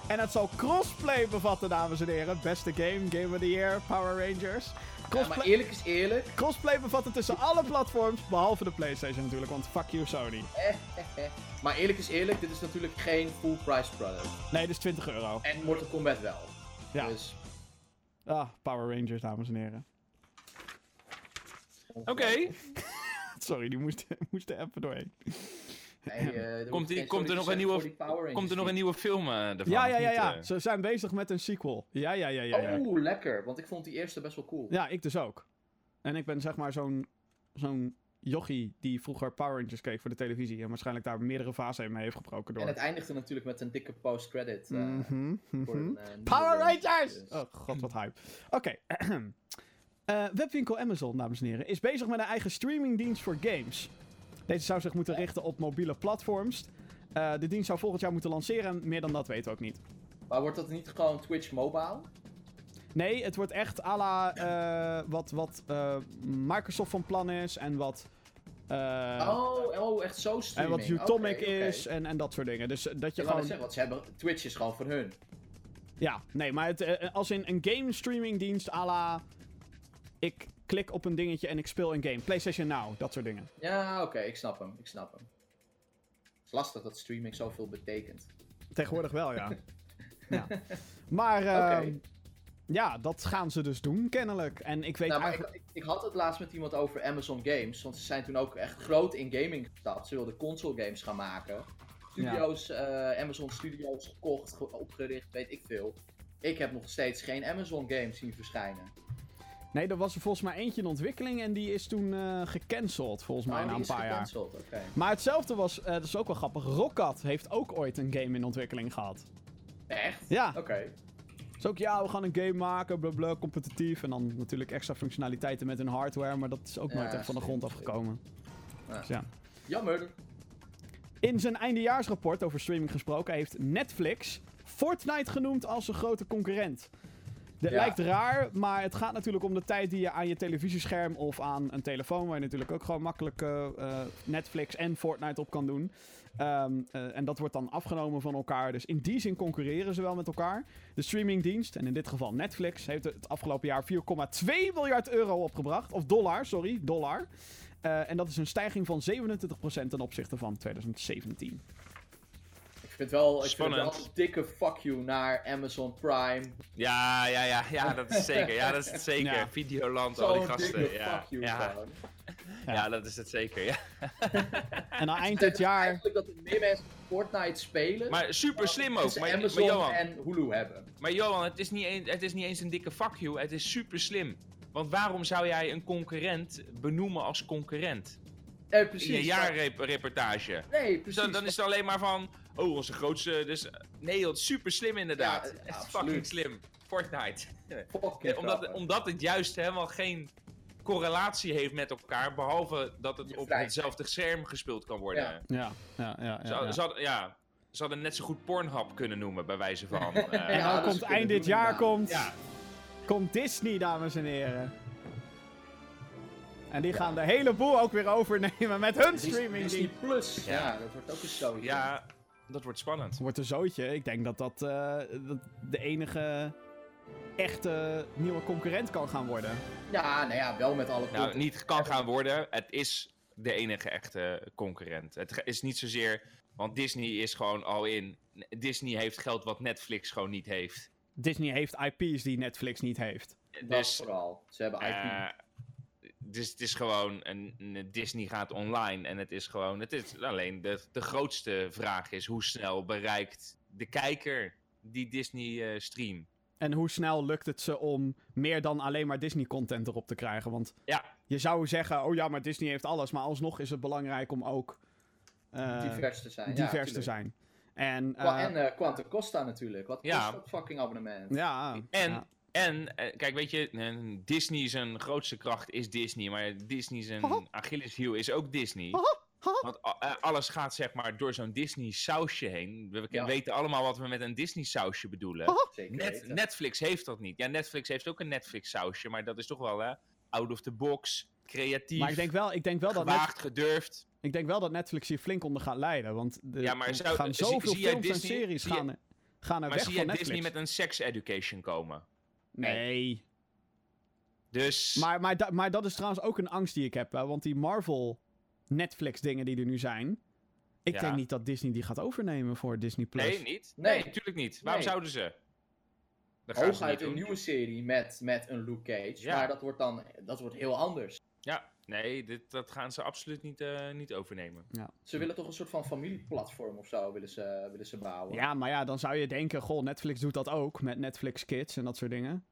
S1: En het zal crossplay bevatten, dames en heren. Beste game, Game of the Year, Power Rangers.
S2: ja, maar
S1: Crossplay,
S2: eerlijk is eerlijk.
S1: crossplay bevatten tussen alle platforms, behalve de PlayStation natuurlijk, want fuck you Sony.
S2: Maar eerlijk is eerlijk, dit is natuurlijk geen full price product.
S1: Nee, dit is 20 euro.
S2: En Mortal Kombat wel.
S1: Ja.
S2: Dus,
S1: Ah, Power Rangers, dames en heren.
S3: Oké,
S1: Sorry, die moest, moest er even doorheen.
S2: nee, eh, er
S3: komt,
S2: hoeft
S3: die-
S2: geen
S3: komt er nog
S2: sorry te
S3: een
S2: zeggen voor
S3: nieuwe,
S2: die Power Rangers
S3: komt er nog een
S2: niet.
S3: nieuwe film eh ervan?
S1: Ja,
S3: of
S1: ja, ja,
S3: niet,
S1: ja.
S3: eh?
S1: Ze zijn bezig met een sequel. Ja, ja, ja, ja. Ja,
S2: Oeh, Oh, lekker, want ik vond die eerste best wel cool.
S1: ja ik dus ook. En ik ben zeg maar zo'n zo'n jochie die vroeger Power Rangers keek voor de televisie. En waarschijnlijk daar meerdere fasen mee heeft gebroken door.
S2: En het eindigde natuurlijk met een dikke post-credit. eh,
S1: Mhm,
S2: voor
S1: mhm.
S2: een, eh, nieuwe
S1: Power
S2: Rangers.
S1: Rangers!
S2: Dus-
S1: Oh god, wat hype. Oké. ehem. Eh, webwinkel Amazon, dames en heren, is bezig met een eigen streamingdienst voor games. Deze zou zich moeten richten op mobiele platforms. Eh, de dienst zou volgend jaar moeten lanceren en meer dan dat weten we ook niet.
S2: Maar wordt dat niet gewoon Twitch Mobile?
S1: Nee, het wordt echt à la eh, wat, wat eh, Microsoft van plan is en wat... eh,
S2: oh, oh, echt zo
S1: en
S2: streaming.
S1: wat Utomic
S2: Oké, oké.
S1: is en, en dat soort dingen. Dus eh, dat je
S2: Ik wou
S1: gewoon...
S2: net zeggen, want ze hebben, Twitch is gewoon voor hun.
S1: Ja, nee, maar het, eh, als in een game streaming dienst à la... Ik klik op een dingetje en ik speel een game. PlayStation Now, dat soort dingen.
S2: Ja, oké, ik snap hem, ik snap hem. Het is lastig dat streaming zoveel betekent.
S1: Tegenwoordig wel, ja. ja. Maar ehm,
S2: Oké.
S1: ja, dat gaan ze dus doen, kennelijk. En ik weet
S2: Nou, maar
S1: eigenlijk...
S2: ik, ik, ik had het laatst met iemand over Amazon Games. Want ze zijn toen ook echt groot in gaming gestapt. Ze wilden console games gaan maken. Studios, eh, Amazon Studios gekocht, ge- opgericht, weet ik veel. Ik heb nog steeds geen Amazon games zien verschijnen.
S1: Nee, er was er volgens mij eentje in ontwikkeling en die is toen eh, gecanceld, volgens mij,
S2: Oh,
S1: na
S2: die
S1: een
S2: is
S1: paar jaar.
S2: gecanceld, oké.
S1: Maar hetzelfde was, eh, dat is ook wel grappig, Rockcat heeft ook ooit een game in ontwikkeling gehad.
S2: Echt?
S1: Ja.
S2: Oké.
S1: Dus ook, ja, we gaan een game maken, blablabla, competitief. En dan natuurlijk extra functionaliteiten met hun hardware, maar dat is ook
S2: Ja,
S1: nooit echt van de
S2: slim,
S1: grond
S2: slim.
S1: afgekomen.
S2: Ja.
S1: Dus ja.
S2: Jammer.
S1: In zijn eindejaarsrapport over streaming gesproken heeft Netflix Fortnite genoemd als een grote concurrent. Het
S2: Ja.
S1: lijkt raar, maar het gaat natuurlijk om de tijd die je aan je televisiescherm of aan een telefoon, waar je natuurlijk ook gewoon makkelijk eh, eh, Netflix en Fortnite op kan doen. Ehm, eh, en dat wordt dan afgenomen van elkaar. Dus in die zin concurreren ze wel met elkaar. De streamingdienst, en in dit geval Netflix, heeft het afgelopen jaar 4,2 miljard euro opgebracht. Of dollar, sorry, dollar. Eh, en dat is een stijging van 27% ten opzichte van 2017.
S2: Ik vind wel, ik vind
S3: Spannend.
S2: wel een dikke fuck you naar Amazon Prime.
S3: Ja, ja, ja, ja, dat is zeker. Ja, dat is het zeker.
S1: Ja.
S3: Videoland, al die
S2: Zo'n
S3: gasten.
S2: dikke
S3: Ja.
S2: fuck you
S3: Ja.
S2: gewoon.
S3: ja, dat is het zeker. Ja.
S2: Ah.
S1: En aan eind dit jaar.
S2: Eigenlijk dat er meer mensen Fortnite spelen.
S3: Maar super slim
S2: dan
S3: ook.
S2: ze
S3: Maar, maar
S2: Amazon
S3: Johan,
S2: en Hulu hebben.
S3: maar Johan het, is niet een, het is niet eens een dikke fuck you. Het is super slim. Want waarom zou jij een concurrent benoemen als concurrent?
S2: Nee,
S3: In je
S2: precies.
S3: jaarreportage. Dus
S2: Nee, precies.
S3: Dan, dan is het alleen maar van. Oh, onze grootste. Dus, nee, dat is super slim inderdaad.
S2: Ja, ja,
S3: Echt
S2: absoluut.
S3: fucking slim. Fortnite.
S2: Fucking
S3: Ja, eh, omdat,
S2: grappig.
S3: omdat het juist helemaal geen correlatie heeft met elkaar, behalve dat het
S2: Je
S3: op
S2: vrij-
S3: hetzelfde scherm gespeeld kan worden.
S2: Ja.
S1: Ja, ja, ja.
S3: Ze,
S1: ja,
S3: hadden-
S1: ja.
S3: Ze, hadden, ja, ze hadden net zo goed Pornhub kunnen noemen, bij wijze van. eh,
S1: En
S2: Ja,
S1: dan
S2: dat
S1: komt
S2: ze
S1: eind
S2: kunnen
S1: dit
S2: doen
S1: jaar
S2: inderdaad.
S1: komt,
S3: ja.
S1: komt Disney, dames en heren. En die gaan de hele boel ook weer overnemen met hun
S2: Disney-
S1: streamingdienst.
S2: Disney Plus. Ja.
S3: Ja.
S2: dat wordt ook eens zo.
S3: ja, dat wordt spannend.
S1: Wordt een zootje. Ik denk dat dat, eh, dat de enige echte nieuwe concurrent kan gaan worden.
S2: ja, nou ja, wel met alle
S3: Nou, niet kan gaan worden. Het is de enige echte concurrent. Het ge- is niet zozeer. Want Disney is gewoon al in. Disney heeft geld wat Netflix gewoon niet heeft.
S1: Disney heeft IP's die Netflix niet heeft.
S2: Dat
S3: Dus
S2: vooral. Ze hebben IP.
S3: Eh, dus het is gewoon, een, een- Disney gaat online en het is gewoon, het is alleen de, de grootste vraag is hoe snel bereikt de kijker die Disney eh, stream.
S1: En hoe snel lukt het ze om meer dan alleen maar Disney-content erop te krijgen? Want
S3: Ja,
S1: je zou zeggen, oh ja, maar Disney heeft alles. Maar alsnog is het belangrijk om ook eh,
S2: divers te zijn. ja,
S1: divers te
S2: tuurlijk.
S1: zijn. En,
S2: Qua-
S1: eh,
S2: en eh Quantum Costa natuurlijk. Wat
S3: Ja.
S2: kost dat fucking abonnement?
S1: ja,
S3: en,
S1: ja.
S3: en eh, kijk weet je, eh, Disney zijn grootste kracht is Disney, maar Disney zijn
S1: Haha.
S3: Achilleshiel is ook Disney.
S1: haha.
S3: Want a- eh, alles gaat zeg maar door zo'n Disney sausje heen. We we
S2: Ja.
S3: weten allemaal wat we met een Disney sausje bedoelen.
S2: Zeker
S3: Net,
S2: weten.
S3: Netflix heeft dat niet. Ja, Netflix heeft ook een Netflix-sausje, maar dat is toch wel hè, out of the box, creatief,
S1: Maar ik denk wel, ik denk wel, dat, Net-
S3: gewaagd, gedurfd.
S1: ik denk wel dat Netflix hier flink onder gaat leiden. Want de-
S3: Ja, maar
S1: er
S3: zou-
S1: gaan
S3: zie-
S1: zoveel
S3: zie jij
S1: films
S3: Disney-
S1: en series
S3: zie je-
S1: gaan, er- gaan er
S3: Maar
S1: weg
S3: zie je
S1: van Netflix.
S3: Disney met een sex education komen?
S1: Nee.
S3: Dus
S1: Maar, maar, da- maar dat is trouwens ook een angst die ik heb. hè, Want die Marvel Netflix dingen die er nu zijn. Ik
S3: Ja.
S1: denk niet dat Disney die gaat overnemen voor Disney Plus.
S3: nee, niet.
S2: Nee.
S3: Nee, natuurlijk niet. Waarom
S2: Nee.
S3: zouden ze? Dat gaan ze niet
S2: Hooguit
S3: doen.
S2: een nieuwe serie met, met een Luke Cage.
S3: Ja.
S2: Maar dat wordt dan dat wordt heel anders.
S3: Ja, nee, dit, dat gaan ze absoluut niet, eh, niet overnemen.
S2: Ze willen toch een soort van familieplatform of zo willen ze, willen ze bouwen.
S1: Ja, maar ja, dan zou je denken, goh, Netflix doet dat ook. Met Netflix Kids en dat soort dingen.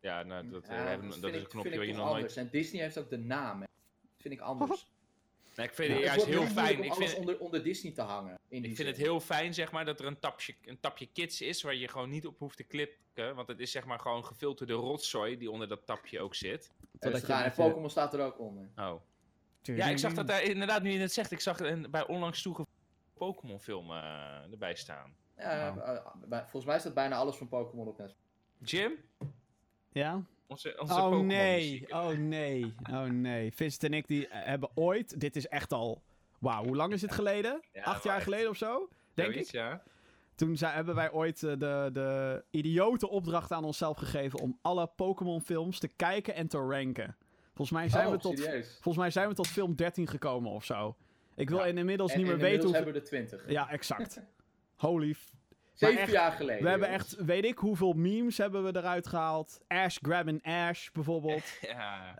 S3: Ja, nou, dat, eh,
S2: Ja,
S3: hebben-
S2: vind
S3: dat is
S2: ik-
S3: een knopje
S2: vind
S3: waar
S2: ik
S3: je
S2: toch
S3: nog nooit...
S2: anders. En Disney heeft ook de naam. hè. Dat vind ik anders.
S3: Nee, ik vind
S1: Ja,
S3: het
S2: Het
S3: juist
S2: wordt
S3: heel
S2: moeilijk
S3: fijn.
S2: om
S3: Ik
S2: alles
S3: vind,
S2: onder, onder Disney te hangen. in die
S3: Ik
S2: zin.
S3: vind het heel fijn, zeg maar, dat er een tapje, een tapje kids is waar je gewoon niet op hoeft te klikken. Want het is zeg maar gewoon gefilterde rotzooi die onder dat tapje ook zit.
S2: Dat
S1: Totdat je
S2: is raar.
S1: een
S2: Eh, En
S1: beetje-
S2: Pokémon staat er ook onder.
S3: Oh. Ja, ik zag dat daar inderdaad, nu je het zegt, ik zag een, bij onlangs toegevoegde Pokémon film eh, erbij staan.
S2: Ja,
S1: Oh.
S2: eh, eh, bij- volgens mij staat bijna alles van Pokémon op Netflix.
S3: Jim?
S1: Ja?
S3: Onze, onze
S1: Oh
S3: Pokémon
S1: nee,
S3: muziek.
S1: oh nee, oh nee. Vincent en ik die eh, hebben ooit, dit is echt al, wauw, hoe lang is dit geleden?
S3: Ja,
S1: Acht jaar
S3: maar-
S1: geleden of zo, denk
S3: Zoiets,
S1: ik.
S3: Ja.
S1: Toen zei- hebben wij ooit eh, de, de idiote opdracht aan onszelf gegeven om alle Pokémon films te kijken en te ranken. Volgens mij zijn,
S2: Oh,
S1: we, tot,
S2: serieus?
S1: volgens mij zijn we tot film 13 gekomen of zo. Ik wil
S3: Ja,
S1: in- inmiddels
S2: En
S1: niet meer
S2: inmiddels
S1: weten hoe...
S2: hebben we er 20.
S1: Ja, exact. Holy... f-
S2: Zeven
S1: echt,
S2: jaar geleden.
S1: We hebben
S2: jongens.
S1: echt, weet ik hoeveel memes hebben we eruit gehaald. Ash grabbing Ash, bijvoorbeeld.
S3: ja.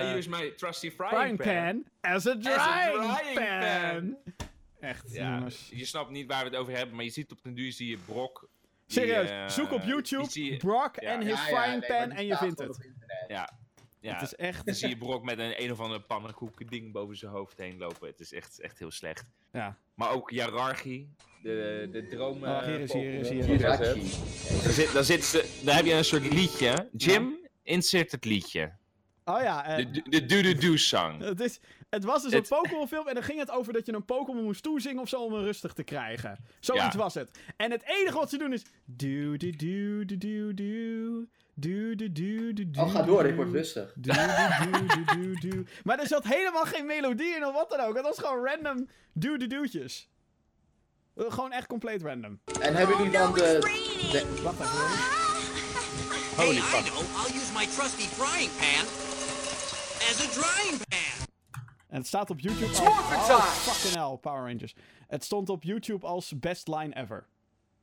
S1: Eh,
S3: I use my trusty frying,
S1: frying
S3: pan.
S1: pan as a drying, pan.
S3: drying
S1: Echt,
S3: Ja,
S1: jongens.
S3: je snapt niet waar we het over hebben, maar je ziet op den duur zie je Brok. die,
S1: Serieus,
S3: eh,
S1: zoek op
S3: die zie
S1: YouTube
S3: je-
S1: Brock
S3: ja,
S1: en
S3: ja,
S1: his
S2: Ja, ja,
S1: frying
S2: nee, maar
S1: pan
S2: die
S1: en je
S2: staat
S1: vindt
S2: wel
S1: het.
S2: op internet.
S3: Ja. ja.
S1: Het is
S3: Dan
S1: echt...
S3: zie je Brok met een, een of andere pannenkoek ding boven zijn hoofd heen lopen. Het is echt, echt heel slecht.
S1: Ja.
S3: Maar ook hiërarchie. De, de droom... eh,
S1: Oh, hier is, hier is,
S3: Pokémon.
S1: hier is.
S2: Jirachi.
S3: Dan, zit, dan, zit ze, dan heb je een soort liedje. Jim, insert het liedje.
S1: Oh ja, eh,
S3: De, de, de do-do-do-song.
S1: het, is, het was dus
S3: Het-
S1: een Pokémon-film en dan ging het over dat je een Pokémon moest toezingen of zo om hem rustig te krijgen. Zoiets
S3: Ja.
S1: was het. En het enige wat ze doen is. Do, do, do, do, do, do. Do, do, do, do, do,
S2: Oh, ga door, ik word
S1: do.
S2: rustig.
S1: Do, do, do, do, do, do. Maar er zat helemaal geen melodie in of wat dan ook. Het was gewoon random doe-doe-doetjes. Eh, Gewoon echt compleet random.
S2: En hebben jullie dan de... de-
S1: Wacht even. hoor.
S6: Hey, I know. I'll use my trusty frying pan as a drying pan.
S1: En het staat op YouTube als... Oh, fucking hell, Power Rangers. Het stond op YouTube als best line ever.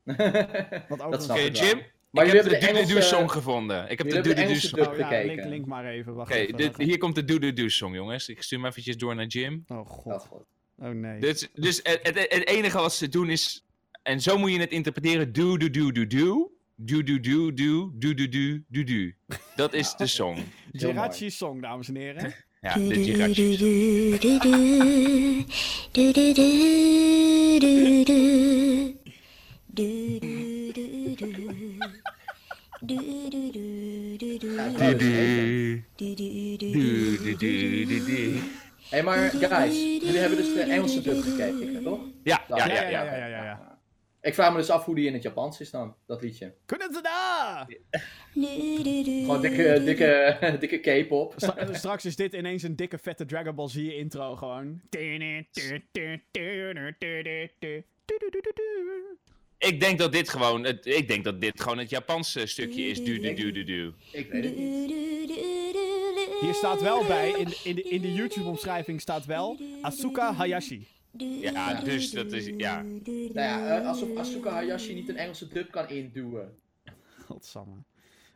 S1: Want ook
S2: Dat
S1: een-
S2: snap
S3: Oké,
S2: ik.
S3: Jim.
S2: Maar
S3: ik
S2: jullie
S3: heb
S2: hebben
S3: de
S2: de Engelse-
S3: do-do-do-song gevonden. Ik heb de
S2: jullie hebben de Engelse
S3: do-do-do-song.
S2: dub
S1: Oh ja, link,
S2: bekeken.
S1: link maar even. Wacht
S3: Oké,
S1: even.
S3: dit- hier komt de do-do-do-song, jongens. Ik stuur hem eventjes door naar Jim.
S1: Oh
S2: Oh,
S1: god.
S2: god.
S1: Oh nee.
S3: Dus, dus het, het, het enige wat ze doen is. En zo moet je het interpreteren. Do, do, do, do, do. Do, do, do, do. Do, do, do, do, do. Dat is de song.
S2: Heel mooi.
S1: Jirachi's song, dames en heren.
S3: Ja, de Jirachi. Do, do, do, do, do, do, do.
S2: Hé, maar guys, jullie hebben dus de Engelse dub gekeken, toch?
S3: Ja, Ah, ja, ja,
S1: ja,
S3: ja.
S1: ja, ja, ja.
S2: Ik vraag me dus af hoe die in het Japans is dan, dat liedje.
S1: Kunnen ze daar?
S2: Gewoon dikke, eh,
S1: eh,
S2: dikke, dikke K-pop.
S1: Stra- eh, Straks is dit ineens een dikke vette Dragon Ball Z intro gewoon.
S3: Ik denk dat dit gewoon. Het, ik denk dat dit gewoon het Japanse stukje is. Do, do, do, do, do.
S2: Ik weet het niet.
S1: Hier staat wel bij, in de, in de, in de YouTube-omschrijving staat wel Asuka Hayashi.
S3: Ja, dus dat is. Ja.
S2: Nou ja, eh, alsof Asuka Hayashi niet een Engelse dub kan induwen.
S1: Godsamme.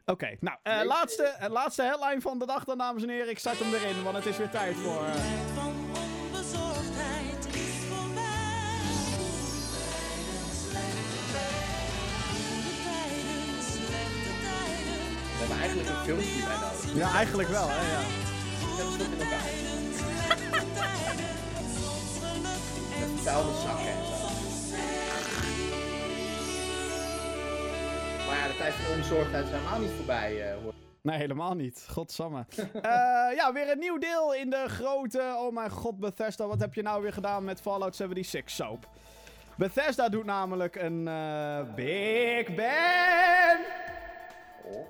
S1: Oké, nou, eh, laatste, eh, laatste headline van de dag dan, dames en heren. Ik start hem erin, want het is weer tijd voor... eh,
S5: Tijd van onbezorgdheid is voorbij. Goede tijden, slechte tijden.
S2: We hebben eigenlijk een filmpje bij nodig.
S1: Ja, eigenlijk wel, hè, ja.
S2: Zet het toch in elkaar.
S5: Slechte tijden, soms geluk en
S2: Met vuile zakken en zo. Maar ja, de tijd van onbezorgdheid is helemaal niet voorbij, eh hoor.
S1: Nee, helemaal niet. Godsamme. Eh, ja, weer een nieuw deel in de grote... Oh mijn god, Bethesda, wat heb je nou weer gedaan met Fallout 76 soap? Bethesda doet namelijk een eh, Big Bang!
S2: Oh.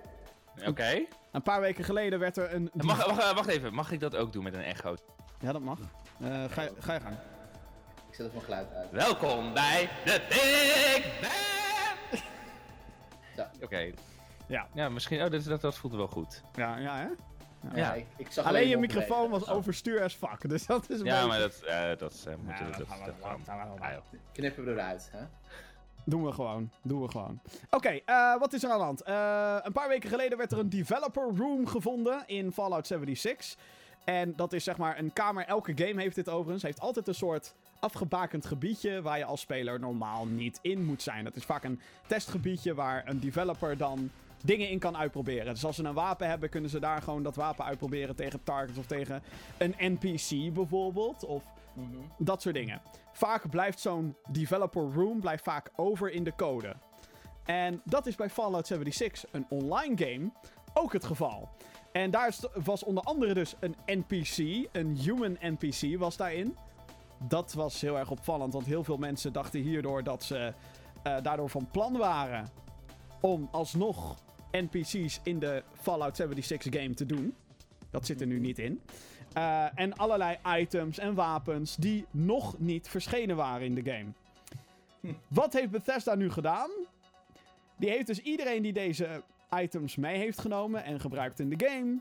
S3: Oké.
S1: Een paar weken geleden werd er een...
S3: Mag- wacht, wacht even. Mag ik dat ook doen met een echo?
S1: Ja, dat mag. Eh, ga, je- ga je gang.
S2: Ik zet even mijn geluid uit.
S3: Welkom bij de Big Bang!
S2: Ja.
S3: Oké.
S1: Ja.
S3: Ja, misschien. Oh, dat, dat, dat voelde wel goed.
S1: Ja, ja hè?
S2: Ja, ik, ik zag
S1: Alleen je
S2: iemand
S1: microfoon was
S2: bewegen.
S1: overstuur as fuck, dus dat is een
S3: Ja,
S1: beetje-
S3: maar dat, eh, dat eh, moeten we. Dat, dat, ah, joh.
S2: Knippen we eruit, hè?
S1: Doen we gewoon. Doen we gewoon. Oké, eh, wat is er aan de hand? Eh, een paar weken geleden werd er een developer room gevonden in Fallout 76. En dat is zeg maar een kamer. Elke game heeft dit overigens. Heeft altijd een soort afgebakend gebiedje waar je als speler normaal niet in moet zijn. Dat is vaak een testgebiedje waar een developer dan dingen in kan uitproberen. Dus als ze een wapen hebben, kunnen ze daar gewoon dat wapen uitproberen tegen targets of tegen een NPC bijvoorbeeld. Of dat soort dingen. Vaak blijft zo'n developer room blijft vaak over in de code. En dat is bij Fallout 76, een online game, ook het geval. En daar st- was onder andere dus een NPC, een human NPC was daarin. Dat was heel erg opvallend, want heel veel mensen dachten hierdoor dat ze eh, daardoor van plan waren om alsnog NPC's in de Fallout 76 game te doen. Dat zit er nu niet in. Eh, en allerlei items en wapens die nog niet verschenen waren in de game. Wat heeft Bethesda nu gedaan? Die heeft dus iedereen die deze items mee heeft genomen en gebruikt in de game.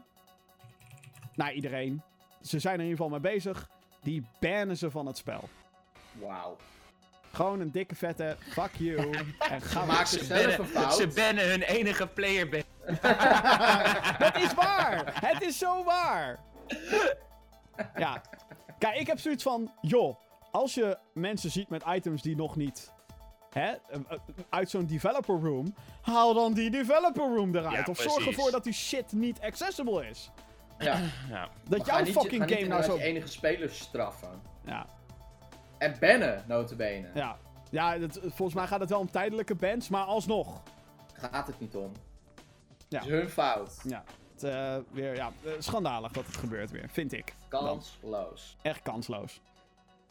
S1: Nou, iedereen. Ze zijn er in ieder geval mee bezig. Die bannen ze van het spel.
S2: Wauw.
S1: Gewoon een dikke vette fuck you. en ga
S2: Maak
S1: maar.
S2: ze zelf een fout.
S3: Ze bannen hun enige player. ban-
S1: Het is waar! Het is zo waar! Ja. Kijk, ik heb zoiets van, joh, als je mensen ziet met items die nog niet hè, eh, eh, uit zo'n developer room, haal dan die developer room eruit.
S3: Ja,
S1: of zorg
S3: precies.
S1: ervoor dat die shit niet accessible is.
S2: Ja.
S3: Ja.
S1: Dat jouw fucking game nou zo...
S2: de enige spelers straffen.
S1: Ja,
S2: En bannen, notabene.
S1: ja. ja dat- volgens mij gaat het wel om tijdelijke bans, maar alsnog.
S2: Gaat het niet om.
S1: Ja.
S2: Het is hun fout.
S1: Ja. echt eh, weer ja, eh, schandalig dat het gebeurt weer, vind ik. Dan.
S2: Kansloos.
S1: Echt kansloos.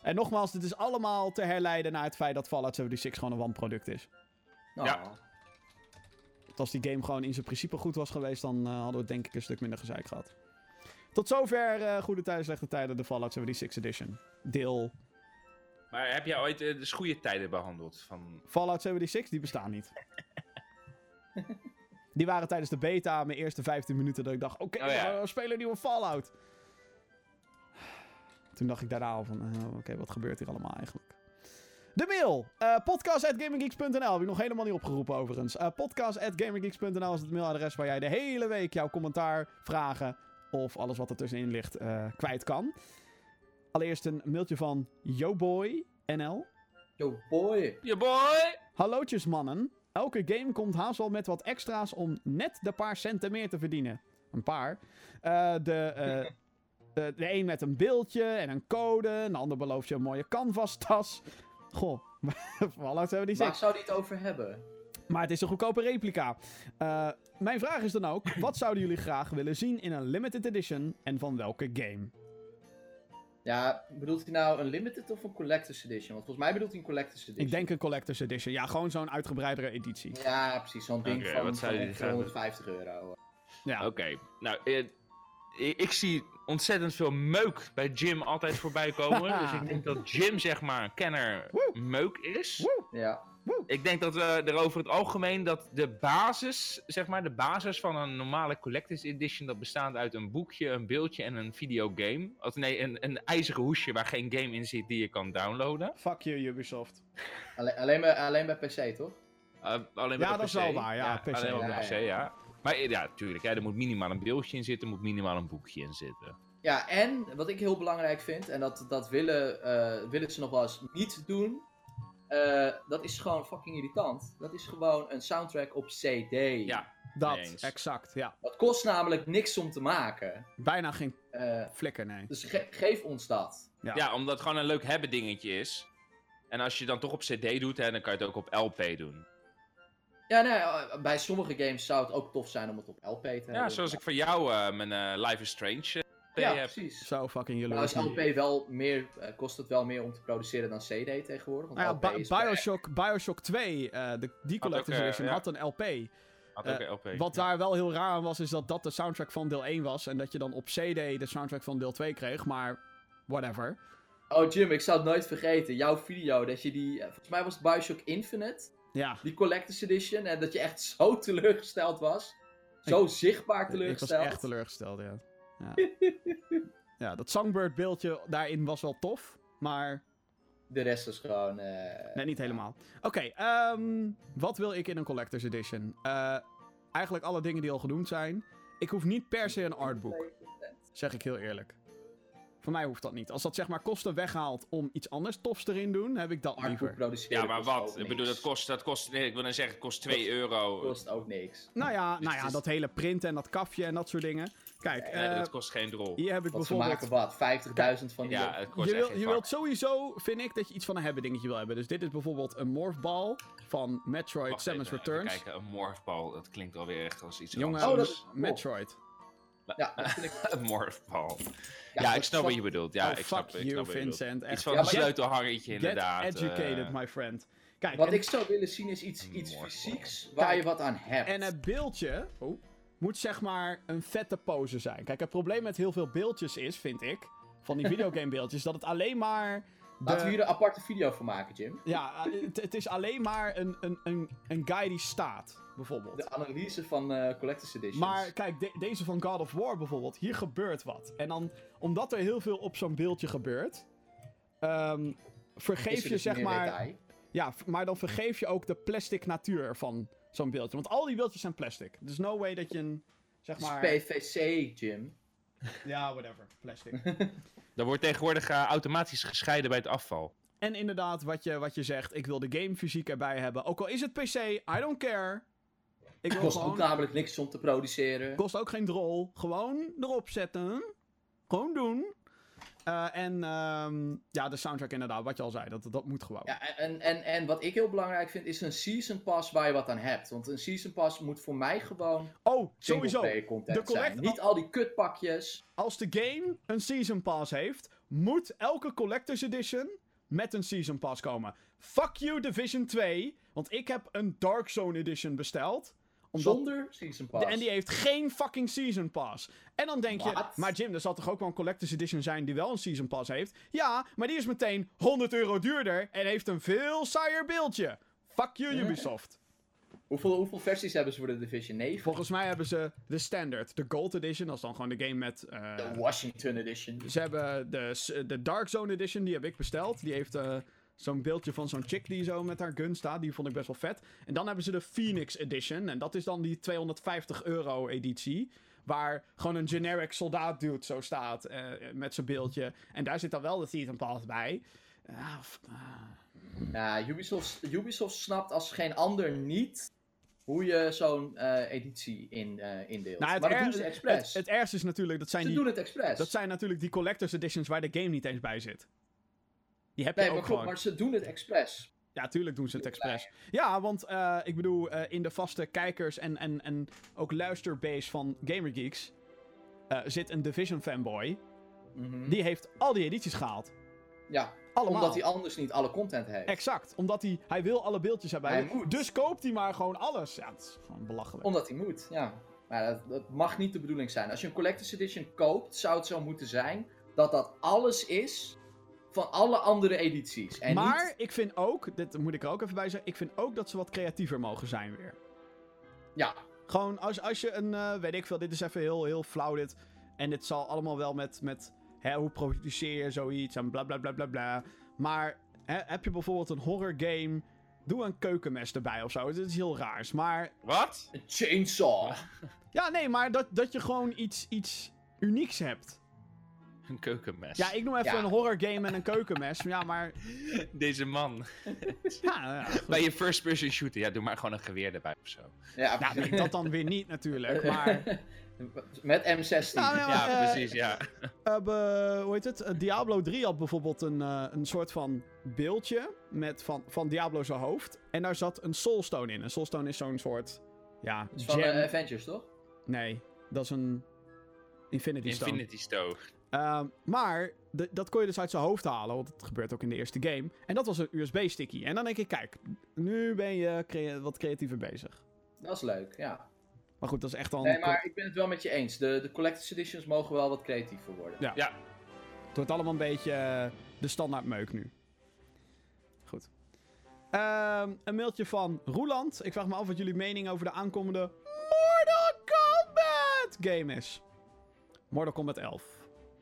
S1: En nogmaals, dit is allemaal te herleiden naar het feit dat Fallout 76 gewoon een wanproduct is.
S3: Ja.
S2: Ah.
S1: Want als die game gewoon in zijn principe goed was geweest, dan eh, hadden we het denk ik een stuk minder gezeik gehad. Tot zover eh, Goede Tijden, Slechte Tijden, de Fallout 76 Edition. Deel
S3: Maar heb jij ooit eh, de goede tijden behandeld? Van...
S1: Fallout 76, die bestaan niet. die waren tijdens de beta mijn eerste 15 minuten dat ik dacht, oké,
S3: Oh ja.
S1: we gaan spelen een nieuwe Fallout. Toen dacht ik daarna al van, eh, oké, wat gebeurt hier allemaal eigenlijk? De mail, eh podcast.gaminggeeks.nl, heb ik nog helemaal niet opgeroepen overigens. Eh podcast.gaminggeeks.nl is het mailadres waar jij de hele week jouw commentaar, vragen of alles wat ertussenin ligt eh, kwijt kan. Allereerst een mailtje van yoboy.nl.
S2: Yo, boy.
S3: Je boy!
S1: Hallootjes mannen. Elke game komt haast wel met wat extra's om net de paar centen meer te verdienen. Een paar. Eh, de, eh, de, de een met een beeldje en een code. Een ander belooft je een mooie canvas tas. Goh, Fallout hebben die
S2: Waar
S1: zin.
S2: zou die het over hebben?
S1: Maar het is een goedkope replica. Eh, mijn vraag is dan ook, wat zouden jullie graag willen zien in een limited edition en van welke game?
S2: Ja, bedoelt hij nou een limited of een collector's edition? Want volgens mij bedoelt hij een collector's edition.
S1: Ik denk een collector's edition. Ja, gewoon zo'n uitgebreidere editie.
S2: Ja, precies. Zo'n ding
S3: Oké,
S2: van,
S3: wat zou
S2: van
S3: die
S2: ongeveer
S3: gaan-
S2: 150 euro.
S1: Ja.
S3: Oké, nou, eh, ik, ik zie ontzettend veel meuk bij Jim altijd voorbij komen. dus ik denk dat Jim, zeg maar, een kenner
S1: Woe.
S3: meuk is.
S1: Woe.
S2: Ja.
S3: Ik denk dat we er over het algemeen dat de basis, zeg maar, de basis van een normale Collectors Edition, dat bestaat uit een boekje, een beeldje en een videogame. Of nee, een, een ijzeren hoesje waar geen game in zit die je kan downloaden.
S1: Fuck you, Ubisoft.
S2: Alleen, alleen, bij, alleen bij PC, toch?
S3: Eh, alleen
S1: Ja,
S3: maar op
S1: dat is
S3: PC.
S1: wel waar, ja, PC,
S3: alleen maar op
S2: ja,
S3: de PC,
S2: ja.
S3: ja. Maar eh, ja, tuurlijk, hè, er moet minimaal een beeldje in zitten, er moet minimaal een boekje in zitten.
S2: Ja, en wat ik heel belangrijk vind, en dat, dat willen, eh, willen ze nog wel eens niet doen, eh, dat is gewoon fucking irritant. Dat is gewoon een soundtrack op CD.
S3: Ja,
S1: Dat,
S3: Mee eens.
S1: exact, ja.
S2: Dat kost namelijk niks om te maken.
S1: Bijna geen
S2: Eh,
S1: flikker, nee.
S2: dus ge- geef ons dat.
S1: Ja.
S3: ja, omdat het gewoon een leuk hebben dingetje is. En als je dan toch op CD doet, hè, dan kan je het ook op LP doen.
S2: Ja, nee, eh, bij sommige games zou het ook tof zijn om het op LP te hebben.
S3: Ja, zoals ik van jou eh, mijn eh, Life is Strange eh, LP
S2: Ja,
S3: heb.
S2: precies. Nou,
S1: Zo fucking
S2: Maar als
S1: jaloers.
S2: LP wel meer, eh, kost het wel meer om te produceren dan CD tegenwoordig. Want
S1: Nou ja,
S2: LP
S1: Bi-
S2: is
S1: Bioshock, Bioshock 2, eh, de, die Collector's
S3: ook, eh,
S1: Edition,
S3: ja.
S1: had een LP.
S3: Had ook
S1: Eh,
S3: een LP.
S1: Wat daar wel heel raar aan was, is dat dat de soundtrack van deel 1 was. En dat je dan op CD de soundtrack van deel 2 kreeg, maar whatever.
S2: Oh Jim, ik zou het nooit vergeten. Jouw video, dat je die... eh, Volgens mij was het Bioshock Infinite.
S1: Ja,
S2: Die Collector's Edition. En dat je echt zo teleurgesteld was. Zo zichtbaar
S1: ik was
S2: teleurgesteld.
S1: echt teleurgesteld, ja. Ja, ja dat Songbird beeldje daarin was wel tof, maar
S2: De rest is gewoon... eh,
S1: nee, niet helemaal. Oké, ehm, wat wil ik in een Collector's Edition? Eh, eigenlijk alle dingen die al genoemd zijn. Ik hoef niet per se een artbook. Zeg ik heel eerlijk. Voor mij hoeft dat niet. Als dat zeg maar kosten weghaalt om iets anders tofs erin doen, heb ik dat
S2: Artbook
S1: liever.
S2: produceren
S3: Ja, maar
S2: kost ook
S3: wat? Ik
S2: niks.
S3: bedoel, dat kost, dat kost nee, ik wil dan zeggen, het kost 2 euro.
S2: Kost ook niks.
S1: Nou ja, nou
S3: het
S1: ja,
S3: is-
S1: dat hele printen en dat kafje en dat soort dingen. Kijk,
S3: Nee,
S1: eh,
S3: dat kost geen drol.
S1: hier heb ik
S2: Want ze
S1: bijvoorbeeld...
S2: maken wat? 50.000 van die...
S3: Ja, het kost
S1: Je,
S3: echt
S1: wil,
S3: geen
S1: je
S3: vak.
S1: wilt sowieso, vind ik, dat je iets van een hebben dingetje wil hebben. Dus dit is bijvoorbeeld een morphball van Metroid
S3: Wacht
S1: Samus
S3: even, even
S1: Returns.
S3: kijken, een morphbal, dat klinkt alweer echt als iets
S1: Jongen,
S2: Oh, dat
S3: anders.
S2: is-
S1: Metroid.
S2: Ja, dat vind ik...
S3: Een morphbal. Ja,
S2: dat
S3: ik
S2: is
S3: snap wat
S2: van-
S3: je bedoelt. Ja,
S1: Oh,
S3: ik snap,
S1: fuck
S3: ik snap
S1: you,
S3: wat je bedoelt.
S1: Vincent, echt.
S3: Iets van
S2: Ja,
S3: een
S2: maar je-
S3: sleutelhangertje
S1: Get
S3: inderdaad.
S1: educated,
S3: eh,
S1: my friend. Kijk,
S2: Wat
S1: en-
S2: ik zou willen zien is iets,
S3: Een
S2: iets
S3: mooi
S2: fysieks waar je wat aan hebt.
S1: En eh, het beeldje oh, moet zeg maar een vette pose zijn. Kijk, het probleem met heel veel beeldjes is, vind ik, van die videogame beeldjes, dat het alleen maar... de-
S2: Laten we hier een aparte video van maken, Jim.
S1: Ja, eh, het, het is alleen maar een, een, een, een guy die staat,
S2: De
S1: bijvoorbeeld.
S2: analyse van eh, Collector's Editions.
S1: Maar kijk, de- deze van God of War bijvoorbeeld, hier gebeurt wat. En dan, omdat er heel veel op zo'n beeldje gebeurt, ehm,
S2: Is
S1: vergeef
S2: er
S1: je
S2: dus
S1: zeg
S2: meer
S1: maar...
S2: detail?
S1: Ja, v- maar dan vergeef je ook de plastic natuur van zo'n beeldje. Want al die beeldjes zijn plastic. There's no way dat je een, zeg maar...
S2: Het is PVC, Jim.
S1: Ja, whatever. Plastic.
S3: Er wordt tegenwoordig eh, automatisch gescheiden bij het afval.
S1: en inderdaad, wat je, wat je zegt, ik wil de game fysiek erbij hebben. Ook al is het PC, I don't care. Ik wil
S2: Kost
S1: gewoon...
S2: ook namelijk niks om te produceren.
S1: Kost ook geen drol. Gewoon erop zetten. Gewoon doen. Eh, en ehm, ja, de soundtrack inderdaad, wat je al zei, dat, dat moet gewoon.
S2: Ja, en, en, en wat ik heel belangrijk vind, is een season pass waar je wat aan hebt. Want een season pass moet voor mij gewoon
S1: Oh, sowieso.
S2: singleplayer content
S1: De collect-
S2: zijn. Niet al die kutpakjes.
S1: Als de game een Season Pass heeft, moet elke Collector's Edition met een Season Pass komen. Fuck you Division 2, want ik heb een Dark Zone Edition besteld. Omdat...
S2: Zonder season pass.
S1: En die heeft geen fucking Season Pass. En dan denk
S2: Wat?
S1: je, maar Jim, er zal toch ook wel een Collector's Edition zijn die wel een Season Pass heeft? Ja, maar die is meteen 100 euro duurder en heeft een veel saaier beeldje. Fuck you Ubisoft.
S2: Hoeveel, hoeveel versies hebben ze voor de Division 9?
S1: Volgens mij hebben ze de standard, de Gold Edition, dat is dan gewoon de game met... eh,
S2: De Washington Edition.
S1: Ze hebben de, s- de Dark Zone Edition, die heb ik besteld. Die heeft eh, zo'n beeldje van zo'n chick die zo met haar gun staat. Die vond ik best wel vet. En dan hebben ze de Phoenix Edition. En dat is dan die 250 euro editie. Waar gewoon een generic soldaat dude zo staat eh, met zijn beeldje. En daar zit dan wel de Season Pass bij. Ah, f- ah.
S2: Ja, Ubisoft, Ubisoft snapt als geen ander niet hoe je zo'n eh, editie in, eh, indeelt.
S1: Nou, het,
S2: maar dat
S1: er-
S2: doen ze
S1: het-
S2: expres.
S1: het ergste is natuurlijk, dat zijn,
S2: ze
S1: die,
S2: doen het expres.
S1: dat zijn natuurlijk die collector's editions waar de game niet eens bij zit. Die heb je
S2: nee,
S1: ook
S2: maar klopt,
S1: gewoon.
S2: maar ze doen het expres.
S1: Ja, tuurlijk doen ze het expres. Ja, want eh, ik bedoel, eh, in de vaste kijkers en, en, en ook luisterbase van Gamergeeks eh, zit een Division fanboy.
S2: Mhm.
S1: Die heeft al die edities gehaald.
S2: Ja,
S1: Allemaal.
S2: omdat hij anders niet alle content heeft.
S1: Exact. Omdat hij, hij wil alle beeldjes hebben.
S2: Hij moet.
S1: Dus koopt hij maar gewoon alles. Ja, het is gewoon belachelijk.
S2: Omdat hij moet, ja. Maar dat, dat mag niet de bedoeling zijn. Als je een Collector's Edition koopt, zou het zo moeten zijn dat dat alles is van alle andere edities. En
S1: maar
S2: niet,
S1: ik vind ook, dit moet ik er ook even bij zeggen, ik vind ook dat ze wat creatiever mogen zijn weer.
S2: ja,
S1: Gewoon als, als je een, eh, weet ik veel, dit is even heel, heel flauw dit. En dit zal allemaal wel met, met hè, hoe produceer je zoiets en bla bla bla bla bla. Maar hè, heb je bijvoorbeeld een horror game, doe een keukenmes erbij of zo. Dit is heel raars. Maar
S3: Wat?
S2: een chainsaw.
S1: ja, nee, maar dat, dat je gewoon iets, iets unieks hebt.
S3: Een keukenmes.
S1: Ja, ik noem even
S2: Ja.
S1: een horror game en een keukenmes. Ja, maar
S3: Deze man.
S1: ja, ja, goed.
S3: Bij je first person shooter, ja, doe maar gewoon een geweer erbij of zo.
S2: Ja,
S1: ja, Nou, nee, dat dan weer niet natuurlijk. Maar
S2: Met M16.
S1: Nou, ja.
S3: Ja,
S1: eh,
S3: precies, ja.
S1: Eh, be- hoe heet het? Eh, Diablo 3 had bijvoorbeeld een, eh, een soort van beeldje met van, van Diablo zijn hoofd. En daar zat een soulstone in. Een soulstone is zo'n soort, ja,
S2: Het is van
S1: gem.
S2: eh, Avengers, toch?
S1: nee, dat is een Infinity Stone.
S3: Infinity Stone.
S1: Ehm, maar de- dat kon je dus uit zijn hoofd halen, want dat gebeurt ook in de eerste game. En dat was een USB-sticky. En dan denk ik, kijk, nu ben je crea- wat creatiever bezig.
S2: Dat is leuk, ja.
S1: Maar goed, dat is echt al...
S2: Nee, maar ik ben het wel met je eens. De, de Collector's Editions mogen wel wat creatiever worden.
S1: Ja.
S3: Ja.
S1: Het wordt allemaal een beetje eh, de standaard meuk nu. Goed. Ehm, een mailtje van Roeland. Ik vraag me af wat jullie mening over de aankomende Mortal Kombat game is. Mortal Kombat 11.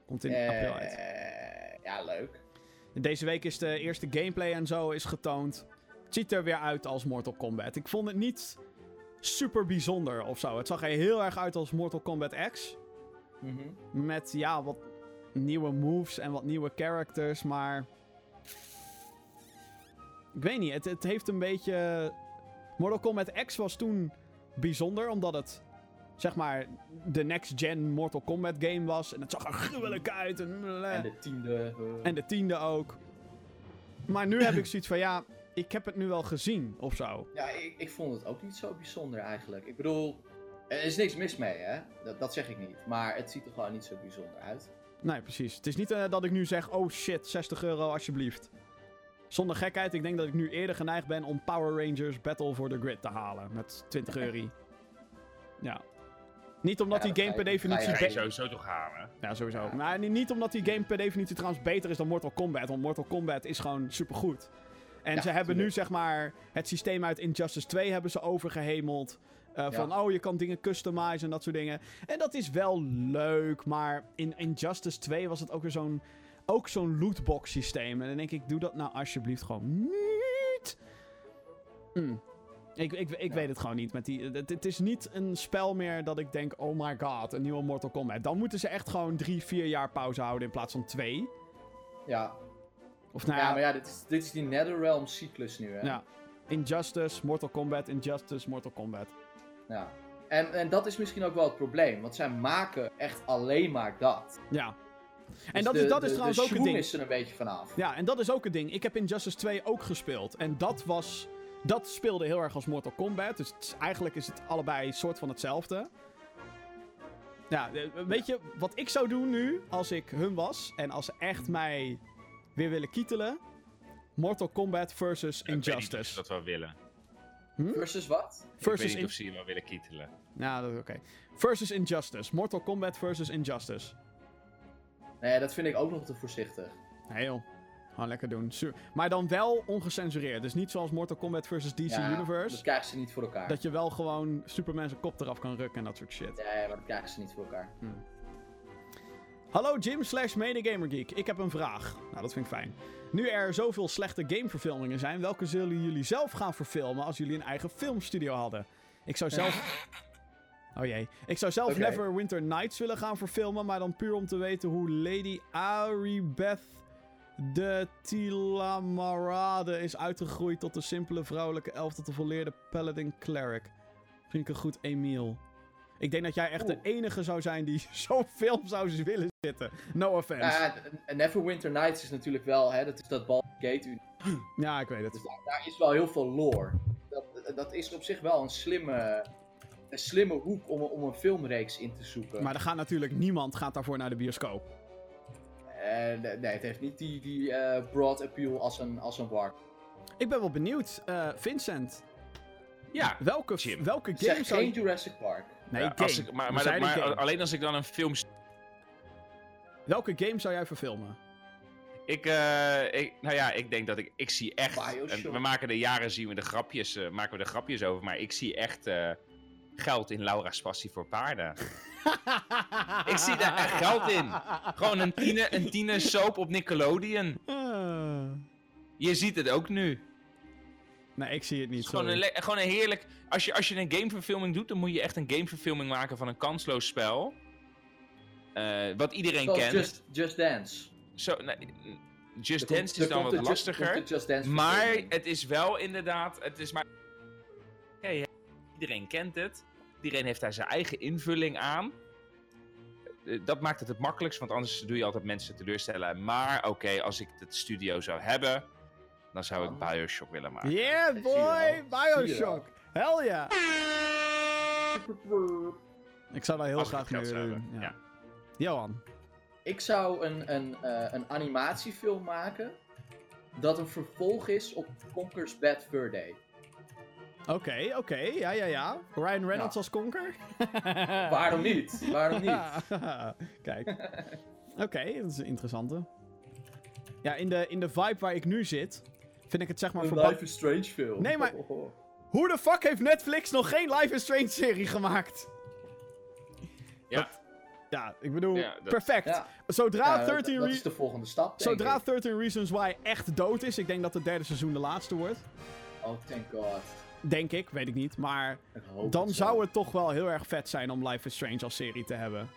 S1: Komt in
S2: Eh,
S1: april uit.
S2: ja, leuk.
S1: Deze week is de eerste gameplay en zo is getoond. Het ziet er weer uit als Mortal Kombat. Ik vond het niet super bijzonder of zo. Het zag er heel erg uit als Mortal Kombat X.
S2: Mhm.
S1: Met ja, wat nieuwe moves en wat nieuwe characters, maar. Ik weet niet, het, het heeft een beetje. Mortal Kombat X was toen bijzonder, omdat het. Zeg maar, de next-gen Mortal Kombat game was. En het zag er gruwelijk uit. En,
S2: En de tiende. eh,
S1: en de tiende ook. Maar nu heb ik zoiets van, ja, ik heb het nu wel gezien, of zo.
S2: Ja, ik, ik vond het ook niet zo bijzonder eigenlijk. Ik bedoel, er is niks mis mee, hè? Dat, dat zeg ik niet. Maar het ziet er gewoon niet zo bijzonder uit.
S1: Nee, precies. Het is niet eh, dat ik nu zeg, oh shit, 60 euro alsjeblieft. Zonder gekheid, ik denk dat ik nu eerder geneigd ben om Power Rangers Battle for the Grid te halen. Met 20 euro. Ja. Niet omdat
S2: Ja,
S1: die
S2: dat
S1: game per
S2: ga je- dat ga je
S1: definitie...
S3: Ga je
S1: be-
S3: sowieso toch halen?
S1: Ja, sowieso. Maar ni- niet omdat die game per definitie trouwens beter is dan Mortal Kombat. Want Mortal Kombat is gewoon supergoed. En
S2: Ja,
S1: ze hebben
S2: tuurlijk.
S1: nu, zeg maar, het systeem uit Injustice 2 hebben ze overgehemeld. Eh, Van, oh, je kan dingen customizen en dat soort dingen. En dat is wel leuk, maar in Injustice 2 was het ook weer zo'n... Ook zo'n lootbox systeem. En dan denk ik, doe dat nou alsjeblieft gewoon niet.
S2: Hmm.
S1: Mm. Ik, ik, ik weet het gewoon niet. Met die, het, het is niet een spel meer dat ik denk, oh my god, een nieuwe Mortal Kombat. Dan moeten ze echt gewoon drie, vier jaar pauze houden in plaats van twee.
S2: Ja,
S1: Of nou
S2: ja maar ja, dit is, dit is die Netherrealm-cyclus nu, hè?
S1: ja. Injustice, Mortal Kombat, Injustice, Mortal Kombat.
S2: Ja. En, en dat is misschien ook wel het probleem, want zij maken echt alleen maar dat.
S1: Ja. En dat
S2: Dus de-
S1: is, dat
S2: de-
S1: is trouwens ook
S2: de
S1: een
S2: schwung
S1: ding.
S2: is er een beetje vanaf.
S1: Ja, en dat is ook een ding. Ik heb Injustice 2 ook gespeeld. En dat was. Dat speelde heel erg als Mortal Kombat. Dus het is- eigenlijk is het allebei soort van hetzelfde. Ja, eh, weet je wat ik zou doen nu als ik hun was en als ze echt mij weer willen kietelen? Mortal Kombat versus
S3: Ik weet niet of ze
S1: Injustice.
S3: dat wel willen.
S1: Hm?
S2: Versus wat?
S3: ik weet
S1: Versus
S3: niet
S1: in...
S3: of ze je wel willen kietelen.
S1: Ja, dat is oké. Versus Injustice. Mortal Kombat versus Injustice.
S2: Nee, dat vind ik ook nog te voorzichtig.
S1: Nee joh. Gewoon lekker doen. Su- Maar dan wel ongecensureerd. Dus niet zoals Mortal Kombat versus DC
S2: Ja,
S1: Universe.
S2: Dat krijgen ze niet voor elkaar.
S1: Dat je wel gewoon Superman zijn kop eraf kan rukken en dat soort shit.
S2: Nee, maar dat krijgen ze niet voor elkaar.
S1: Hmm. Hallo Jim slash medegamergeek, ik heb een vraag. Nou, dat vind ik fijn. Nu er zoveel slechte gameverfilmingen zijn, welke zullen jullie zelf gaan verfilmen als jullie een eigen filmstudio hadden? Ik zou zelf... Oh jee. Ik zou zelf
S2: Oké.
S1: Never Winter Nights willen gaan verfilmen, maar dan puur om te weten hoe Lady Aribeth de Tilamarade is uitgegroeid tot de simpele vrouwelijke elf tot de volleerde paladin cleric. Vind ik een goed Emiel. Ik denk dat jij echt de enige zou zijn die zo'n film zou willen zitten. No offense.
S2: Ja, en Neverwinter Nights is natuurlijk wel, hè, dat is dat Baldur's
S1: ja, ik weet het.
S2: Dus daar, daar is wel heel veel lore. Dat, dat is op zich wel een slimme, een slimme hoek om, om een filmreeks in te zoeken.
S1: Maar er gaat natuurlijk niemand gaat daarvoor naar de bioscoop.
S2: Eh, nee, nee, het heeft niet die, die eh, broad appeal als een, als een war.
S1: Ik ben wel benieuwd, eh, Vincent.
S3: Ja,
S1: Welke,
S3: Jim.
S1: welke game
S2: Zeg
S1: zou
S2: geen Jurassic Park.
S1: Nee,
S3: Ja,
S1: game.
S3: als ik, maar
S1: We
S3: maar, dat-
S1: zeiden
S3: maar
S1: game.
S3: alleen als ik dan een film... st-
S1: Welke game zou jij verfilmen?
S3: Ik, eh, ik, nou ja, ik denk dat ik... Ik zie echt...
S2: Bioshock.
S3: en we maken de jaren zien we de grapjes, eh, maken we de grapjes over. Maar ik zie echt eh, geld in Laura's passie voor paarden. ik zie daar echt geld in. Gewoon een tiener, een tiener soap op Nickelodeon.
S1: Eh,
S3: Je ziet het ook nu.
S1: nee, ik zie het niet.
S3: Het is gewoon, een
S1: sorry.
S3: le- gewoon een heerlijk. Als je, als je een gameverfilming doet, dan moet je echt een gameverfilming maken van een kansloos spel. Eh, wat iedereen
S2: Zoals
S3: kent.
S2: Just, Just Dance.
S3: Zo, nee, Just
S2: Er komt-
S3: Dance is
S2: er
S3: dan
S2: komt
S3: wat
S2: een Just- er
S3: lastiger.
S2: komt een Just Dance
S3: maar
S2: verfilming.
S3: het is wel inderdaad. Het is maar. Oké, ja, iedereen kent het. Iedereen heeft daar zijn eigen invulling aan. Eh, Dat maakt het het makkelijkst, want anders doe je altijd mensen teleurstellen. Maar oké, als ik het studio zou hebben, dan zou ik Bioshock willen maken.
S1: Yeah,
S2: je
S1: boy!
S2: wel. Zie je
S1: Bioshock! Hell yeah! Ik zou daar heel
S3: Als ik
S1: graag
S3: het
S1: mee
S3: geld zou
S1: willen
S3: hebben.
S1: doen. Ja.
S3: Ja.
S1: Johan.
S2: Ik zou een, een, eh, een animatiefilm maken dat een vervolg is op Conker's Bad Fur Day.
S1: Oké, oké. Ja, ja, ja. Ryan Reynolds
S2: Ja.
S1: als konker?
S2: Waarom niet? Waarom niet?
S1: Kijk. Oké, dat is een interessante. Ja, in de, in de vibe waar ik nu zit, vind ik het zeg maar...
S2: Een
S1: verba-
S2: Life is Strange film.
S1: Nee, maar-
S2: Oh, oh, oh.
S1: Hoe de fuck heeft Netflix nog geen Life is Strange serie gemaakt?
S3: Ja.
S1: Dat- ja, ik bedoel,
S3: Ja, dat-
S1: perfect.
S2: Ja.
S1: Zodra,
S2: Ja, dat-
S1: 13
S2: dat
S1: Re-
S2: is de volgende stap. denk
S1: Zodra
S2: ik.
S1: 13 Reasons Why echt dood is, ik denk dat het derde seizoen de laatste wordt.
S2: Oh, thank god.
S1: Denk ik, weet ik niet. Maar
S2: Ik hoop
S1: dan
S2: het zo.
S1: zou het toch wel heel erg vet zijn om Life is Strange als serie te hebben.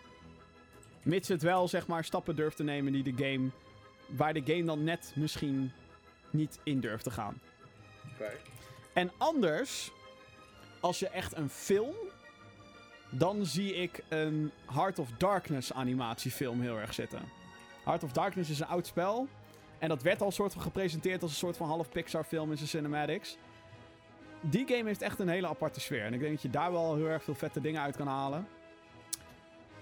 S1: Mits het wel, zeg maar, stappen durft te nemen die de game... Waar de game dan net misschien niet in durft te gaan.
S2: Oké.
S1: En anders, als je echt een film... Dan zie ik een Heart of Darkness animatiefilm heel erg zitten. Heart of Darkness is een oud spel. En dat werd al soort van gepresenteerd als een soort van half Pixar film in zijn cinematics. Die game heeft echt een hele aparte sfeer. En ik denk dat je daar wel heel erg veel vette dingen uit kan halen.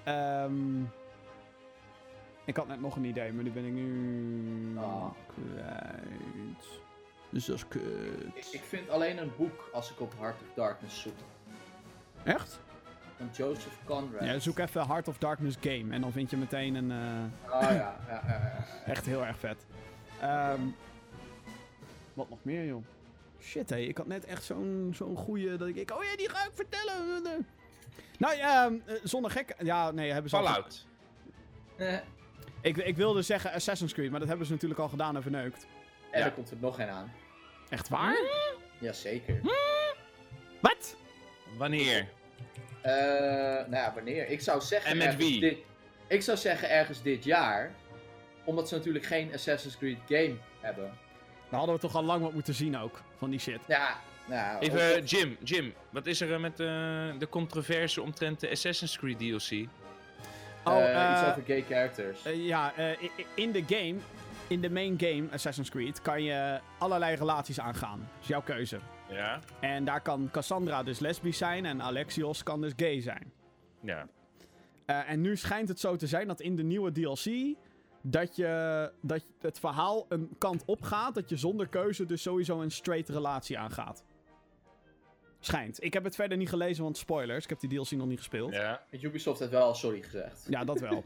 S1: Ehm, ik had net nog een idee, maar nu ben ik nu...
S2: Ah.
S1: kwijt. Dus dat is
S2: Ik,
S1: kut.
S2: ik vind alleen een boek als ik op Heart of Darkness zoek.
S1: Echt?
S2: Van Joseph Conrad.
S1: Ja, zoek even Heart of Darkness game. En dan vind je meteen een... eh,
S2: Oh ja, ja, ja, ja.
S1: Echt heel erg vet. Ehm, wat nog meer, joh? Shit, hé. Ik had net echt zo'n zo'n goeie dat ik... ik- Oh ja, die ga ik vertellen. Nou, ehm eh, zonder gek... Ja, nee, hebben ze al-
S3: Fallout.
S2: Eh,
S1: Ik, ik wilde zeggen Assassin's Creed, maar dat hebben ze natuurlijk al gedaan en verneukt.
S2: En
S3: Ja.
S2: er komt er nog een aan.
S1: Echt waar?
S2: Jazeker.
S1: Wat?
S3: Wanneer?
S2: Eh, nou ja, wanneer? Ik zou zeggen...
S3: En met
S2: ergens
S3: wie?
S2: dit- ik zou zeggen ergens dit jaar. Omdat ze natuurlijk geen Assassin's Creed game hebben.
S1: Daar hadden we toch al lang wat moeten zien ook, van die shit.
S2: Ja, nou...
S3: Even,
S2: of-
S3: eh, Jim, Jim, wat is er eh, met eh, de controverse omtrent de Assassin's Creed
S1: Oh,
S3: DLC?
S2: Eh, iets
S1: eh,
S2: over gay characters.
S1: Eh, ja, eh, i- i- in de game, in de main game Assassin's Creed, kan je allerlei relaties aangaan. Dat is jouw keuze.
S3: Ja?
S1: En daar kan Cassandra dus lesbisch zijn en Alexios kan dus gay zijn.
S3: Ja.
S1: Eh, en nu schijnt het zo te zijn dat in de nieuwe DLC dat, je, dat het verhaal een kant op gaat, dat je zonder keuze dus sowieso een straight relatie aangaat. Schijnt. Ik heb het verder niet gelezen, want spoilers. Ik heb die DLC nog niet gespeeld.
S3: Ja.
S2: Ubisoft heeft wel sorry gezegd.
S1: Ja, dat wel.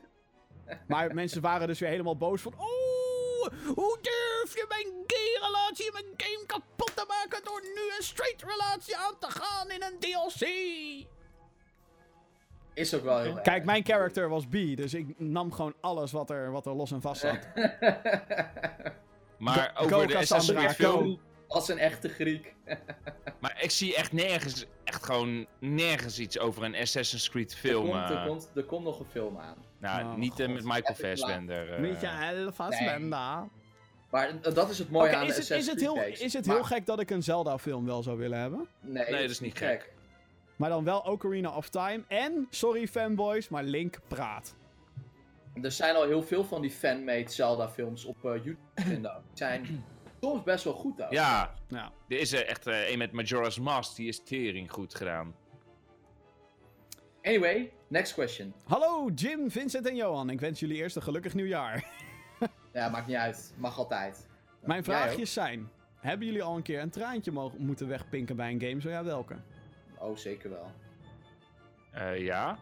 S1: maar mensen waren dus weer helemaal boos van... Oh, hoe durf je mijn gay-relatie in mijn game kapot te maken... door nu een straight-relatie aan te gaan in een DLC?
S2: Is ook wel heel erg.
S1: Kijk, mijn character was B, dus ik nam gewoon alles wat er, wat er los en vast zat.
S3: Maar
S1: Go-
S3: over
S1: go,
S3: de
S1: Cassandra,
S3: Assassin's Creed
S1: go.
S3: film...
S2: Als een echte Griek.
S3: Maar ik zie echt nergens, echt gewoon nergens iets over een Assassin's Creed
S2: Er
S3: film.
S2: komt, er,
S3: eh.
S2: komt, er komt nog een film aan.
S3: nou,
S1: Oh,
S3: niet eh,
S1: God.
S3: met Michael
S2: Even laat.
S3: Fassbender. eh.
S1: Beetje heel vast,
S2: Nee.
S1: Linda.
S2: Maar eh, dat is het mooie
S1: Oké,
S2: aan
S1: is,
S2: de
S1: het, is, het
S2: Assassin's
S1: heel,
S2: Creed games.
S1: is het heel
S2: Maar-
S1: gek dat ik een Zelda-film wel zou willen hebben?
S2: Nee,
S3: dat is niet gek.
S1: Maar dan wel Ocarina of Time en, sorry fanboys, maar Link praat.
S2: Er zijn al heel veel van die fanmade Zelda films op eh, YouTube te vinden. ook. Die zijn soms best wel goed ook.
S3: ja,
S1: Ja.
S3: er is er echt eh, een met Majora's Mask, die is tering goed gedaan.
S2: Anyway, next question.
S1: Hallo Jim, Vincent en Johan. Ik wens jullie eerst een gelukkig nieuwjaar.
S2: Ja, maakt niet uit. Mag altijd.
S1: Mijn
S2: Jij
S1: vraagjes zijn: Hebben jullie al een keer een traantje mogen, moeten wegpinken bij een game? Zo ja, welke?
S2: ook? Oh, zeker wel.
S3: Eh, ja.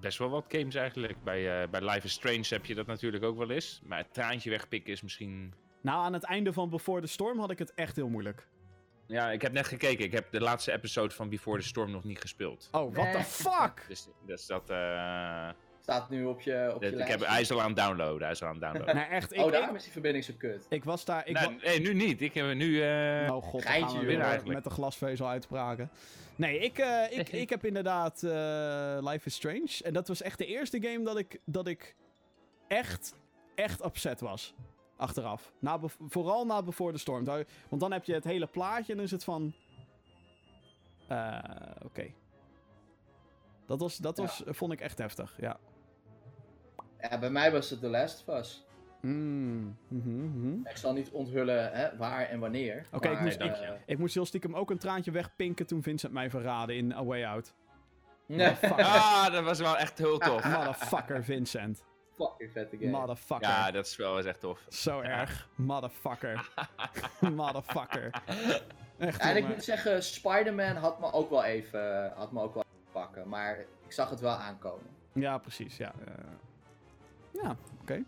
S3: Best wel wat games eigenlijk. Bij, eh, bij Life is Strange heb je dat natuurlijk ook wel eens. Maar het traantje wegpikken is misschien...
S1: Nou, aan het einde van Before the Storm had ik het echt heel moeilijk.
S3: Ja, ik heb net gekeken. Ik heb de laatste episode van Before the Storm nog niet gespeeld.
S1: Oh, what the
S2: Nee.
S1: fuck?
S3: Dus, dus dat... eh,
S2: Staat nu op je, op
S3: dat-
S2: je
S3: ik heb,
S2: lijstje.
S3: hij is al aan het downloaden. Hij is al aan het downloaden.
S1: Nee, echt. Ik,
S2: Oh, daarom
S1: ik,
S2: is die verbinding zo kut.
S1: ik was daar. Ik
S3: nee,
S1: wa-
S3: nee, nu niet. Ik heb nu... eh,
S1: oh god, dan
S2: Geintje,
S1: gaan we
S2: joh.
S1: weer
S3: Eigenlijk.
S1: met de glasvezel uitspraken. Nee, ik, eh, ik, ik heb inderdaad eh, Life is Strange. En dat was echt de eerste game dat ik, dat ik echt, echt upset was. Achteraf. Na, Bef- vooral na Before the Storm. Daar- Want dan heb je het hele plaatje en dan is het van... eh, Oké. Dat, was, dat
S2: Ja.
S1: was, eh, vond ik echt heftig, ja.
S2: Ja, bij mij was het The Last of Us.
S1: Mm, mhm, mhm.
S2: Ik zal niet onthullen hè, waar en wanneer.
S1: Oké, ik
S2: maar,
S1: moest-
S2: eh,
S3: ik-
S1: Ik moest heel stiekem ook een traantje wegpinken toen Vincent mij verraadde in A Way Out.
S2: nee,
S1: Fucker,
S3: Ah, dat was wel echt heel tof.
S1: Ah, motherfucker Vincent.
S2: fucking vette game.
S1: Motherfucker.
S3: Ja, dat is wel eens echt tof.
S1: Zo erg. Motherfucker. Motherfucker. Echt,
S2: En ik
S1: jongen.
S2: moet zeggen, Spider-Man had me ook wel even had me ook wel even pakken. Maar ik zag het wel aankomen.
S1: Ja, precies. Ja, eh. ja oké.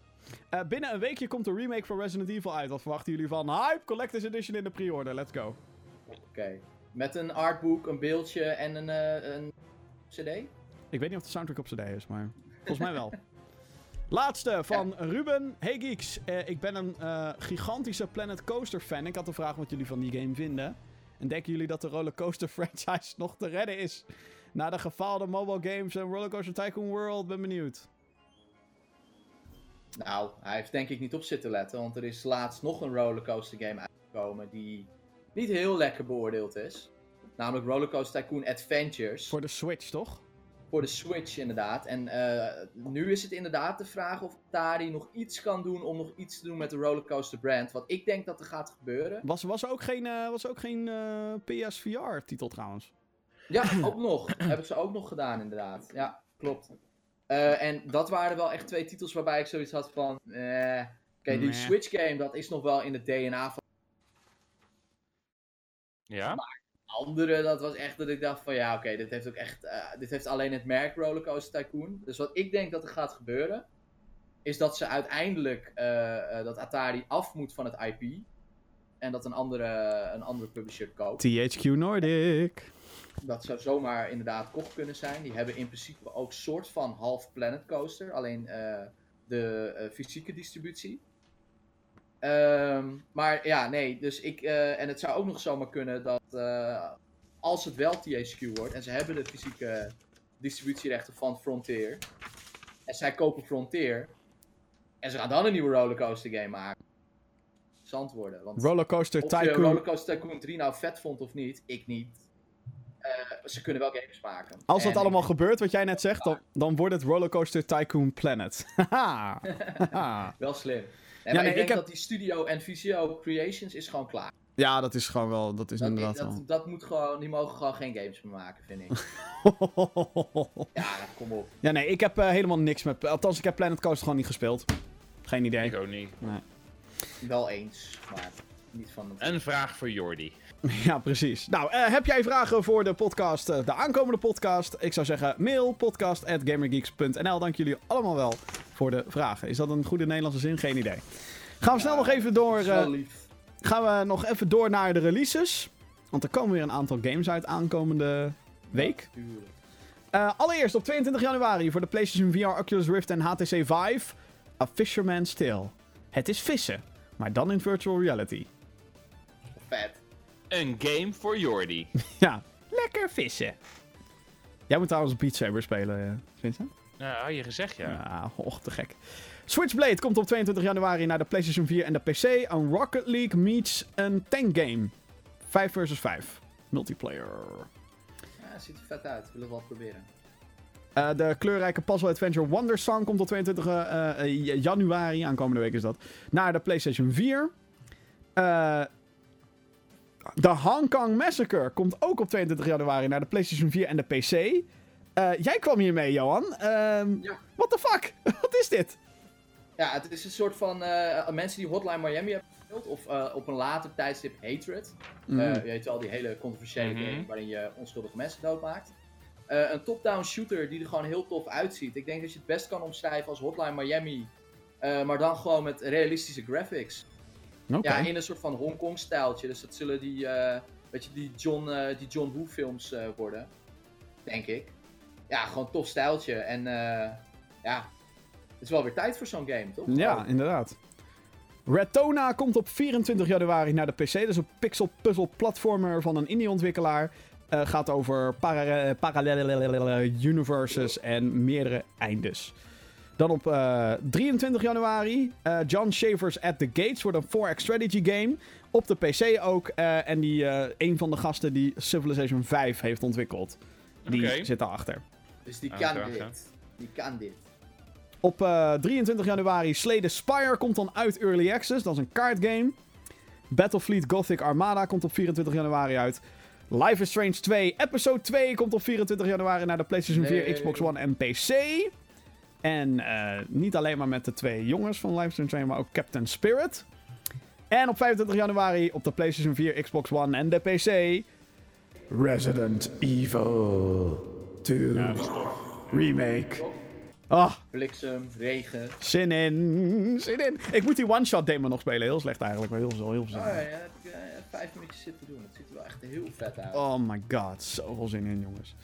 S1: Eh, binnen een weekje komt de remake van Resident Evil uit. Wat verwachten jullie van? Hype Collector's Edition in de pre-order. Let's go.
S2: Oké. Met een artboek, een beeldje en een, eh, een CD?
S1: Ik weet niet of de soundtrack op CD is, maar volgens mij wel. Laatste van Ruben. Hey geeks, eh, ik ben een eh, gigantische Planet Coaster fan. Ik had de vraag wat jullie van die game vinden. En denken jullie dat de rollercoaster franchise nog te redden is? Na de gefaalde mobile games en Rollercoaster Tycoon World, ben benieuwd.
S2: Nou, hij heeft denk ik niet op zitten letten. Want er is laatst nog een rollercoaster game uitgekomen die niet heel lekker beoordeeld is. Namelijk Rollercoaster Tycoon Adventures.
S1: Voor de Switch, toch?
S2: Voor de Switch inderdaad. En eh, nu is het inderdaad de vraag of Atari nog iets kan doen om nog iets te doen met de rollercoaster brand. Wat ik denk dat er gaat gebeuren.
S1: Was, was er ook geen, eh, was er ook geen eh, PSVR-titel trouwens.
S2: Ja, ook nog. Hebben ze ook nog gedaan inderdaad. Ja, klopt. Eh, en dat waren wel echt twee titels waarbij ik zoiets had van... eh, Oké, die
S1: Meh.
S2: Switch game, dat is nog wel in het DNA van
S3: Ja?
S2: anderen. Dat was echt dat ik dacht van ja, oké, dit heeft ook echt... eh, dit heeft alleen het merk Rollercoaster Tycoon. Dus wat ik denk dat er gaat gebeuren... Is dat ze uiteindelijk... eh, eh, dat Atari af moet van het IP. En dat een andere, een andere publisher koopt.
S1: THQ Nordic.
S2: Dat zou zomaar inderdaad kocht kunnen zijn. Die hebben in principe ook soort van half Planet Coaster. Alleen eh, de eh, fysieke distributie. Ehm, maar ja, nee. Dus ik, eh, en het zou ook nog zomaar kunnen dat eh, als het wel THQ wordt. En ze hebben de fysieke distributierechten van Frontier. En zij kopen Frontier. En ze gaan dan een nieuwe rollercoaster game maken. Zand worden. Want
S1: Rollercoaster
S2: of je
S1: Tycoon.
S2: Rollercoaster Tycoon 3 nou vet vond of niet, ik niet. Eh, ze kunnen wel games maken.
S1: Als
S2: En
S1: dat
S2: ik-
S1: allemaal gebeurt, wat jij net zegt, dan, dan wordt het Rollercoaster Tycoon Planet. Haha. Haha.
S2: Wel slim. Nee, maar
S1: nee,
S2: ik
S1: ik
S2: denk
S1: heb-
S2: dat die studio en VCO Creations is gewoon klaar.
S1: ja, dat is gewoon wel, dat is
S2: Dat,
S1: inderdaad
S2: dat, dat moet gewoon, die mogen gewoon geen games meer maken, vind ik.
S1: wel.
S2: Ja, kom op.
S1: ja, nee, ik heb eh, helemaal niks met, althans ik heb Planet Coaster gewoon niet gespeeld. Geen idee.
S3: Ik ook niet.
S2: Wel eens, maar niet van het...
S3: Een vraag voor Jordi.
S1: Ja, precies. Nou, eh, heb jij vragen voor de podcast, eh, de aankomende podcast? Ik zou zeggen, mail podcast.gamergeeks.nl. Dank jullie allemaal wel voor de vragen. Is dat een goede Nederlandse zin? Geen idee. Gaan we snel nog even door...
S2: Dat is wel
S1: eh,
S2: lief.
S1: Gaan we nog even door naar de releases. Want er komen weer een aantal games uit aankomende week.
S2: Tuurlijk.
S1: Eh, allereerst op 22 januari voor de PlayStation VR, Oculus Rift en HTC Vive. A Fisherman's Tale. Het is vissen, maar dan in virtual reality.
S2: Vet.
S3: Een game voor Jordi.
S1: Ja, lekker vissen. Jij moet trouwens Beat Saber spelen, eh, Vincent.
S3: Nou, had je gezegd ja.
S1: Ja, och, te gek. Switchblade komt op 22 januari naar de PlayStation 4 en de PC. Een Rocket League meets een tank game. 5 versus 5. Multiplayer.
S2: Ja, ziet er vet uit. Willen we wel proberen.
S1: Eh, de kleurrijke Puzzle Adventure Wonder Song komt op 22 eh, eh, januari, aankomende week is dat, naar de PlayStation 4. Eh, de Hong Kong Massacre komt ook op 22 januari naar de PlayStation 4 en de PC. Eh, jij kwam hier mee, Johan. Ehm
S2: Ja.
S1: What the fuck? Wat is dit?
S2: Ja, het is een soort van eh, mensen die Hotline Miami hebben gespeeld, of eh, op een later tijdstip Hatred.
S1: Mhm.
S2: Eh, je weet wel, die hele controversiële
S3: Mhm.
S2: game waarin je onschuldige mensen doodmaakt. Eh, een top-down shooter die er gewoon heel tof uitziet. Ik denk dat je het best kan omschrijven als Hotline Miami, eh, maar dan gewoon met realistische graphics.
S1: Oké.
S2: Ja, in een soort van Hongkong-stijltje. Dus dat zullen die, eh, weet je, die John, eh, die John Woo-films eh, worden. Denk ik. Ja, gewoon tof stijltje. En eh, ja, het is wel weer tijd voor zo'n game, toch? Oh.
S1: Ja, inderdaad. Retona komt op 24 januari naar de PC. Dat is een pixel puzzle platformer van een indie ontwikkelaar. Eh, gaat over para- parallele universes en meerdere eindes. Dan op eh, 23 januari, eh, John Shavers at the Gates wordt een 4X strategy game. Op de PC ook. eh, en die, eh, een van de gasten die Civilization 5 heeft ontwikkeld. Die
S3: Oké.
S1: zit daarachter.
S2: Dus die
S3: Ah,
S2: kan
S3: graag, hè.
S2: dit. Die kan dit.
S1: Op eh, 23 januari Slay the Spire komt dan uit Early Access. Dat is een kaartgame. Battlefleet Gothic Armada komt op 24 januari uit. Life is Strange 2 Episode 2 komt op 24 januari naar de PlayStation 4,
S2: Nee.
S1: Xbox One en PC. En eh, niet alleen maar met de twee jongens van Life is Strange 2, maar ook Captain Spirit. En op 25 januari op de PlayStation 4, Xbox One en de PC... Resident Evil 2 Remake. Ah,
S2: Bliksem, regen.
S1: Zin in. Zin in. Ik moet die one-shot demo nog spelen. Heel slecht eigenlijk, maar heel, heel, heel zin.
S2: Oh, ja, heb ik eh, vijf minuutjes zitten doen. Het ziet er wel echt heel vet uit.
S1: Oh my god, zoveel zin in, jongens.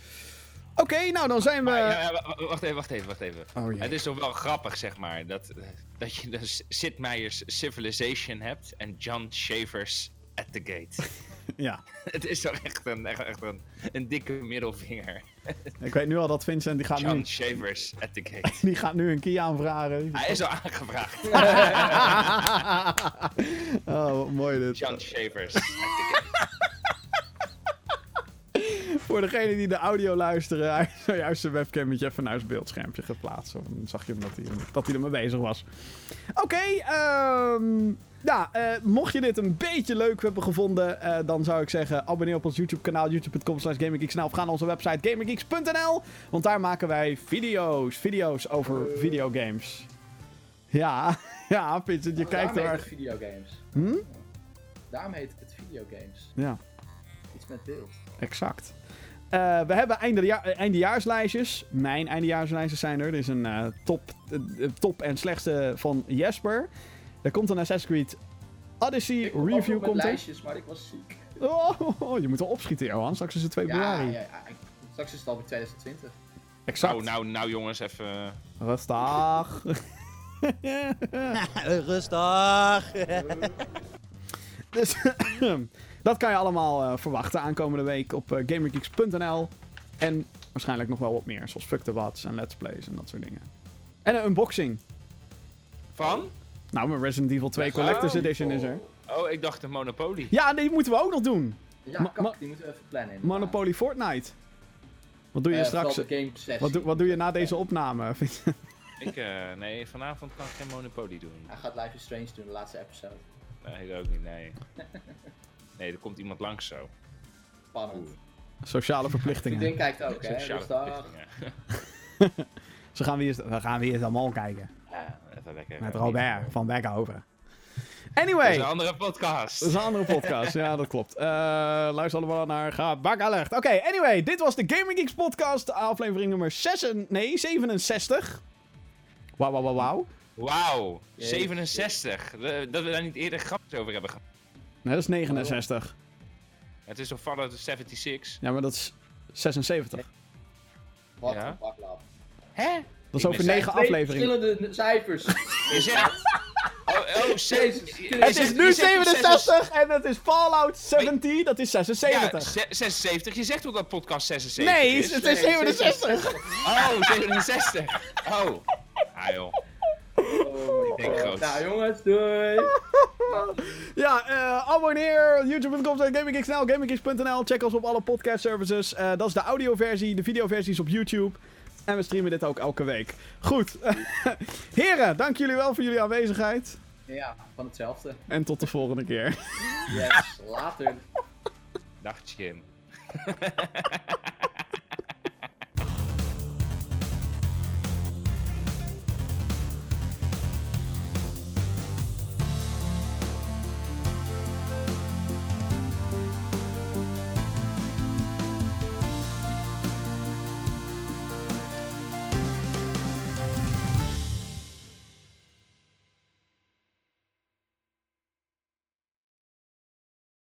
S1: Oké, nou dan zijn we.
S3: Maar, ja, ja, wa- wa- wacht even, wacht even, wacht even.
S1: Oh, jee.
S3: het is toch wel grappig, zeg maar, dat, dat je dus Sid Meier's Civilization hebt en John Shavers at the gate.
S1: Ja.
S3: het is toch echt een, echt, echt een, een dikke middelvinger.
S1: Ik weet nu al dat Vincent die gaat, nu,
S3: John Shavers at the gate.
S1: die gaat nu een key aanvragen.
S3: Hij is al aangevraagd.
S1: Oh, wat mooi dit.
S3: John Shavers at the gate.
S1: Voor degenen die de audio luisteren, hij heeft zojuist zijn webcammetje even naar zijn beeldschermpje geplaatst. Dan zag je hem dat hij, dat hij ermee bezig was. Oké, ehm, ja, eh, mocht je dit een beetje leuk hebben gevonden, eh, dan zou ik zeggen, abonneer op ons YouTube kanaal, youtube.com slash gamergeeksnl of ga naar onze website gamergeeks.nl, want daar maken wij video's, video's over videogames. Ja, ja, Vincent,
S2: Oh,
S1: je kijkt Hm? heel
S2: Daarom
S1: erg.
S2: heet het videogames. Daarom heet het videogames.
S1: Ja.
S2: Iets met beeld.
S1: Exact. Eh, we hebben eindeja eh, eindejaarslijstjes. Mijn eindejaarslijstjes zijn er. Er is een eh, top, eh, eh, top en slechtste van Jesper. Er komt een Assassin's Creed Odyssey
S2: Ik kom ook nog
S1: review.
S2: met
S1: Komt er.
S2: lijstjes, maar ik was ziek.
S1: Oh, oh, oh, je moet wel opschieten, Johan. Straks is het 2
S2: Ja,
S1: januari.
S2: ja, Oh, ja, ik- straks is het alweer 2020.
S1: Exact.
S3: Nou, nou, nou jongens, even...
S1: Rustig.
S6: Rustig.
S1: Dus dat kan je allemaal eh, verwachten aankomende week op eh, gamergeeks.nl. En waarschijnlijk nog wel wat meer, zoals Fuck the Wats en Let's Plays en dat soort dingen. En een unboxing.
S3: Van?
S1: Nou, mijn Resident Evil 2 Collector's
S3: Oh.
S1: Edition is er.
S3: Oh, ik dacht een Monopoly.
S1: Ja, die moeten we ook nog doen.
S2: Ja,
S1: Ma- ma-
S2: kak, die moeten we even plannen. inderdaad.
S1: Monopoly Fortnite. Wat doe je
S2: Eh,
S1: straks?
S2: vooral de game sessie.
S1: Wat, doe- wat doe je na deze opname?
S3: Ik, eh, nee, vanavond kan ik geen Monopoly doen.
S2: Hij gaat Life is Strange doen, de laatste episode.
S3: Nee, dat ook niet, nee. Nee, er komt iemand langs zo.
S2: Spannend.
S1: Sociale
S2: Die
S1: verplichtingen.
S2: ding kijkt ook, hè?
S3: Sociale
S2: Dus dag.
S3: verplichtingen.
S1: Ze gaan weer, we gaan weer eens allemaal kijken.
S3: Ja, even lekker.
S1: Met
S3: eh,
S1: Robert van Beckhoven.
S3: Dat is een
S1: Anyway,
S3: andere podcast.
S1: dat is een andere podcast. Ja, dat klopt. Eh, luister allemaal naar Ga Bak Alert. Oké, anyway, dit was de Gaming Geeks podcast. Aflevering nummer 6 en- nee, 67. Wauw, wauw, wauw, wauw.
S3: Wauw,
S2: Jezus.
S3: 67. De- Dat we daar niet eerder grapjes over hebben gehad.
S1: Nee, dat is 69.
S3: Het is een Fallout 76.
S1: Ja, maar dat is 76.
S2: Wat
S3: Ja.
S2: een baklap.
S3: Hè?
S1: Dat is over
S3: mis-
S1: 9
S2: Twee
S1: afleveringen.
S2: verschillende n- cijfers.
S3: Je zegt... Oh, oh, ze-
S2: Jezus.
S3: je- je
S1: Het is
S3: zegt-
S1: nu
S3: je zegt
S1: 67 en het is Fallout 70. Dat is
S3: Ja,
S1: 76.
S3: ze- 76. Je zegt ook dat podcast 76
S1: Nee,
S3: is.
S1: het is 67.
S3: Oh, 67. Oh. Ah joh.
S2: Oh, ik
S3: denk groot.
S2: Nou jongens, doei!
S1: Ja, eh, abonneer. YouTube.com slash GamingGeeksNL, GamingGeeks.nl. Check ons op alle podcast services. Eh, dat is de audioversie. De videoversie is op YouTube. En we streamen dit ook elke week. Goed. Heren, dank jullie wel voor jullie aanwezigheid.
S2: Ja, van hetzelfde.
S1: En tot de volgende keer.
S2: Yes, later.
S3: Dag Jim.